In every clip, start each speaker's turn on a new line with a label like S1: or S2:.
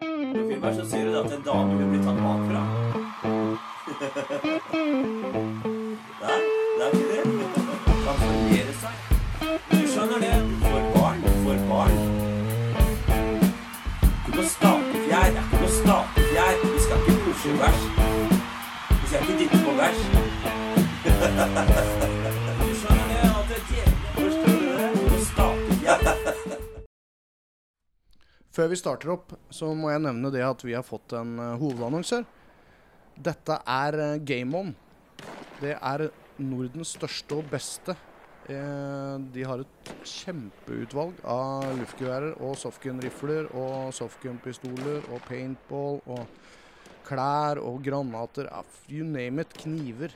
S1: I filmen her så ser du at en dame vil bli tatt bakfra. Der. Der blir det. Kan formere seg. Du skjønner det. Du får barn. Du får barn. Du må stape fjær. Det er ikke noe stape fjær. Vi skal ikke pushe vers. Vi skal ikke dytte på vers. Du skjønner det at det er djevelen Forstår du det? Du må stape fjær.
S2: Før vi starter opp, så må jeg nevne det at vi har fått en eh, hovedannonsør. Dette er eh, Game On. Det er Nordens største og beste. Eh, De har et kjempeutvalg av luftgeværer og softgun-rifler og softgun-pistoler og paintball og klær og granater. ja, f- You name it. Kniver.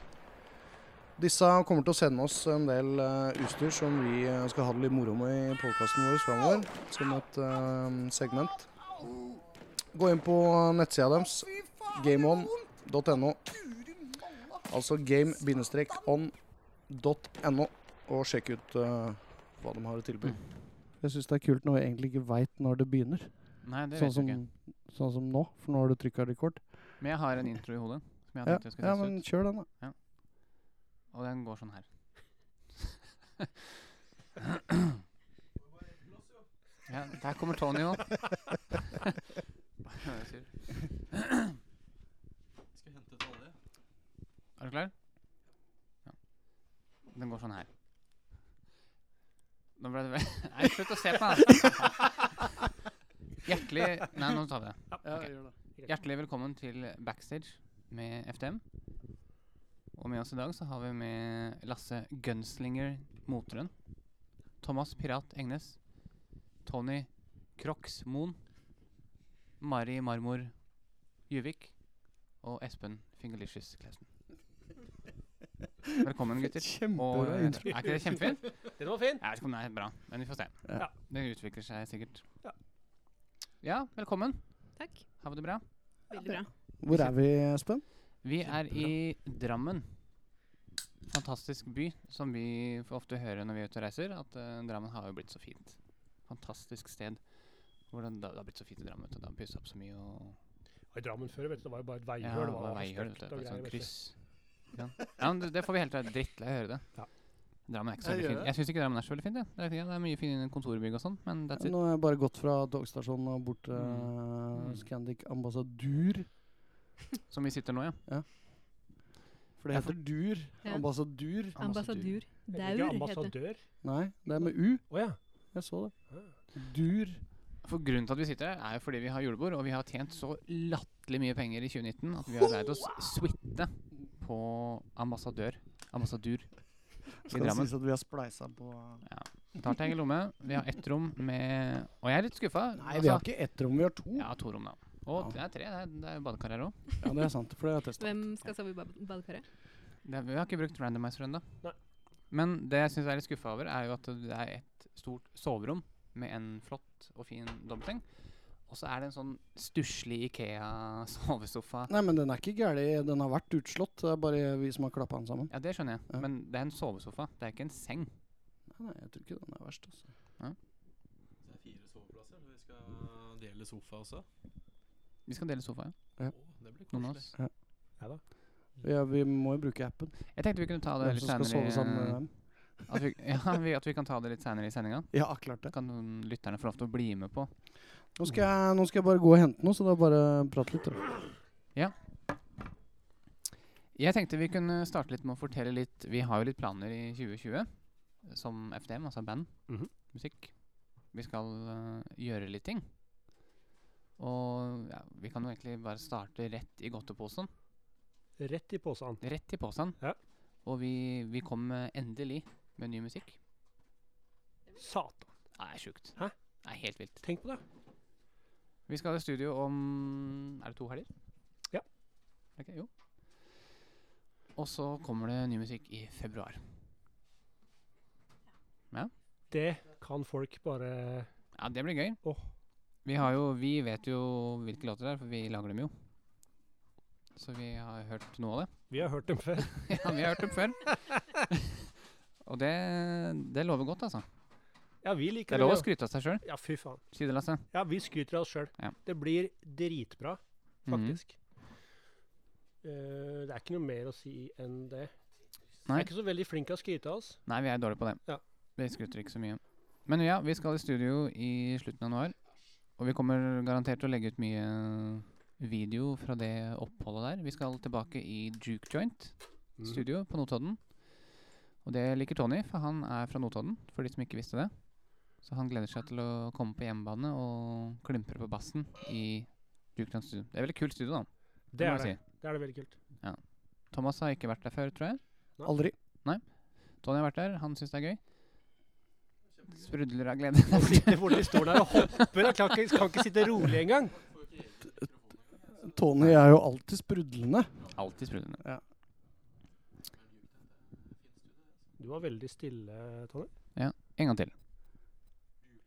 S2: Disse kommer til å sende oss en del eh, utstyr som vi eh, skal ha det litt moro med i podkasten vår framover, som et eh, segment. Gå inn på nettsida deres, gameon.no. Altså game-on.no, og sjekk ut eh, hva de har å tilby. Mm. Jeg syns det er kult når jeg egentlig ikke veit når det begynner,
S3: Nei, det
S2: sånn
S3: vet
S2: som,
S3: jeg ikke.
S2: sånn som nå, for nå har du trykka rekord.
S3: Men jeg har en intro i hodet.
S2: Ja,
S3: Som jeg hadde tenkt jeg skulle
S2: ja,
S3: teste
S2: men kjør den, da.
S3: ut. Og den går sånn her. ja, der kommer Tony òg. er
S4: Skal hente et olje.
S3: du klar? Ja. Den går sånn her. Nå ble det vel Nei, slutt å se på meg, da. Hjertelig Nei, nå tar vi det.
S4: Ja,
S3: Ok.
S4: gjør det.
S3: Hjertelig velkommen til Backstage med FTM. Og med oss i dag så har vi med Lasse Gunslinger Motrøn. Thomas Pirat Engnes. Tony Crox Moen. Mari Marmor Juvik. Og Espen Fingerlicious Clausen. Velkommen, gutter. Og,
S2: Kjempebra
S3: er
S2: intro.
S3: ikke det kjempefint? Jeg
S4: Den var fin.
S3: vet ikke om det er bra, men vi får se.
S2: Ja.
S3: Det utvikler seg sikkert.
S4: Ja.
S3: Ja, velkommen.
S5: Takk.
S3: Har vi det bra?
S5: Veldig bra.
S2: Hvor er vi, Espen?
S3: Vi er i Drammen. Fantastisk by, som vi får ofte høre når vi er ute og reiser, at eh, Drammen har jo blitt så fint. Fantastisk sted. Hvordan det, det har blitt så fint i Drammen. vet du. Det har pusset opp så mye og
S4: I Drammen før vet du, det var jo bare et veihøl.
S3: Ja,
S4: det
S3: det
S4: var
S3: var veihøl,
S4: asfalt
S3: vet du. På
S4: og
S3: et
S4: greier,
S3: sånt
S4: vet du.
S3: kryss. Ikke sant? Ja, men det, det får vi helt drittlei av å høre det.
S4: Ja.
S3: Drammen er ikke så
S2: Jeg
S3: veldig
S2: gjør
S3: fint.
S2: det.
S3: Jeg syns ikke Drammen er så veldig fint. jeg. Det er, det er mye fine kontorbygg og sånn, men that's it.
S2: Nå har jeg bare gått fra togstasjonen og bort til
S3: Mm.
S2: eh, Scandic ambassadur.
S3: Som vi sitter nå, ja.
S2: For det
S3: Ja,
S2: heter dur.
S5: Ja.
S2: Ambassadur.
S3: Ambassadur.
S5: Ambassadur.
S4: Heter
S5: Daur
S4: ikke
S5: heter det.
S4: ambassadør?
S2: Nei, det er med u.
S4: Å ja.
S2: Jeg så det. Ah. Dur.
S3: For grunnen til at vi sitter her, er jo fordi vi har julebord, og vi har tjent så latterlig mye penger i 2019 at vi har leid oss suite på ambassadør. Ambassadur i
S2: Skal det
S3: Drammen.
S2: sies at vi har spleisa på
S3: Tar til egen lomme. Vi har ett rom med Og jeg er litt skuffa.
S2: Nei, vi har ikke ett rom, vi har to. Altså- Ja,
S3: Ja, to rom, da. Og det er tre. Det er, det er jo badekar her òg.
S2: det er sant. For det har jeg testa.
S5: Hvem skal sove i bad- badekaret?
S3: Vi har ikke brukt randomizer ennå.
S4: Nei.
S3: Men det jeg syns jeg er litt skuffa over, er jo at det er et stort soverom med en flott og fin dobbeltseng. Og så er det en sånn stusslig Ikea-sovesofa.
S2: Nei, men den er ikke gæren. Den har vært utslått. Det er bare vi som har klappa den sammen.
S3: Ja, det skjønner jeg.
S2: Ja.
S3: Men det er en sovesofa. Det er ikke en seng.
S2: Nei, nei, jeg tror ikke den er verst. Altså.
S4: Det er fire soveplasser, så vi skal dele sofa også.
S3: Vi skal dele sofa, ja.
S2: Ja.
S4: Å, det blir
S3: Noen av oss.
S2: Ja, vi må jo bruke appen.
S3: Jeg tenkte vi kunne ta det
S2: Hvem
S3: litt
S2: som skal sove sammen med
S3: seinere.
S2: hvem.
S3: At, vi- ja, vi- at vi kan ta det litt senere i sendinga.
S2: Ja, klart det.
S3: Kan noen lytterne få lov til å bli med på.
S2: Nå skal, jeg, nå skal jeg bare gå og hente noe, så da bare prate litt. da.
S3: Jeg tenkte vi kunne starte litt med å fortelle litt Vi har jo litt planer i 2020 som FDM, altså band,
S4: Mhm.
S3: musikk. Vi skal øh, gjøre litt ting. Og ja, vi kan jo egentlig bare starte rett i godteposen.
S4: Rett i posen.
S3: Rett i posen.
S4: Ja.
S3: Og vi, vi kom eh, endelig med ny musikk.
S4: Satan.
S3: Ja, det er sjukt.
S4: Hæ?
S3: Det er helt vilt.
S4: Tenk på det.
S3: Vi skal i studio om Er det to helger?
S4: Ja.
S3: Ok, jo. Og så kommer det ny musikk i februar.
S4: Det kan folk bare
S3: Ja, det blir gøy.
S4: Åh.
S3: Vi, har jo, vi vet jo hvilke låter det er, for vi lager dem jo. Så vi har hørt noe av det.
S4: Vi har hørt dem før.
S3: ja, vi har hørt dem før. Og det, det lover godt, altså.
S6: Ja, vi liker
S3: Det er lov å
S6: jo.
S3: skryte av seg sjøl.
S6: Ja, fy faen.
S3: Si det, Lasse.
S6: Ja, vi skryter av oss sjøl.
S3: Ja.
S6: Det blir dritbra,
S3: Mhm.
S6: faktisk. Eh, det er ikke noe mer å si enn det. Vi
S3: Nei.
S6: er ikke så veldig flinke til å skryte av oss.
S3: Nei, vi er dårlige på det.
S6: Ja.
S3: Vi skryter ikke så mye. Men ja, vi skal i studio i slutten av januar. Og vi kommer garantert til å legge ut mye video fra det oppholdet der. Vi skal tilbake i Juke Joint
S6: Mm.
S3: studio på Notodden. Og det liker Tony, for han er fra Notodden, for de som ikke visste det. Så han gleder seg til å komme på hjemmebane og klimpre på bassen i Juke Joint studio. Det er veldig kult studio, da.
S6: Det, er
S3: må
S6: det.
S3: jeg
S6: det er det veldig kult.
S3: Si. Thomas har ikke vært der før, tror jeg.
S2: Aldri.
S3: Tony har vært der, han syns det er gøy. Sprudler av
S6: Han
S3: glede.
S6: sitter hvordan de står der og hopper. Han kan ikke, kan ikke sitte rolig engang.
S2: Tony er jo alltid sprudlende.
S3: Alltid sprudlende.
S6: Du var veldig stille, Tonje.
S3: En gang til.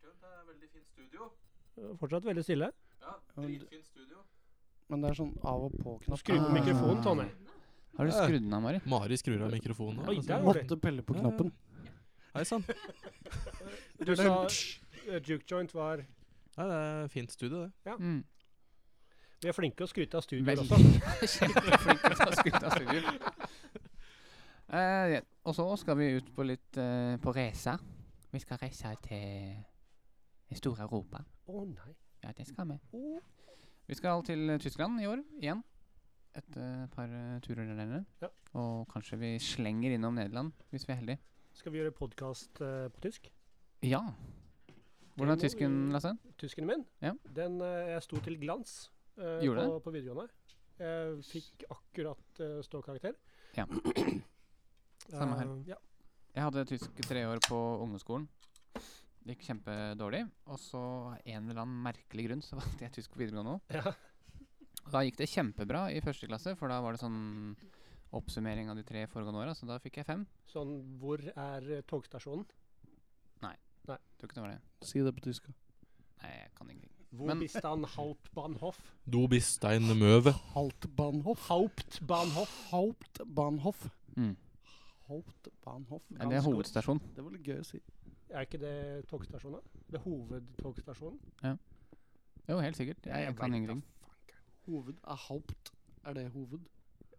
S4: Det er veldig fint studio.
S6: Fortsatt veldig stille.
S4: Ja,
S2: Ja, men du-
S4: dritfint studio.
S2: Men det er sånn av og på-knapp.
S6: Skru på
S3: Ah.
S6: mikrofonen, Tonje.
S3: Har du
S4: Ja.
S3: skrudd den av, Mari?
S4: Mari skrur av mikrofonen.
S6: Oi, der var det.
S2: Måtte pelle på knappen.
S4: Hei sann. Nei,
S6: Du sa eh, Juke Joint var
S4: det er fint studio, det.
S3: Mm.
S6: Vi er flinke til å skryte av studioer
S3: Veldig.
S6: også.
S3: Kjempeflink til å ta skrudd av studio. Eh, ja. og så skal vi ut på litt eh, på reise. Vi skal reise til det store Europa.
S6: Å nei.
S3: Ja, det skal vi. Vi skal til Tyskland i år igjen. Et eh, par eh, turer der nede.
S6: Ja.
S3: Og kanskje vi slenger innom Nederland, hvis vi er heldige.
S6: Skal vi gjøre podkast på tysk?
S3: Ja. Hvordan
S6: må
S3: er tysken,
S6: vi-
S3: Lasse?
S6: Tysken min,
S3: Ja.
S6: den eh, jeg sto til glans eh,
S3: Gjorde
S6: på, på videregående. Jeg fikk akkurat eh, ståkarakter.
S3: Ja. Samme her.
S6: Eh, ja.
S3: Jeg hadde tysk tre år på ungdomsskolen. Det gikk kjempedårlig. Og så av en eller annen merkelig grunn så valgte jeg tysk på videregående òg.
S6: Ja.
S3: Og Da gikk det kjempebra i første klasse, for da var det sånn oppsummering av de tre foregående åra, så da fikk jeg fem.
S6: Sånn, hvor er eh, togstasjonen?
S3: Tror ikke det var det.
S2: Si det på tysk.
S3: Nei, jeg kan ingenting.
S6: Hvor
S3: Men-
S6: bist han Hauptbahnhof?
S4: Du bist ein Möwe.
S2: Haltbahnhof.
S6: Hauptbahnhof.
S2: Hauptbahnhof.
S3: Mm.
S2: Hauptbahnhof.
S3: Nei, Det er hovedstasjon.
S2: Det var litt gøy å si.
S6: Er ikke det togstasjonen? Det er hovedtogstasjonen?
S3: Jo, helt sikkert. Jeg, jeg kan ingenting.
S2: Hoved er haupt. Er det hoved?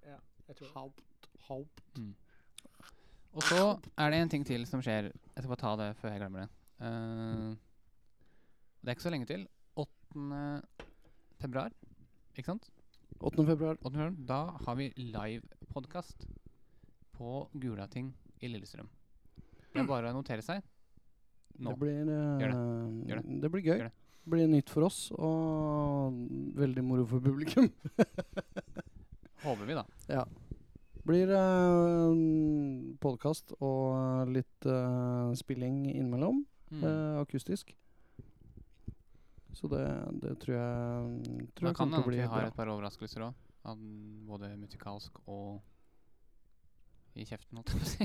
S6: Jeg tror det.
S2: Haupt. Haupt.
S3: Og så er det en ting til som skjer. Jeg skal bare ta det før jeg glemmer det. Eh, det er ikke så lenge til. 8. februar, ikke sant?
S2: 8. februar.
S3: Og Bjørn, da har vi livepodkast på Gulating i
S2: Mm.
S3: Lillestrøm. Det er bare å notere seg. Nå.
S2: Det blir, eh,
S3: Gjør det. Gjør
S2: det. blir gøy.
S3: Gjør det.
S2: Det blir nytt for oss og veldig moro for publikum.
S3: Håper vi, da.
S2: blir eh, podkast og litt eh, spilling innimellom.
S3: Mm.
S2: eh, akustisk. Så det, det tror jeg, mm, tror
S3: da
S2: jeg
S3: kan
S2: kommer til å
S3: det hende at
S2: bli
S3: vi har
S2: bra.
S3: et par overraskelser òg. Både musikalsk og i kjeften, holdt jeg på å si.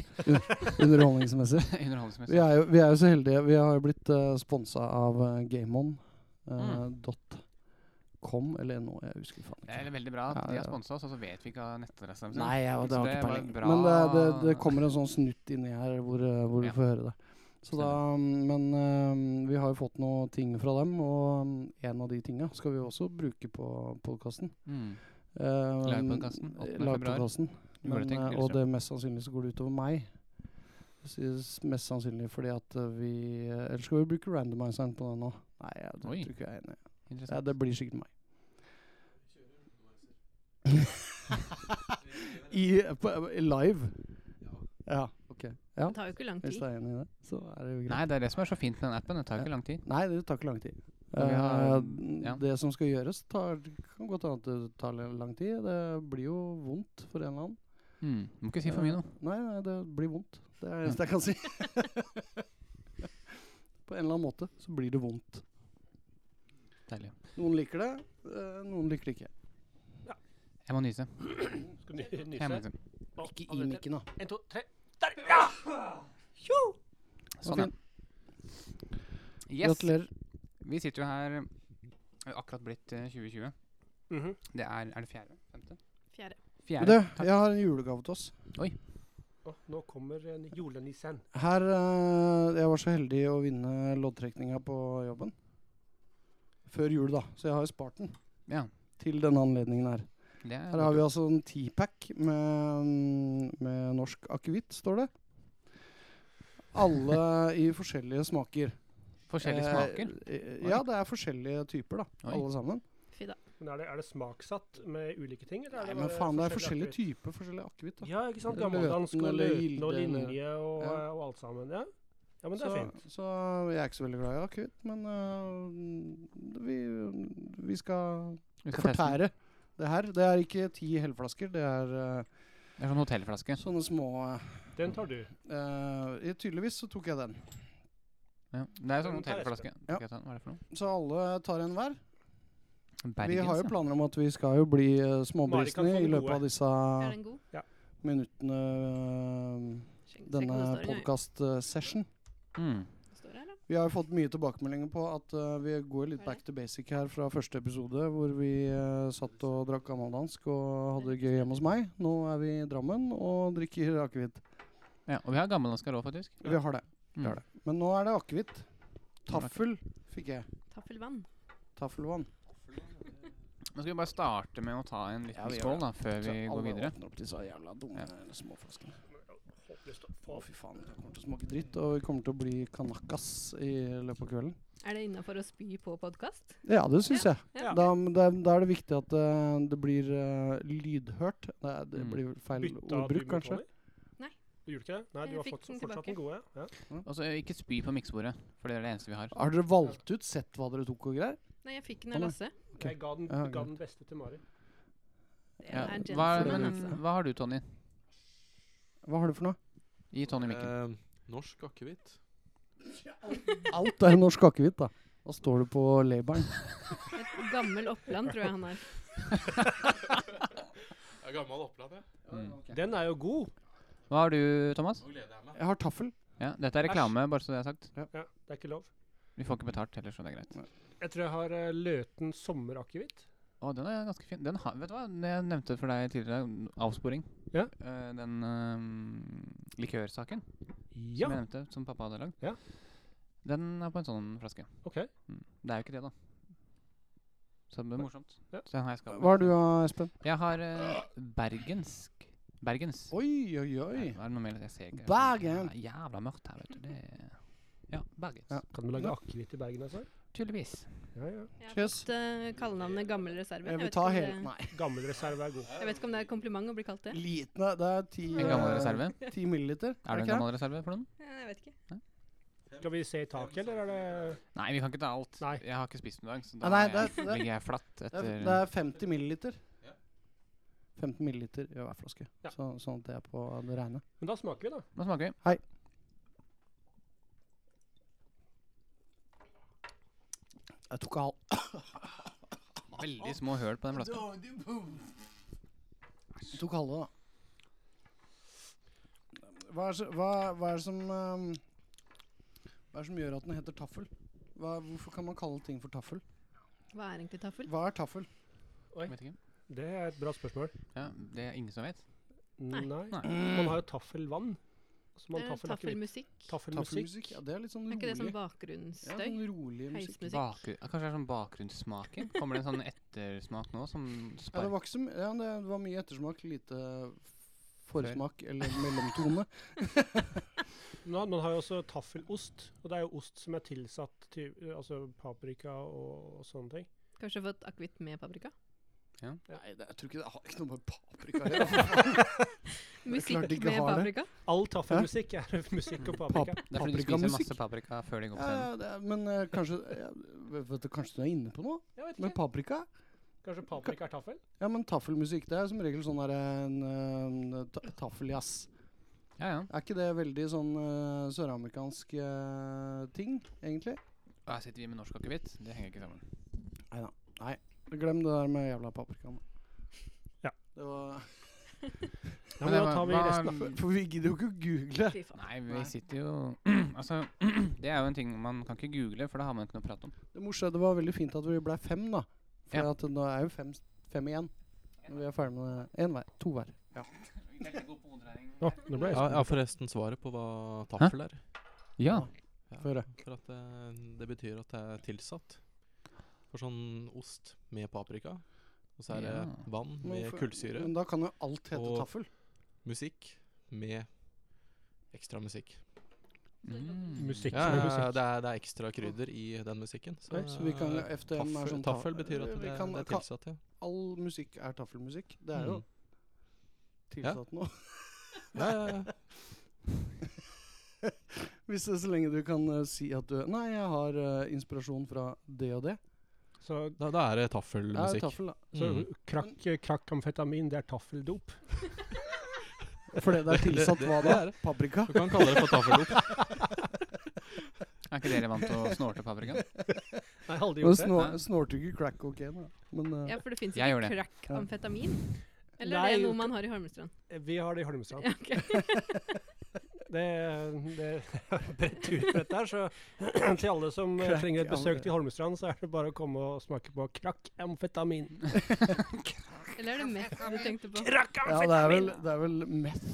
S2: Underholdningsmessig. Vi
S3: Underholdningsmessig.
S2: er, jo, vi er jo så heldige. Vi har jo blitt uh, sponsa av uh,
S3: Mm.
S2: gameon.com, eller nå, jeg husker faen
S3: Det er
S2: ikke.
S3: veldig bra at
S2: Ja,
S3: de har
S2: ja.
S3: sponsa oss, og så vet vi ikke hva nettadressen deres er.
S2: Nei, jeg, det
S3: Så
S2: har
S3: det
S2: ikke
S3: var
S2: peiling.
S3: bra.
S2: Men det, det, det kommer en sånn snutt inni her hvor, eh, hvor
S3: Ja.
S2: du får høre det. Så da, men eh, vi har jo fått noen ting fra dem, og eh, en av de tinga skal vi jo også bruke på podkasten.
S3: Mm.
S2: Eh,
S3: Lagpodkasten, 8. februar.
S2: lagpodkasten. Men,
S3: Juleting,
S2: eh, og det
S3: Lillestrøm.
S2: mest sannsynlig så går det utover meg. S- s- Mest sannsynlig fordi at eh, vi eh, Eller skal vi bruke randomizeren på den nå? Nei, jeg, det
S3: Oi.
S2: tror ikke jeg er enig i. Ja,
S3: Interessant.
S2: det blir sikkert meg. I, på, live? Ja. ok. Ja,
S5: Det tar jo ikke lang
S2: Hvis
S5: tid.
S2: du er enig i det, så er det jo greit.
S3: Nei, det er det som er så fint med den appen. Det tar ikke lang tid.
S2: Nei, det tar ikke lang tid.
S3: Men vi har-
S2: Eh,
S3: ja.
S2: Det som skal gjøres, tar, kan godt hende at det tar li- lang tid. Det blir jo vondt for en eller annen.
S3: Mm. Må ikke si for mye nå.
S2: Nei, nei det blir vondt. Det er det eneste jeg kan si. På en eller annen måte så blir det vondt.
S3: Deilig.
S2: Noen liker det, eh, noen liker det ikke.
S3: Jeg må nyse.
S6: Skal du ny-
S3: Jeg må nyse.
S6: nyse? Å,
S2: Ikke i
S6: alle tre.
S2: mikken, da.
S6: En, to, tre.
S3: Sånn, ja. Yes.
S2: Gratulerer.
S3: Vi sitter jo her Det har akkurat blitt eh, 2020.
S6: Mhm.
S3: Det er Er det fjerde? Femte?
S5: Fjerde.
S3: Fjerde.
S2: Du,
S3: takk.
S2: jeg har en julegave til oss.
S6: Å, nå kommer eh, ni- julenissen.
S2: Her eh, Jeg var så heldig å vinne loddtrekninga på jobben. Før jul, da. Så jeg har jo spart den
S3: Ja.
S2: til denne anledningen her.
S3: Det er
S2: Her har vi altså en teapack med, med norsk akevitt, står det. Alle i forskjellige smaker.
S3: forskjellige smaker.
S2: Eh, eh, ja, det er forskjellige typer, da.
S3: Oi.
S2: Alle sammen.
S5: Fy da.
S6: Men er det, er det smaksatt med ulike ting? Eller
S2: Nei,
S6: er det
S2: men
S6: bare
S2: faen, det er forskjellige
S6: akevitt?
S2: typer forskjellig akevitt. da.
S6: Ja, ikke sant.
S2: Eller
S6: Gammeldansk
S2: løten,
S6: og
S2: eller
S6: løten og
S2: gilde, eller-
S6: linje og,
S2: Ja.
S6: og alt sammen. Ja, ja men det er
S2: så,
S6: fint.
S2: så jeg er ikke så veldig glad i akevitt, men eh, vi, vi skal
S3: Vi skal teste den.
S2: fortære det her. Det er ikke ti helflasker, det er eh,
S3: Det er sånn hotellflaske.
S2: sånne små
S6: Den tar du.
S2: eh, eh, Tydeligvis så tok jeg den.
S3: Ja. Det er sånn
S6: Den tar jeg
S3: hotellflaske.
S2: Ja.
S3: Skal jeg ta den? Hva er det for noe?
S2: Så alle tar en hver.
S3: Bergens,
S2: vi har jo
S3: ja.
S2: planer om at vi skal jo bli eh,
S6: Mari kan få
S2: småbrisene i
S6: den
S2: løpet
S6: gode.
S2: av disse
S5: Er den god?
S2: minuttene
S5: Sjekk-
S2: eh,
S5: sjekk
S2: denne
S5: om det står engang.
S2: podkast-session.
S3: Mm.
S5: Det står her, da.
S2: Vi har jo fått mye tilbakemeldinger på at eh, vi går litt
S5: Hva er
S2: back to basic her fra første episode, hvor vi eh, satt og drakk gammeldansk og hadde det gøy hjemme hos meg. Nå er vi i Drammen og drikker akevitt.
S3: ja. Og vi har gammeldansk råd, faktisk.
S2: Vi har det.
S3: Mm.
S2: Vi har det. Men nå er det akevitt.
S3: Nå er det
S2: Taffel fikk jeg.
S5: Taffelvann.
S2: Taffelvann.
S3: Nå skal vi bare starte med å ta en
S2: Ja,
S3: liten
S2: vi gjør
S3: skål, da, før vi
S2: Så
S3: går
S2: alle
S3: videre.
S2: åpner opp disse jævla dumme småflaskene.
S6: Håper lyst til å
S2: Å,
S6: få
S2: fy faen. Det kommer til å smake dritt, og vi kommer til å bli kanakas i løpet av kvelden.
S5: Er det innafor å spy på podkast?
S2: Ja, det syns jeg.
S5: Ja.
S2: Da, da, da er det viktig at eh, det blir eh, lydhørt. Det, er, det
S3: Mm.
S2: blir feil
S6: bytte av
S2: ordbruk, kanskje.
S6: Tony?
S5: Nei.
S6: Du gjorde ikke det? Nei,
S5: Jeg
S6: du har
S5: fikk
S6: fått,
S5: den
S6: fortsatt den gode? Ja.
S3: Og så ikke spy på miksebordet, for det er det eneste vi har.
S2: Har dere valgt ut, sett hva dere tok og greier?
S5: Nei, jeg fikk den
S2: Å,
S5: av
S2: nei.
S5: Lasse.
S2: Ok.
S6: Jeg ga den,
S2: Ja,
S6: ga
S2: greit.
S6: den beste til Mari.
S5: Det
S3: Ja.
S5: er
S2: for
S3: Hva,
S2: det
S5: gentleman,
S3: men,
S5: altså.
S3: hva har du, Tony?
S2: Hva har du for noe?
S3: Gi Tony mikken.
S4: Eh, norsk akevitt.
S5: altså.
S2: Alt er norsk akevitt, da. Da står du på labelen.
S5: Et gammel Oppland, tror jeg han er.
S4: Jeg er gammel Oppland, jeg.
S3: Mm.
S6: Den er jo god.
S3: Hva har du, Thomas?
S4: Nå gleder jeg meg.
S2: Jeg har taffel.
S3: Ja, dette er reklame, bare så det er sagt.
S6: Ja, det er ikke lov.
S3: Vi får ikke betalt heller, så det er greit.
S6: Jeg tror jeg har eh, Løten sommerakevitt.
S3: Å, den er ganske fin. Den har, vet du hva, det jeg nevnte for deg tidligere, n- avsporing.
S6: Ja.
S3: Eh, den eh, likørsaken
S6: Ja,
S3: som jeg nevnte, som pappa hadde lagd.
S6: Ja.
S3: Den er på en sånn flaske.
S6: OK.
S3: Mm. Det er jo ikke det, da. Så det blir morsomt.
S6: Ja.
S3: Så den har jeg skapet.
S2: Hva har du, da, Espen?
S3: Jeg har eh, bergensk. Bergens.
S2: Oi, oi, oi.
S3: Nei, hva er det noe mer? Jeg ser ikke.
S2: Bergen.
S3: Det er jævla mørkt her, vet du. Det er ja, Bergens.
S2: Ja.
S6: Kan du lage akevitt i Bergen, altså?
S3: Tydeligvis.
S6: Ja, ja.
S5: Jeg har
S2: Cheers.
S5: fått eh, kallenavnet Gammel reserve.
S2: Jeg
S5: vet
S2: vil
S5: ikke
S2: ta
S5: om
S2: hele
S5: det-
S2: Nei.
S6: Gammelreserve er god.
S5: Jeg vet ikke om det er et kompliment å bli kalt det.
S2: Liten eh, Det er ti
S3: En gammel
S2: eh,
S3: reserve.
S2: Ti milliliter.
S3: Er det en
S2: ikke
S3: gammel reserve for den?
S5: Ja, Eh, Jeg vet ikke.
S6: Skal vi se i taket, eller er det
S3: Nei, vi kan ikke ta alt.
S6: Nei.
S3: Jeg har ikke spist noen dag, så
S2: Nei,
S3: da
S2: nei,
S3: er jeg-
S2: det er- det er-
S3: ligger jeg flatt
S2: Det
S3: etter
S2: er, det er 50 milliliter. 15 milliliter i hver flaske,
S6: Ja.
S2: så, sånn at det er på det rene.
S6: Men da smaker vi, da.
S3: Nå smaker vi.
S2: Hei. Jeg tok av
S3: Veldig små høl på den flaska.
S2: Jeg tok halve, da. Hva er, så, hva, hva er det som ehm, Hva er det som gjør at den heter taffel? Hva, hvorfor kan man kalle ting for taffel?
S5: Hva er egentlig taffel?
S2: Hva er taffel?
S3: Vet ikke.
S6: Det er et bra spørsmål.
S3: Ja, det er ingen som vet.
S6: Nei.
S3: Nei.
S6: Man har jo taffelvann. Så man
S5: Eh,
S6: taffel akevitt.
S5: Taffelmusikk.
S6: Taffelmusikk.
S2: Taffelmusikk? Ja, det er litt sånn
S5: Er
S2: rolig.
S5: ikke det sånn
S2: ja,
S5: bakgrunnsstøy?
S2: sånn rolig musikk.
S5: Heismusikk?
S3: Bakgru- ja, kanskje det er sånn bakgrunnssmaking? Kommer det en sånn ettersmak nå som
S2: Ja, det
S3: sparker
S2: var ikke så my- ja, det var mye ettersmak, lite forsmak eller mellomtone.
S6: Nå, man har jo også taffelost. Og det er jo ost som er tilsatt til altså paprika og, og sånne ting.
S5: Kanskje fått akevitt med paprika?
S2: Nei, det, jeg tror ikke det har ikke noe med paprika å gjøre. for faen.
S5: Musikk
S2: klart de ikke
S5: med
S2: har det.
S5: paprika?
S6: All taffelmusikk er musikk og paprika.
S3: Det er fordi du spiser
S2: paprikamusikk.
S3: masse paprika før de går på
S2: Ja,
S3: scenen.
S2: ja, det er, men eh, kanskje ja, vet du, Kanskje du er inne på noe?
S6: Jeg vet
S2: Med
S6: ikke.
S2: paprika?
S6: Kanskje paprika er taffel?
S2: Ja, men taffelmusikk det er som regel sånn der en, eh, en ta- taffeljazz.
S3: Ja, ja.
S2: Er ikke det veldig sånn eh, søramerikansk eh, ting, egentlig?
S3: Og Her sitter vi med norsk akevitt. Det henger ikke sammen.
S2: Glem det der med jævla paprikaen.
S6: Ja.
S2: Det var,
S6: Ja, men da
S3: det var-
S6: tar vi
S3: hva-
S6: resten.
S2: for, for vi gidder jo ikke å google.
S5: Fy faen.
S3: Nei, vi
S2: Nei.
S3: sitter jo Altså, det er jo en ting man kan ikke google, for da har man ikke noe å prate om.
S2: Det morsomme det var veldig fint at vi ble fem, da. For
S3: Ja.
S2: at nå er jo fem, fem igjen. Når vi er ferdig med én hver. To hver. Ja.
S6: Å, nå ble jeg
S4: Jeg
S6: spent.
S4: har forresten svaret på hva taffel er.
S3: Ja.
S4: Ja,
S2: Få høre.
S4: For at eh, det, det betyr at det er tilsatt. For sånn ost med paprika. Og så er
S3: Ja.
S4: det vann
S2: Men
S4: med
S2: for-
S4: kullsyre.
S2: Men da kan jo alt hete
S4: Og-
S2: taffel.
S4: Musikk med ekstra musikk.
S3: Mm.
S6: Musikk med musikk.
S4: Ja, ja, ja, det, er, det er ekstra krydder i den musikken. Så,
S2: Nei, så vi kan-
S4: eh,
S2: FDM er
S4: taffel,
S2: sånn ta-
S4: taffel betyr at
S2: vi
S4: det,
S2: kan-
S4: det er
S2: ka-
S4: tilsatt, ja.
S2: All musikk er taffelmusikk. Det er jo
S4: Mm.
S2: tilsatt noe.
S4: ja, ja, ja.
S2: Hvis det, så lenge du kan eh, si at du Nei, jeg har eh, inspirasjon fra det og det.
S6: Så,
S4: Da, da er det
S2: Det er
S4: taffelmusikk.
S2: taffel, da.
S6: så
S4: Mm.
S6: krakk, krakkamfetamin, det er taffeldop.
S2: Fordi det er tilsatt hva da?
S4: det
S2: Paprika?
S4: Du kan kalle det for taffeldop.
S3: Er ikke dere vant til å snorte paprika?
S6: Nei, jeg har aldri
S2: Men
S6: gjort det.
S2: snor,
S3: Nei.
S2: snorter ikke crack kokain, da. Men eh,
S5: Ja, for det fins
S3: Jeg gjør
S5: ikke
S3: det.
S5: crack-amfetamin? Eller
S6: Nei,
S5: er det
S6: jo,
S5: noe man har i Holmestrand?
S6: Vi har det i Holmestrand.
S5: Ja, ok.
S6: Det, det er bredt ut på dette her, så til alle som eh,
S2: Crack
S6: trenger et besøk
S2: amfetamin.
S6: til Holmestrand, så er det bare å komme og smake på krakk-amfetamin.
S5: Eller er det meth du tenkte på?
S2: ja, det er vel, det er vel meth.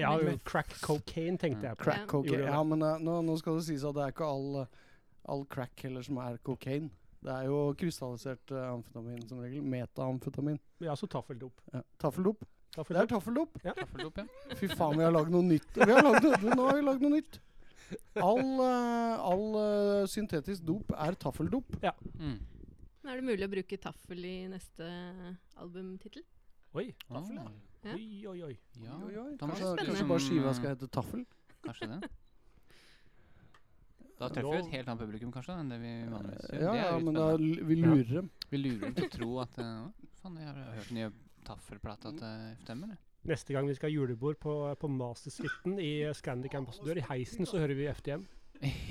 S6: Ja, jo,
S2: Meth.
S6: crack cocaine tenkte jeg på.
S2: Crack
S5: Ja.
S2: kokain.
S6: Gjorde det.
S2: Ja, men eh, nå, nå skal det sies at det er ikke all, eh, all crack heller som er kokain. Det er jo krystallisert eh, amfetamin som regel. Metaamfetamin.
S6: Ja, så taffeldop.
S2: Ja. Taffeldop. Det er
S6: Taffeldop.
S2: taffeldop.
S3: Taffeldop, ja.
S2: Fy faen, vi har lagd noe nytt. Vi har lagd noe, nå har vi lagd noe nytt. All, eh, all eh, syntetisk dop er taffeldop.
S3: Mm.
S5: Men er det mulig å bruke taffel i neste albumtittel?
S6: Oi,
S3: Taffel,
S2: ja.
S5: Ja.
S6: oi, oi, oi.
S3: Ja,
S2: Oi, oi.
S3: Thomas,
S2: Kanskje,
S5: Spennende.
S2: kanskje bare skiva skal hete Taffel?
S3: Kanskje det. Da treffer vi et helt annet publikum kanskje enn det vi vanligvis gjør.
S2: Eh, Ja,
S3: Det er
S2: ja,
S3: litt
S2: men da
S3: spennende.
S2: l- vi lurer dem.
S3: Vi lurer dem til å tro at eh, «Å, Faen, jeg har hørt den nye taffelplata til FTM, eller?
S6: Neste gang vi skal ha julebord på, på Mastersuiten i Scandic Ambassadør i heisen, så hører vi FDM.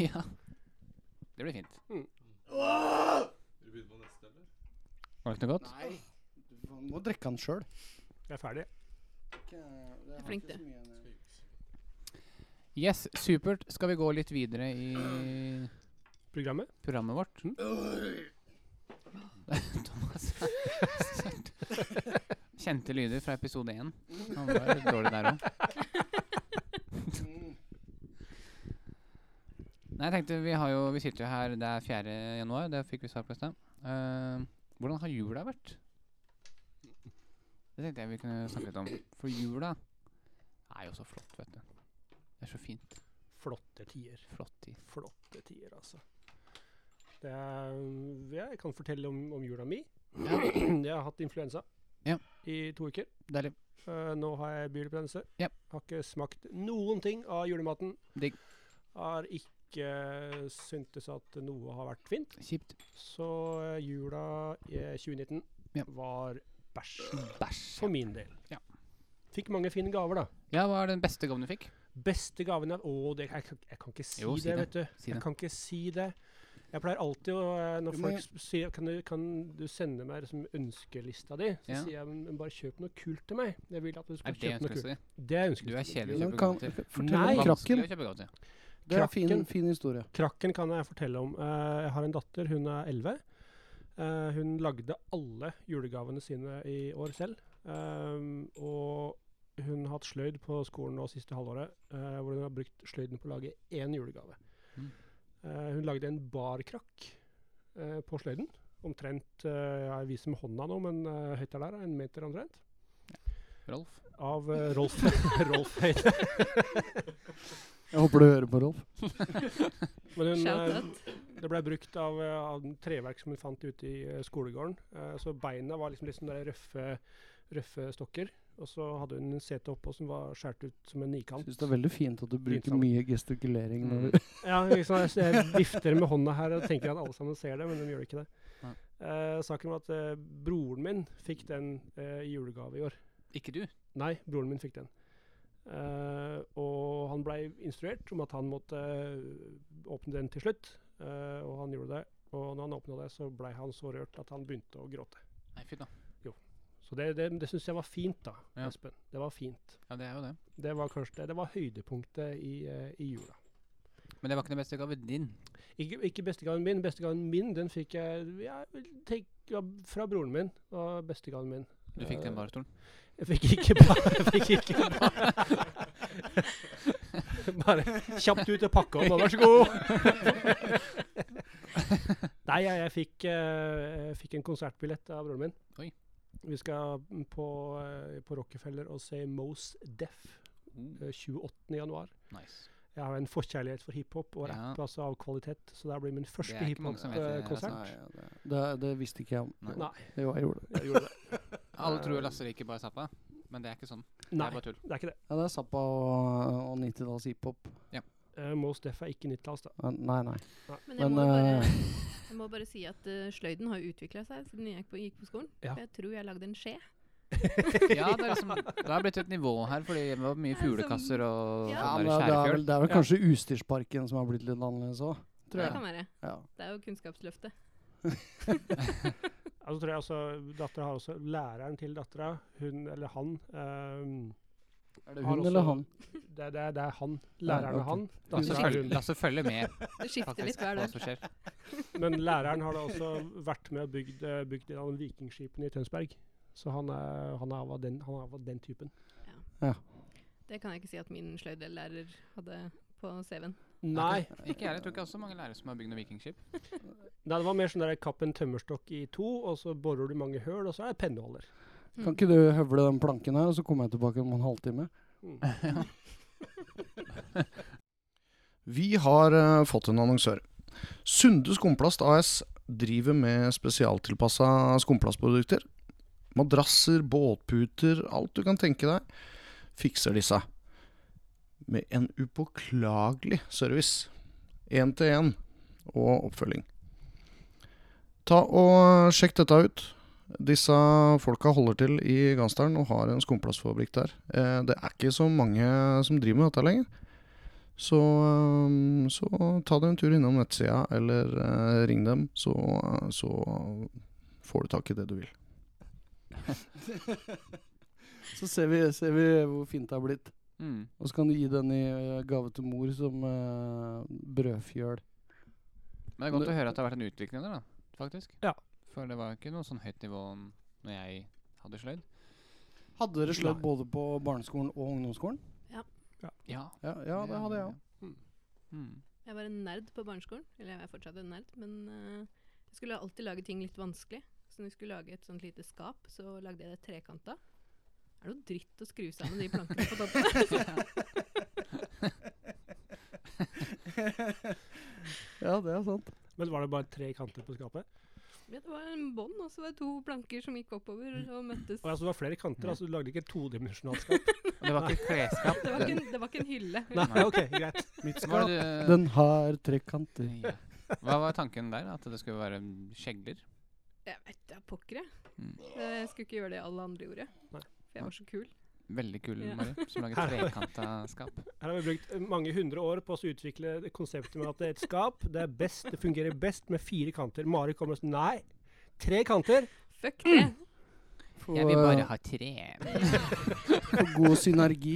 S3: ja. Det blir fint.
S2: Mm.
S3: Var det ikke noe godt?
S2: Nei, du må drikke den sjøl.
S6: Jeg er ferdig.
S5: er flink, eh, det.
S3: Yes, supert. Skal vi gå litt videre i
S6: Programmet?
S3: programmet vårt? Thomas Kjente lyder fra episode én. Han var litt dårlig der òg. Nei, jeg tenkte vi har jo Vi sitter jo her, det er 4. januar, det fikk vi svar på i sted. Eh, hvordan har jula vært? Det tenkte jeg vi kunne snakke litt om. For jula er jo så flott, vet du. Det er så fint.
S6: Flotte tider.
S3: Flott tid.
S6: Flotte tider, altså. Det er, jeg kan fortelle om, om jula mi. Jeg har hatt influensa
S3: Ja.
S6: i to uker.
S3: Deilig.
S6: Eh, nå har jeg bilupense.
S3: Ja.
S6: Har ikke smakt noen ting av julematen.
S3: Digg.
S6: Har ikke syntes at noe har vært fint.
S3: Kjipt.
S6: Så eh, jula i 2019
S3: Ja.
S6: var bæsj.
S3: Bæsj.
S6: For min del.
S3: Ja.
S6: Fikk mange fine gaver, da.
S3: Ja, hva er den beste gaven du fikk?
S6: Beste gaven er Å, det, jeg, kan- jeg kan ikke si,
S3: Jo, si
S6: det,
S3: det.
S6: vet du.
S3: Si det.
S6: jeg kan ikke si det. Jeg pleier alltid å eh, Når
S2: Du må
S6: folk sp- sier kan du, kan du sende meg liksom ønskelista di, så
S3: Ja.
S6: sier jeg men, men bare kjøp noe kult til meg. Jeg vil at du
S3: Er
S6: skal
S3: det
S6: kjøpe noe kult.
S3: ønskelista di?
S6: Det er
S3: Du
S6: ønskelista.
S3: er kjedelig å
S2: Men
S3: kjøpe
S2: kan,
S3: gaver til.
S2: fortell om
S6: Nei.
S2: krakken.
S3: Vanskelig å kjøpe gaver til.
S2: Det er en fin,
S6: Krakken.
S2: fin historie.
S6: Krakken kan jeg fortelle om. Eh, jeg har en datter, hun er 11. Eh, hun lagde alle julegavene sine i år selv. Ehm, og hun har hatt sløyd på skolen nå siste halvåret, eh, hvor hun har brukt sløyden på å lage én julegave.
S3: Mm.
S6: Eh, hun lagde en barkrakk eh, på sløyden. Omtrent eh, Jeg viser med hånda nå, men eh, høyt er der, en meter omtrent.
S3: Rolf.
S6: Av eh, Rolf, Rolf Høyde.
S2: Jeg håper du hører på, Rolf.
S6: Men hun,
S5: Shout
S6: eh, det ble brukt av, eh, av den treverk som hun fant ute i eh, skolegården. Eh, Så beina var liksom litt sånne der røffe, røffe stokker. Og så hadde hun en sete oppå som var skåret ut som en nikant.
S2: Syns det er veldig fint at du bruker
S6: sammen.
S2: mye gestikulering. Når
S3: Mm.
S2: du
S6: Ja, liksom, jeg, jeg vifter med hånda her og tenker at alle sammen ser det, men de gjør ikke det.
S3: Nei.
S6: Eh, saken var at eh, broren min fikk den eh, i julegave i år.
S3: Ikke du?
S6: Nei, broren min fikk den. Eh, og han blei instruert om at han måtte eh, åpne den til slutt, eh, og han gjorde det. Og når han åpna det, så blei han så rørt at han begynte å gråte.
S3: Nei, fy da.
S6: Så det, det, det syns jeg var fint, da,
S3: Ja.
S6: Espen. Det var fint.
S3: Ja, det er jo det.
S6: Det var kanskje det, det var høydepunktet i, eh, i jula.
S3: Men det var ikke den beste gaven din.
S6: Ikke, ikke bestegaven min. Bestegaven min den fikk jeg, jeg tenker, fra broren min. var bestegaven min.
S3: Du fikk den
S6: Eh,
S3: barstolen.
S6: Jeg fikk ikke bare, jeg fikk ikke bare. bare kjapt ut og pakke om, og vær så god! Nei, jeg, jeg, fikk, eh, jeg fikk en konsertbillett av broren min.
S3: Oi.
S6: Vi skal på, eh, på Rockefeller og se Mose Deff eh, 28. januar.
S3: Oh, Nice.
S6: Jeg har en forkjærlighet for hiphop og
S3: Ja.
S6: rapp altså av kvalitet, så det her blir min første eh,
S3: er ikke mange som vet det,
S6: hiphop-konsert.
S3: altså.
S2: Det, det visste ikke jeg om.
S3: Nei.
S6: Nei.
S2: Jo, jeg gjorde det.
S6: Jeg gjorde det.
S3: Alle tror Lasse liker bare Zappa, men det er ikke sånn. Det
S6: Nei,
S3: er bare tull.
S6: det er ikke det.
S2: Ja, det er Zappa og, og 90-talls hiphop.
S6: Uh, Mose Deff er ikke 90-talls, da.
S2: Men Nei, nei.
S5: Men jeg
S2: Men,
S5: må, jo
S2: eh,
S5: bare, jeg må bare si at eh, sløyden har utvikla seg siden jeg gikk på, gikk på skolen.
S6: Ja.
S5: For jeg tror jeg lagde en skje.
S3: Ja, det er liksom, det har blitt et nivå her, fordi det var mye
S5: Det er som-
S3: fuglekasser og
S5: Ja,
S2: Ja,
S3: sånn
S2: men det, er
S3: der
S2: vel,
S3: skjærefjøl.
S2: det er vel
S6: Ja.
S2: kanskje Utstyrsparken som har blitt litt annerledes òg, tror
S5: Det
S2: jeg.
S5: kan være.
S2: Ja.
S5: Det er jo Kunnskapsløftet.
S6: Ja, så tror jeg også dattera har også Læreren til dattera, hun eller han ehm,
S2: Er det
S6: har
S2: hun
S6: også-
S2: eller han?
S6: Det, er- det, er- det er han. Læreren
S2: Ja,
S6: er han.
S3: Lasse,
S6: Dattera er
S3: følger,
S6: hun.
S3: Lasse følger med,
S5: Det skifter
S3: faktisk,
S5: litt hver
S3: hva
S5: dag.
S3: som skjer.
S6: Men læreren har da også vært med og bygd, eh, bygd en av vikingskipene i Tønsberg. Så han er, han er, av, den, han er av den typen.
S5: Det kan jeg ikke si at min sløydlærer hadde på CV-en.
S6: Nei,
S3: Ikke jeg, jeg tror ikke jeg har så mange lærere som har bygd noe vikingskip.
S6: nei, det var mer sånn der kapp en tømmerstokk i to, og så borer du mange høl, og så er det penneholder.
S5: Mm.
S2: Kan ikke du høvle den planken her, og så kommer jeg tilbake om en halvtime?
S6: Mm.
S2: Vi har eh, fått en annonsør. Sunde Skumplast AS driver med spesialtilpassa skumplastprodukter. Madrasser, båtputer, alt du kan tenke deg, fikser disse. Med en upåklagelig service. Én til én og oppfølging. Ta og eh, sjekk dette ut. Disse folka holder til i Gansdalen og har en skumplastfabrikk der. Eh, Det er ikke så mange som driver med dette lenger. Så, øhm, så ta deg en tur innom nettsida, eller eh, ring dem, så, så får du tak i det du vil. så ser vi, ser vi hvor fint det har blitt.
S3: Mm.
S2: Og så kan du gi den i eh, gave til mor som eh, brødfjøl.
S3: Men det er godt å høre at det har vært en utvikling der, da, faktisk.
S6: Ja.
S3: For det var ikke noe sånn høyt nivå når jeg hadde sløyd.
S2: Hadde dere sløyd
S6: Nei.
S2: både på barneskolen og ungdomsskolen?
S3: Ja,
S2: Ja, ja det hadde jeg òg.
S3: Mm. Mm.
S5: Jeg var en nerd på barneskolen. Eller jeg er fortsatt en nerd, men eh, jeg skulle alltid lage ting litt vanskelig. Så når jeg skulle lage et sånt lite skap, så lagde jeg det trekanta. Er det noe dritt å skru sammen de plankene på toppen?
S2: Ja, det er sant.
S6: Men var det bare tre kanter på skapet?
S5: ja, det var en bånd, og så var det to planker som gikk oppover og møttes.
S6: Og altså, det var flere kanter, altså du lagde ikke et todimensjonalt skap?
S3: Og Det var ikke klesskap.
S5: Det var ikke en, det var ikke en hylle.
S6: Nei, ok, greit. Mitt
S3: Hva var
S6: skap.
S3: det
S2: Den har trekanter.
S3: Ja. Hva var tanken der? At det skulle være skjegler?
S5: Jeg vet da pokker, jeg.
S3: Mm.
S5: Jeg skulle ikke gjøre det alle andre gjorde.
S6: Nei.
S5: For jeg var så kul.
S3: Veldig kul,
S5: Ja.
S3: Mari, som lager trekanta skap.
S6: Her har vi brukt eh, mange hundre år på å utvikle det konseptet med at det er et skap. Det er best, det fungerer best med fire kanter. Mari kommer og sier nei, tre kanter.
S5: Fuck det!
S3: Jeg vil
S2: eh,
S3: bare ha tre.
S2: For god synergi.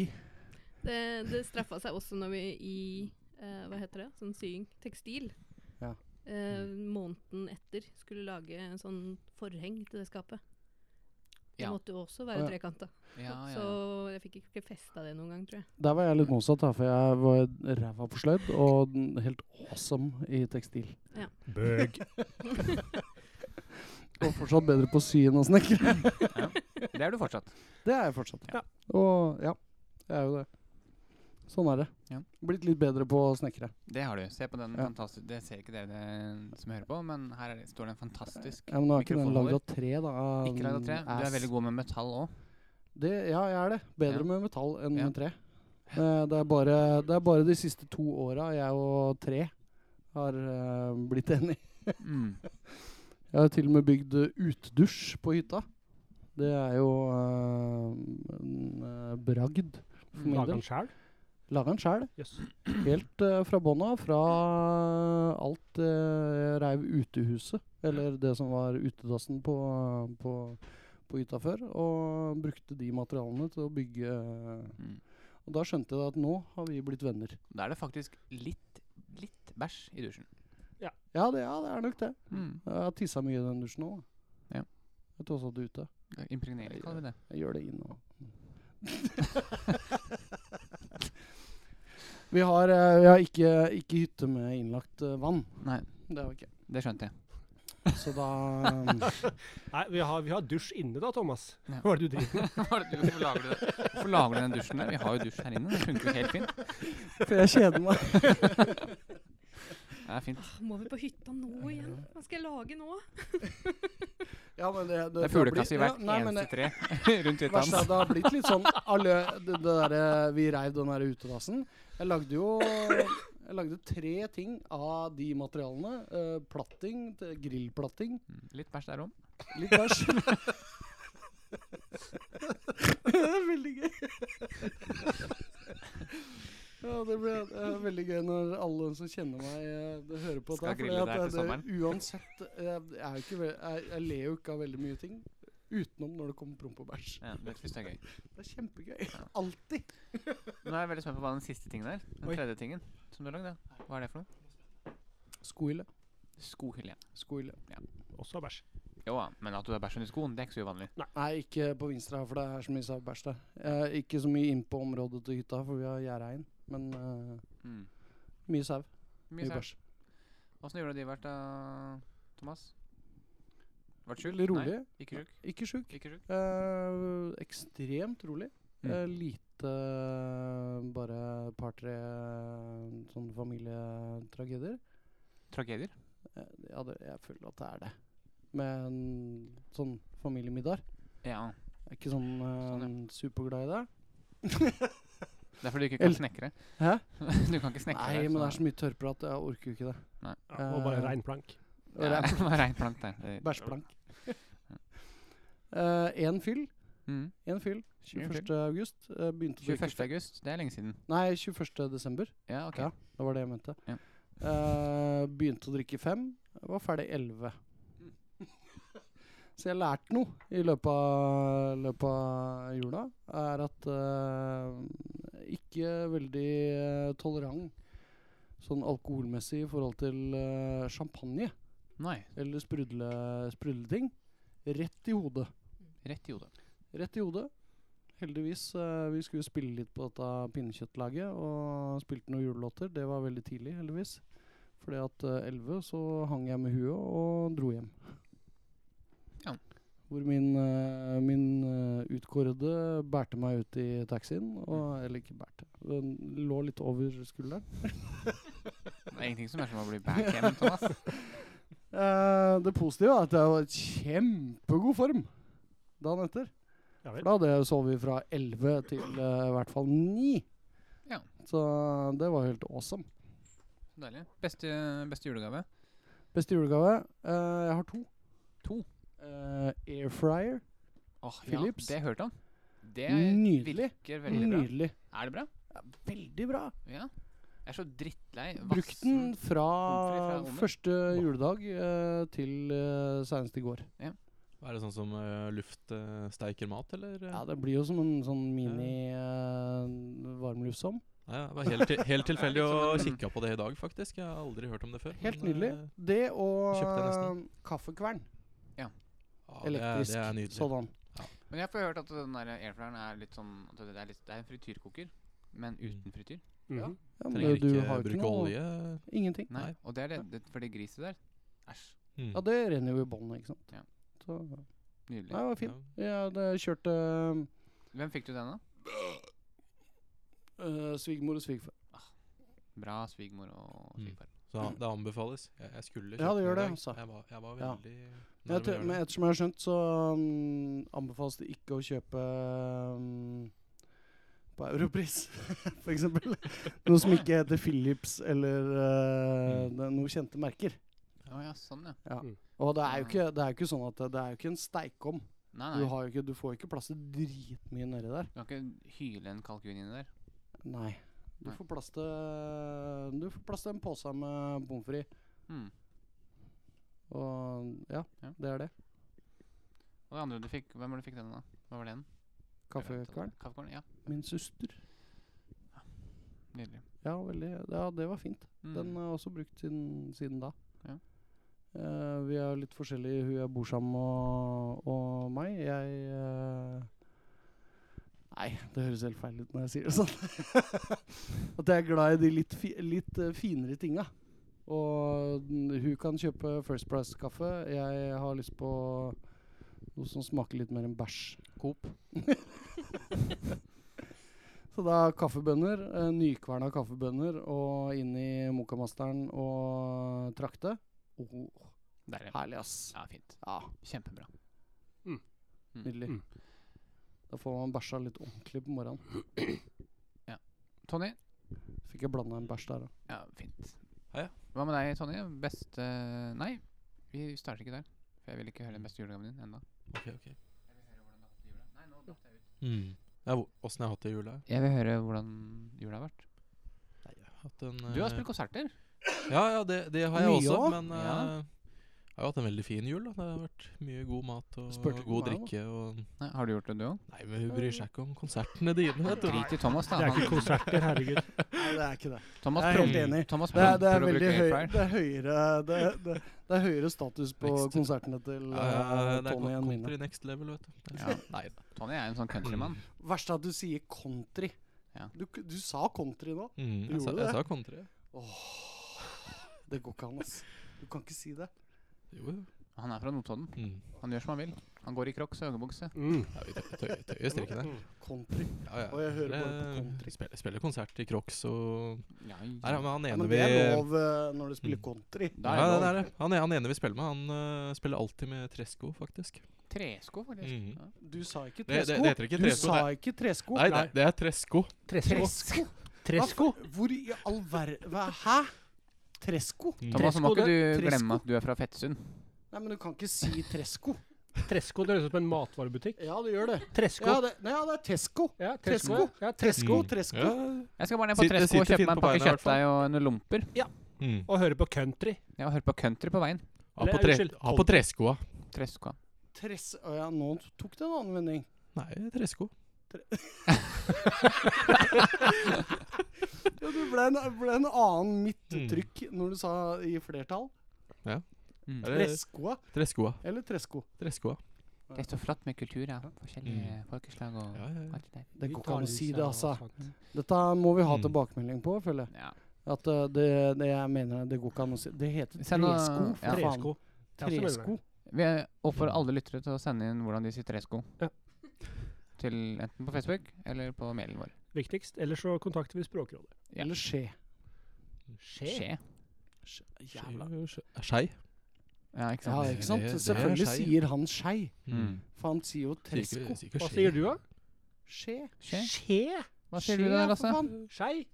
S5: Det, det straffa seg også når vi i eh, Hva heter det? Sånn sying. Tekstil.
S2: Ja. Mm.
S5: Eh, måneden etter skulle lage en sånn forheng til det skapet.
S3: Ja.
S5: Det måtte jo også
S2: Å,
S5: være
S2: ja.
S5: trekanta.
S3: Ja, ja,
S5: Så
S3: ja.
S5: jeg fikk ikke festa det noen gang, tror jeg.
S2: Der var jeg litt motsatt, da, for jeg var ræva på sløyd og n- helt awesome i tekstil.
S6: Bøg.
S2: Og fortsatt bedre på å sy enn å snekre.
S3: Det er du fortsatt.
S2: Det er jeg fortsatt.
S6: Ja.
S2: Og ja, jeg er jo det. Sånn er det.
S3: Ja.
S2: Blitt litt bedre på å snekre.
S3: Det har du. Se på den
S2: Ja.
S3: fantastiske Det ser ikke dere det- som hører på, men her er det, står det en fantastisk
S2: Ja, men nå er ikke den
S3: Mikrofonholder.
S2: lagd av tre, da. av
S3: Ikke lagd av tre. Du er
S2: ass.
S3: veldig god med metall òg.
S2: Det, ja, jeg er det. Bedre
S3: Ja.
S2: med metall enn
S3: Ja.
S2: med tre. Eh, Det er, bare, det er bare de siste to åra jeg og tre har eh, blitt enige.
S3: Mm.
S2: Jeg har til og med bygd eh, utdusj på hytta. Det er jo eh, en eh, bragd for min
S6: Lager
S2: del.
S6: han sjæl?
S2: Laga den sjæl,
S6: Jøss.
S2: helt eh, fra bånn av. Fra alt eh, jeg reiv utehuset, eller det som var utedassen på, på, på hytta før. Og brukte de materialene til å bygge eh,
S3: Mm.
S2: Og da skjønte jeg at nå har vi blitt venner.
S3: Da er det faktisk litt, litt bæsj i dusjen.
S2: Ja, det, ja, det er nok det.
S3: Mm.
S2: Jeg har tissa mye i den dusjen òg.
S3: Ja.
S2: Jeg tåsa det ute.
S3: Impregnere, kaller vi det.
S2: Jeg gjør det inn nå. vi, har, eh, vi har ikke, ikke hytte med innlagt eh, vann.
S3: Nei,
S2: Det har vi ikke.
S3: det skjønte jeg.
S2: Så da um,
S6: Nei, vi har, vi har dusj inne da, Thomas.
S3: Ja.
S6: Hva er det du driver med?
S3: Hva er det du- Hvorfor lager du det? Hvorfor lager du den dusjen der? Vi har jo dusj her inne. Det funker jo helt fint.
S2: For jeg kjeder meg.
S3: Det er fint.
S5: Åh, Må vi på hytta nå igjen? Hva skal jeg lage nå?
S2: Ja, men det,
S3: Det er fuglekasse i hvert
S2: ja, nei, men
S3: eneste
S2: det-
S3: tre rundt hytta
S2: verste er
S3: hans.
S2: at Det har blitt litt sånn alle, det, det derre- Vi reiv den der utedassen. Jeg lagde jo jeg lagde tre ting av de materialene. eh, platting, t- grillplatting,
S3: Mm. Litt bæsj der om.
S2: litt bæsj. det er veldig gøy. Ja, det ble det er veldig gøy når alle som kjenner meg, eh, det hører på
S3: Skal
S2: dette. fordi
S3: grille
S2: at
S3: deg
S2: det-
S3: til
S2: det- Uansett eh, jeg, er jo ikke, ve- jeg, jeg ler jo ikke av veldig mye ting. Utenom når det kommer promp og bæsj.
S3: Ja, det synes jeg er gøy.
S2: Det er kjempegøy. Alltid.
S3: Nå er jeg veldig spent på hva den siste tingen er. Den
S2: Oi.
S3: tredje tingen som du har lagd. ja. Hva er det for noe?
S2: Skohylle.
S3: Skohylle.
S2: Skohylle.
S6: Også bæsj.
S3: Jo da, men at du har bæsj under skoen, det er ikke så uvanlig.
S2: Nei, ikke på Vinstra, for det er så mye bæsj der. Eh, ikke så mye inn på området til hytta, for vi har gjerdeheien. Men eh,
S3: Mm.
S2: mye sau.
S3: Mye
S2: Mye
S3: sær.
S2: bæsj.
S3: Åssen gjorde du det i hvert da, Thomas? Vært sjuk?
S2: Veldig rolig.
S3: Nei, ikke sjuk.
S2: Ikke sjuk.
S3: Ikke sjuk.
S2: Eh, ekstremt rolig.
S3: Mm.
S2: Eh, lite eh, bare et par-tre eh, sånn familietragedier.
S3: Tragedier?
S2: Eh, ja, det, jeg føler at det er det. Men sånn familiemiddag
S3: Ja.
S2: Jeg er ikke sånn, eh,
S3: Sånn,
S2: superglad i det.
S3: Det er fordi du ikke
S2: Eller-
S3: kan snekre.
S2: Hæ?
S3: Du kan ikke snekre.
S2: Nei,
S3: deg,
S2: men det er
S3: så-
S2: så mye tørrprat. Jeg orker jo ikke det.
S6: Ja, og bare
S2: Eh,
S6: rein plank.
S2: Og det
S3: Ja, det var rein plank der.
S2: er
S3: Det-
S2: Bæsjplank. Én fyll.
S3: Mm.
S2: En fyll. 21. august. eh, begynte å drikke
S3: 21. august, det er lenge siden.
S2: fe- Nei, 21. desember.
S3: Ja, ok.
S2: Ja. Det var det jeg mente.
S3: Ja.
S2: Eh, begynte å drikke fem. Jeg var ferdig elleve. Så jeg lærte noe i løpet av, løpet av jula. Er at eh, ikke veldig eh, tolerant sånn alkoholmessig i forhold til eh, champagne.
S3: Nei,
S2: eller sprudle, sprudleting. Rett i hodet.
S3: rett i hodet.
S2: Rett i hodet. Heldigvis. eh, vi skulle spille litt på dette pinnekjøttlaget og spilte noen julelåter. Det var veldig tidlig, heldigvis. Fordi at eh, 11 så hang jeg med huet og dro hjem.
S3: Ja.
S2: Hvor min, eh, min eh, utkårede bærte meg ut i taxien. Og, eller ikke bærte. Den lå litt over skulderen.
S3: Det er ingenting som er som å bli back hjem, Thomas.
S2: Eh, det positive er at jeg var i kjempegod form dagen etter.
S6: Ja
S2: For
S6: vel.
S2: da hadde jeg sovet fra 11 til eh, i hvert fall 9.
S3: Ja.
S2: Så det var helt awesome.
S3: Deilig. Beste, beste julegave?
S2: Beste julegave? Eh, jeg har to.
S3: To?
S2: Eh, air fryer.
S3: Åh,
S2: Ah, Philips.
S3: Ja, det hørte han. Det
S2: Nydelig.
S3: virker veldig bra.
S2: Nydelig.
S3: Er det bra?
S2: Veldig bra.
S3: Ja. Jeg er så drittlei
S2: Brukte den
S3: vassen.
S2: fra
S3: Omfri fra Omen.
S2: første juledag eh, til eh, senest i går.
S4: Er det sånn som eh, luft eh, steiker mat, eller? eh?
S2: Ja, Det blir jo som en sånn eh, mini-varmluftsom.
S4: Nei, det var helt, til- helt
S3: Ja, det er
S4: tilfeldig
S3: litt
S4: å
S3: som en-
S4: kikke på det i dag, faktisk. Jeg har aldri hørt om det før.
S2: helt
S4: men,
S2: nydelig.
S4: eh,
S2: Det og
S4: kjøpte jeg
S2: eh,
S4: nesten.
S2: kaffekvern.
S4: Ja,
S2: Elektrisk.
S4: Det, er- det er nydelig.
S2: Sådan.
S3: Men jeg har hørt at den der airfryeren er litt sånn at Det er, litt, det er en frityrkoker, men uten
S2: Mm.
S3: frityr.
S2: Ja.
S6: Mhm.
S2: Ja, men
S4: Trenger
S2: du
S4: ikke
S2: har jo ikke
S4: bruke
S2: noe
S4: olje.
S2: Ingenting.
S3: Nei.
S4: Nei.
S3: Og det er det, det for det griset der. Æsj.
S4: Mm.
S2: Ja, det renner jo i bånn, ikke sant.
S3: Ja.
S2: Så, nei,
S3: Nydelig.
S2: det var fint. Jeg hadde kjørt øh,
S3: Hvem fikk du den, da?
S2: øh, svigermor og svigerfar.
S3: Bra svigmor og
S4: Mm.
S3: svigerfar.
S4: Så da- det anbefales. Jeg, jeg skulle
S2: Ja, det
S4: kjøpt den
S2: gjør det,
S4: i dag.
S2: altså.
S4: Jeg var, jeg var
S2: Ja.
S4: veldig
S2: Men, jeg
S4: nær med å
S2: tror-
S4: gjøre
S2: men
S4: det.
S2: ettersom jeg har skjønt, så mm, anbefales det ikke å kjøpe mm, på Europris, f.eks. Noe som ikke heter Philips eller
S4: Mm.
S2: øh, det er noen kjente merker.
S3: Å ja, sånn, ja.
S2: Og det er jo ikke, det er jo ikke sånn at det, det er jo ikke en steikom.
S3: Nei,
S2: Du,
S3: nei.
S2: har jo ikke, du får jo ikke plass til dritmye nedi der.
S3: Du kan ikke hyle en kalkun inni der.
S2: Nei. Du
S3: Nei.
S2: får plass til Du får plass til en pose med pommes frites.
S3: Hmm.
S2: Og ja,
S3: Ja.
S2: det er det.
S3: Og det andre du fikk, hvem var det du fikk den, da? Hva var den?
S2: Kaffekvern.
S3: Kaffekvern, ja.
S2: Min søster.
S3: Nydelig.
S2: Ja, veldig, ja, det var fint. Den eh,
S3: Mm.
S2: er også brukt siden, siden da.
S3: Ja.
S2: Eh, vi er litt forskjellige hun jeg bor sammen med, og, og meg. Jeg eh, Nei, det høres helt feil ut når jeg sier det sånn. At jeg er glad i de litt, fi, litt eh, finere tinga. Og n- hun kan kjøpe First Price-kaffe. Jeg har lyst på noe som smaker litt mer enn bæsj. Coop. Så da kaffebønner, eh, nykverna kaffebønner, og inn i Mokamasteren og trakte. Oh,
S3: Der, ja.
S2: herlig, ass.
S3: ja, fint.
S2: Ja,
S3: Kjempebra.
S2: nydelig.
S6: Mm.
S2: Da får man bæsja litt ordentlig på morgenen.
S3: Tony?
S2: Fikk jeg blanda en bæsj der, da.
S3: Ja, fint.
S4: Ja, ja.
S3: Hva med deg, Tony? Beste Nei, vi starter ikke der. For jeg vil ikke høre den beste julegaven din ennå.
S4: Ok, ok. Mm. Ja, hvor- Åssen jeg har hatt det i jula?
S3: Jeg vil høre hvordan jula har vært.
S4: Nei, jeg har hatt en
S3: Du har
S4: eh,
S3: spilt konserter.
S4: Ja, ja, det, det har jeg
S2: Mye
S4: også,
S2: også?
S4: men eh,
S3: Ja.
S4: jeg har jo hatt en veldig fin jul. Da. Det har vært mye god mat og
S2: Spurte ikke
S4: god
S2: meg, da.
S4: drikke. Og
S3: Nei, har du gjort det, du òg?
S4: Nei, men hun bryr seg ikke om konsertene dine, vet du.
S3: Drit i Thomas, da.
S6: Det er ikke
S3: Han,
S6: konserter, herregud.
S2: Nei, det er ikke det.
S3: Thomas
S2: Jeg er helt
S3: prom-
S2: enig.
S3: Thomas
S2: Det er, det er
S3: promper å
S2: veldig
S3: bruke
S2: høy,
S3: airfryer.
S2: det er høyere det, det, det er høyere status på
S4: Next.
S2: konsertene til
S4: Ja,
S2: eh,
S4: det er
S2: Tony enn mine.
S4: country next level, vet du.
S3: Ja.
S4: Nei,
S3: Tony er en sånn countrymann.
S2: Verst er at du sier country.
S3: Ja.
S2: Du, k- du sa country nå.
S4: mm, jeg, sa,
S2: Gjorde du
S4: jeg
S2: det?
S4: sa country.
S2: Det går ikke an, ass. Du kan ikke si det.
S4: Jo, jo.
S3: Han er fra Notodden.
S4: Mm.
S3: Han gjør som han vil. Han går i crocs og joggebukse.
S6: Mm.
S4: Ja, vi tøy- tøy- tøyer strikkene.
S2: Country.
S4: Ja, ja.
S2: Og jeg hører bare på
S4: Eh,
S2: country.
S4: Spiller, spiller konsert i Crocs og
S3: Ja,
S4: Nei, ja, men han
S2: Ja,
S4: ene
S2: men
S4: vi
S2: det er lov eh, når du spiller
S4: Mm.
S2: country.
S3: Da er
S4: ja,
S3: det
S4: det
S3: lov.
S4: er det. Han, e- han ene vi spiller med, han eh, spiller alltid med tresko, faktisk.
S3: Tresko, faktisk.
S4: Mhm.
S3: Ja.
S2: Du sa ikke
S4: Det, det,
S2: tresko.
S4: det heter ikke
S2: Du
S4: tresko.
S2: sa
S4: det-
S2: ikke tresko.
S4: Nei, det, det er tresko.
S2: Tresko?
S6: Tresko.
S2: Hva f- Hvor i all verden Hva? Hæ? Tresko?
S4: Mm.
S3: Thomas, må ikke
S6: Tresko,
S3: du
S2: tresko.
S3: glemme at du er fra Fettsund?
S2: Nei, men du kan ikke si tresko.
S6: Tresko, det høres ut som en matvarebutikk.
S2: Ja, det gjør det.
S6: Tresko.
S2: Ja, det, nei, ja, det er Tesco.
S6: Ja,
S2: Tresko.
S6: Tresko. Ja,
S2: Tresko,
S6: tresko.
S4: Mm.
S2: tresko.
S4: Ja.
S3: Jeg skal bare ned på
S4: Sitt- det
S3: Tresko og
S4: sitter
S3: kjøpe
S4: fint
S3: meg en
S4: på
S3: pakke
S4: beina i hvert fall.
S3: kjøttdeig og noen lomper.
S4: Mm.
S6: Og høre på country.
S3: Jeg har hørt på country på veien.
S4: Han på,
S6: Eller,
S4: tre,
S6: unnskyld,
S4: han på treskoa.
S3: Tresko.
S2: Tres... Å ja, nå tok det en annen vending.
S4: Nei, tresko.
S2: Ja, det ble en, ble en annen
S4: Mm.
S2: midttrykk når du sa i flertall.
S3: Mm.
S4: Eller-
S2: Treskoa
S4: Treskoa.
S2: eller tresko?
S4: Treskoa.
S3: Det er så flott med kultur, ja. Forskjellige folkeslag og
S4: Mm. Ja, ja, ja.
S3: alt det der.
S2: Det
S6: Vi
S2: går
S6: tar
S2: ikke an å
S6: litt
S2: si
S6: av
S2: det, altså.
S6: sånt.
S2: Dette må vi ha
S4: Mm.
S2: tilbakemelding på, føler jeg.
S3: Ja.
S2: At eh, det, det jeg mener, det går ikke an å si Det heter
S3: Send noe-
S2: tresko, for
S3: ja.
S2: faen.
S6: Tresko. Ja, så mener jeg.
S2: Tresko.
S3: Vi oppfordrer alle lyttere til å sende inn hvordan de sier tresko.
S6: Ja.
S3: Til enten på Facebook eller på mailen vår.
S6: Viktigst. Ellers så kontakter vi Språkrådet.
S3: Ja.
S2: Eller skje.
S3: Skje.
S2: Jævla.
S4: Skei.
S3: Ja, ikke
S2: Ja,
S3: sant?
S2: ikke sant?
S4: Det- det er
S2: Selvfølgelig
S4: skei.
S2: sier han skei.
S3: Mm.
S2: For han sier jo tresko.
S6: Hva sier du, da?
S2: Skje.
S3: Skje.
S6: Skje?
S3: Hva sier du da,
S2: ja, for
S3: Lasse?
S2: faen.
S6: Skei?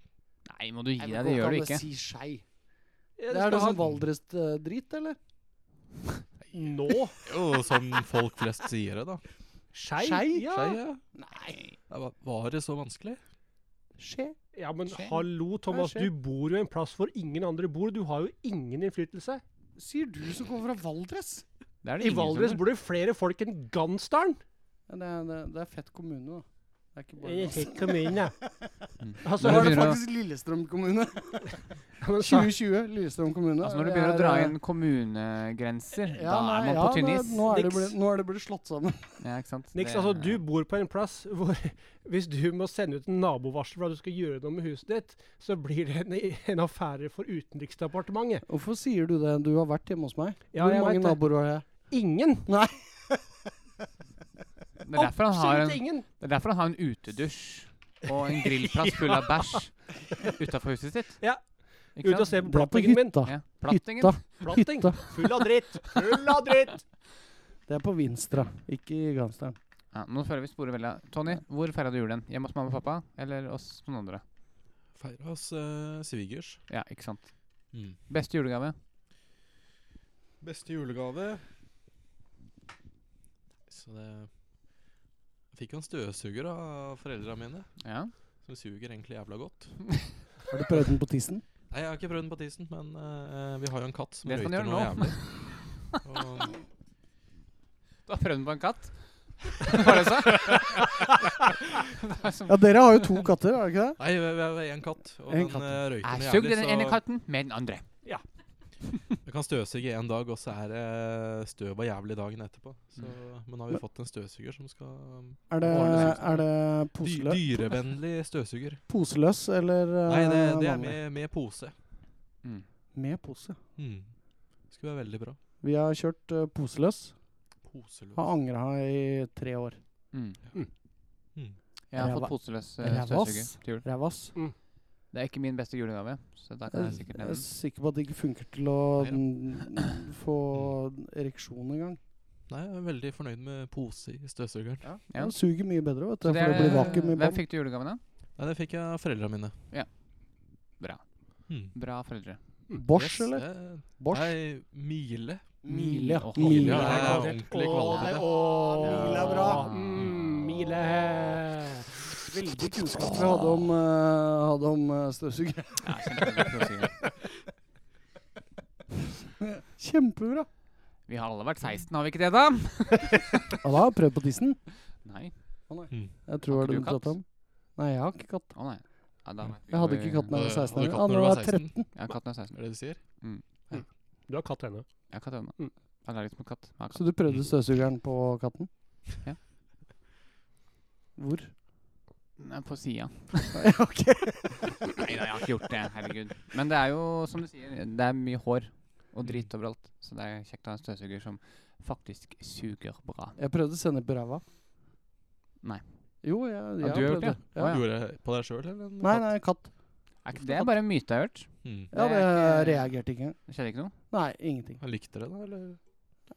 S3: Nei, må du gi
S2: Nei,
S3: deg.
S2: men
S3: Det
S2: går
S3: gjør du
S2: an å
S3: ikke.
S2: Si skei. Det
S6: Ja,
S2: er
S6: skal
S2: det
S6: ha-
S2: sånn Valdres-drit, eller?
S6: Nå?
S4: Jo, som folk flest sier det, da.
S6: Skei?
S2: Skei?
S6: Ja.
S4: Skei, ja.
S2: Nei.
S4: Ja, hva- Var det så vanskelig?
S2: Skje.
S6: ja, men
S3: Skje.
S6: hallo, Thomas.
S2: skje.
S6: Du bor jo i en plass hvor ingen andre bor. Du har jo ingen innflytelse.
S2: Sier du som kommer fra Valdres?
S3: Det er det
S6: I
S3: ingen som
S6: Valdres
S3: gjør.
S6: bor det flere folk enn Gansdalen.
S2: Ja, det, er, det, er- det er fett kommune, da. Det er ikke bare
S6: I
S2: Valdres.
S6: kommune.
S3: Mm.
S6: Altså,
S2: Nå
S3: Når
S2: er det
S3: begynner å-
S2: faktisk Lillestrøm kommune.
S6: men sa-
S2: 2020, Lillestrøm kommune.
S3: Altså Når du
S2: Det
S3: begynner å
S2: er,
S3: dra
S2: eh,
S3: inn kommunegrenser,
S2: ja,
S3: da er
S2: nei,
S3: man
S2: ja,
S3: på tynn
S2: det-
S3: is.
S2: Nå, er det
S6: Niks.
S2: blitt- nå er det blitt slått sammen.
S3: Ja, ikke sant?
S6: Niks,
S3: Det-
S6: altså du bor på en plass hvor hvis du må sende ut en nabovarsel for at du skal gjøre noe med huset ditt, så blir det en, en affære for Utenriksdepartementet.
S2: Hvorfor sier du det? Du har vært hjemme hos meg.
S6: Ja,
S2: Hvor
S6: jeg
S2: mange
S6: vet det.
S2: naboer har jeg?
S6: Ingen!
S3: Det er derfor han har
S6: Absolutt
S3: en,
S6: ingen!
S3: det er derfor han har en utedusj og en grillplass full av bæsj utafor huset sitt.
S6: Ja.
S3: Ikke
S6: Ut og
S3: sant?
S6: se på
S2: Dra på
S6: plattingen min.
S2: hytta.
S3: Ja. Plattingen.
S2: Hytta.
S6: Platting!
S2: Hytta.
S6: Full av dritt! Full av dritt!
S2: Det er på Vinstra, ikke i Gansdalen.
S3: Ja, nå føler vi sporet veldig av. Tony, hvor feira du julen? Hjemme hos mamma og pappa, eller hos noen andre?
S4: Feira hos eh, svigers.
S3: Ja, ikke sant.
S4: Mm.
S3: Beste julegave?
S4: Beste julegave Så det Jeg fikk jo en støvsuger av foreldra mine,
S3: Ja.
S4: som suger egentlig jævla godt.
S2: Har du prøvd den på tissen?
S4: Nei, jeg har ikke prøvd den på tissen, men eh, vi har jo en katt som
S3: Det skal
S4: røyter
S3: han
S4: noe
S3: gjøre nå.
S4: jævlig. Og,
S3: Du har prøvd den på en katt? Var det så? Det er som-
S2: Ja, dere har jo to katter, har dere ikke det?
S4: nei, vi vi har en katt, og
S2: En
S4: den
S2: katt.
S4: eh, røyter
S3: Jeg
S4: noe
S3: sugde
S4: jævlig.
S3: den ene
S4: Så
S3: katten med den andre.
S4: Jeg kan støvsuge en dag, og så er det støv og jævlig dagen etterpå. Så, Men nå har vi
S2: Men-
S4: fått en støvsuger som skal
S2: Er det,
S4: Ordne seg.
S2: er det
S4: dy
S2: poselø
S4: Dyrevennlig støvsuger.
S2: poseløs eller eh,
S4: Nei, det, det er
S2: vanlig?
S4: med, med pose.
S3: Mm.
S2: Med pose.
S4: Mm. Skulle være veldig bra.
S2: Vi har kjørt eh, poseløs.
S4: Poseløs.
S2: Har angra i tre år.
S3: Mm.
S4: Mm.
S3: Jeg har
S2: Ræva-
S3: fått poseløs eh,
S2: ræva,
S3: støvsuger
S2: ass.
S3: til jul.
S2: Rævass.
S3: Det er ikke min beste julegave, så da kan jeg
S2: Jeg
S3: sikkert
S2: jeg er
S3: nevne den.
S2: sikker på at det ikke funker til å mm, få ereksjon engang.
S4: Nei, jeg er veldig fornøyd med pose i støvsugeren.
S3: Ja.
S2: Den suger mye bedre, vet du.
S3: Så
S2: For det blir vakuum i
S3: hvem
S2: bånn.
S3: fikk du julegaven av?
S4: Nei, det fikk jeg av foreldrene mine.
S3: Bra.
S4: Mm.
S3: Bra foreldre.
S2: Bosch,
S4: Yes,
S2: eller?
S4: det-
S2: Bosch?
S4: Nei, Mile.
S2: Mile.
S3: Åh,
S2: Mile.
S4: Mile
S2: er
S4: er
S2: kvalitet.
S4: ordentlig
S6: Åh,
S4: kvalitet.
S2: Åh, Mile er bra.
S6: Mm, mile. Veldig kunnskap.
S2: Vi hadde om, eh, hadde om eh, støvsugere.
S3: Ja, kjempegod poseløs.
S2: Kjempebra.
S3: vi har alle vært 16, har vi ikke det, da?
S2: Ja, da har jeg prøvd på tissen.
S3: Nei.
S4: Mm.
S2: Jeg tror
S3: Har
S2: det var det
S3: ikke du
S2: du pratet om. Nei, jeg har ikke katt.
S3: Å nei. Ja, da vet vi
S2: Jeg hadde
S3: hvor-
S2: ikke katt da jeg var
S4: Hadde-
S2: 16 år. Ja,
S4: hadde du
S2: nå
S4: katt når du
S2: er
S4: var
S2: jeg
S4: 16?
S2: 13.
S3: Jeg har katt når jeg er 16.
S4: Er det det du sier?
S6: Du har katt ennå.
S3: Jeg har katt ennå.
S6: Mm.
S3: Allergisk mot katt. Jeg har katt.
S2: Så du prøvde støvsugeren på katten?
S3: Ja.
S2: Hvor?
S3: Nei, På sida.
S2: ok.
S3: Nei da, jeg har ikke gjort det. Herregud. Men det er jo, som du sier, det er mye hår og dritt overalt. Så det er kjekt å ha en støvsuger som faktisk suger bra.
S2: Jeg prøvde sennep i ræva.
S3: Nei.
S2: Jo, jeg, jeg
S3: du har gjort
S2: prøvde.
S3: det? Å, ja.
S4: Gjorde jeg på deg sjøl, eller? en
S2: Nei,
S4: katt?
S2: nei, katt.
S3: Er ikke, det er bare en myte jeg har hørt.
S4: Mm.
S2: Ja,
S3: Det
S2: det
S3: er ikke-
S2: reagerte ikke.
S3: Det skjedde ikke noe.
S2: Nei, ingenting.
S4: Han likte det, da? eller?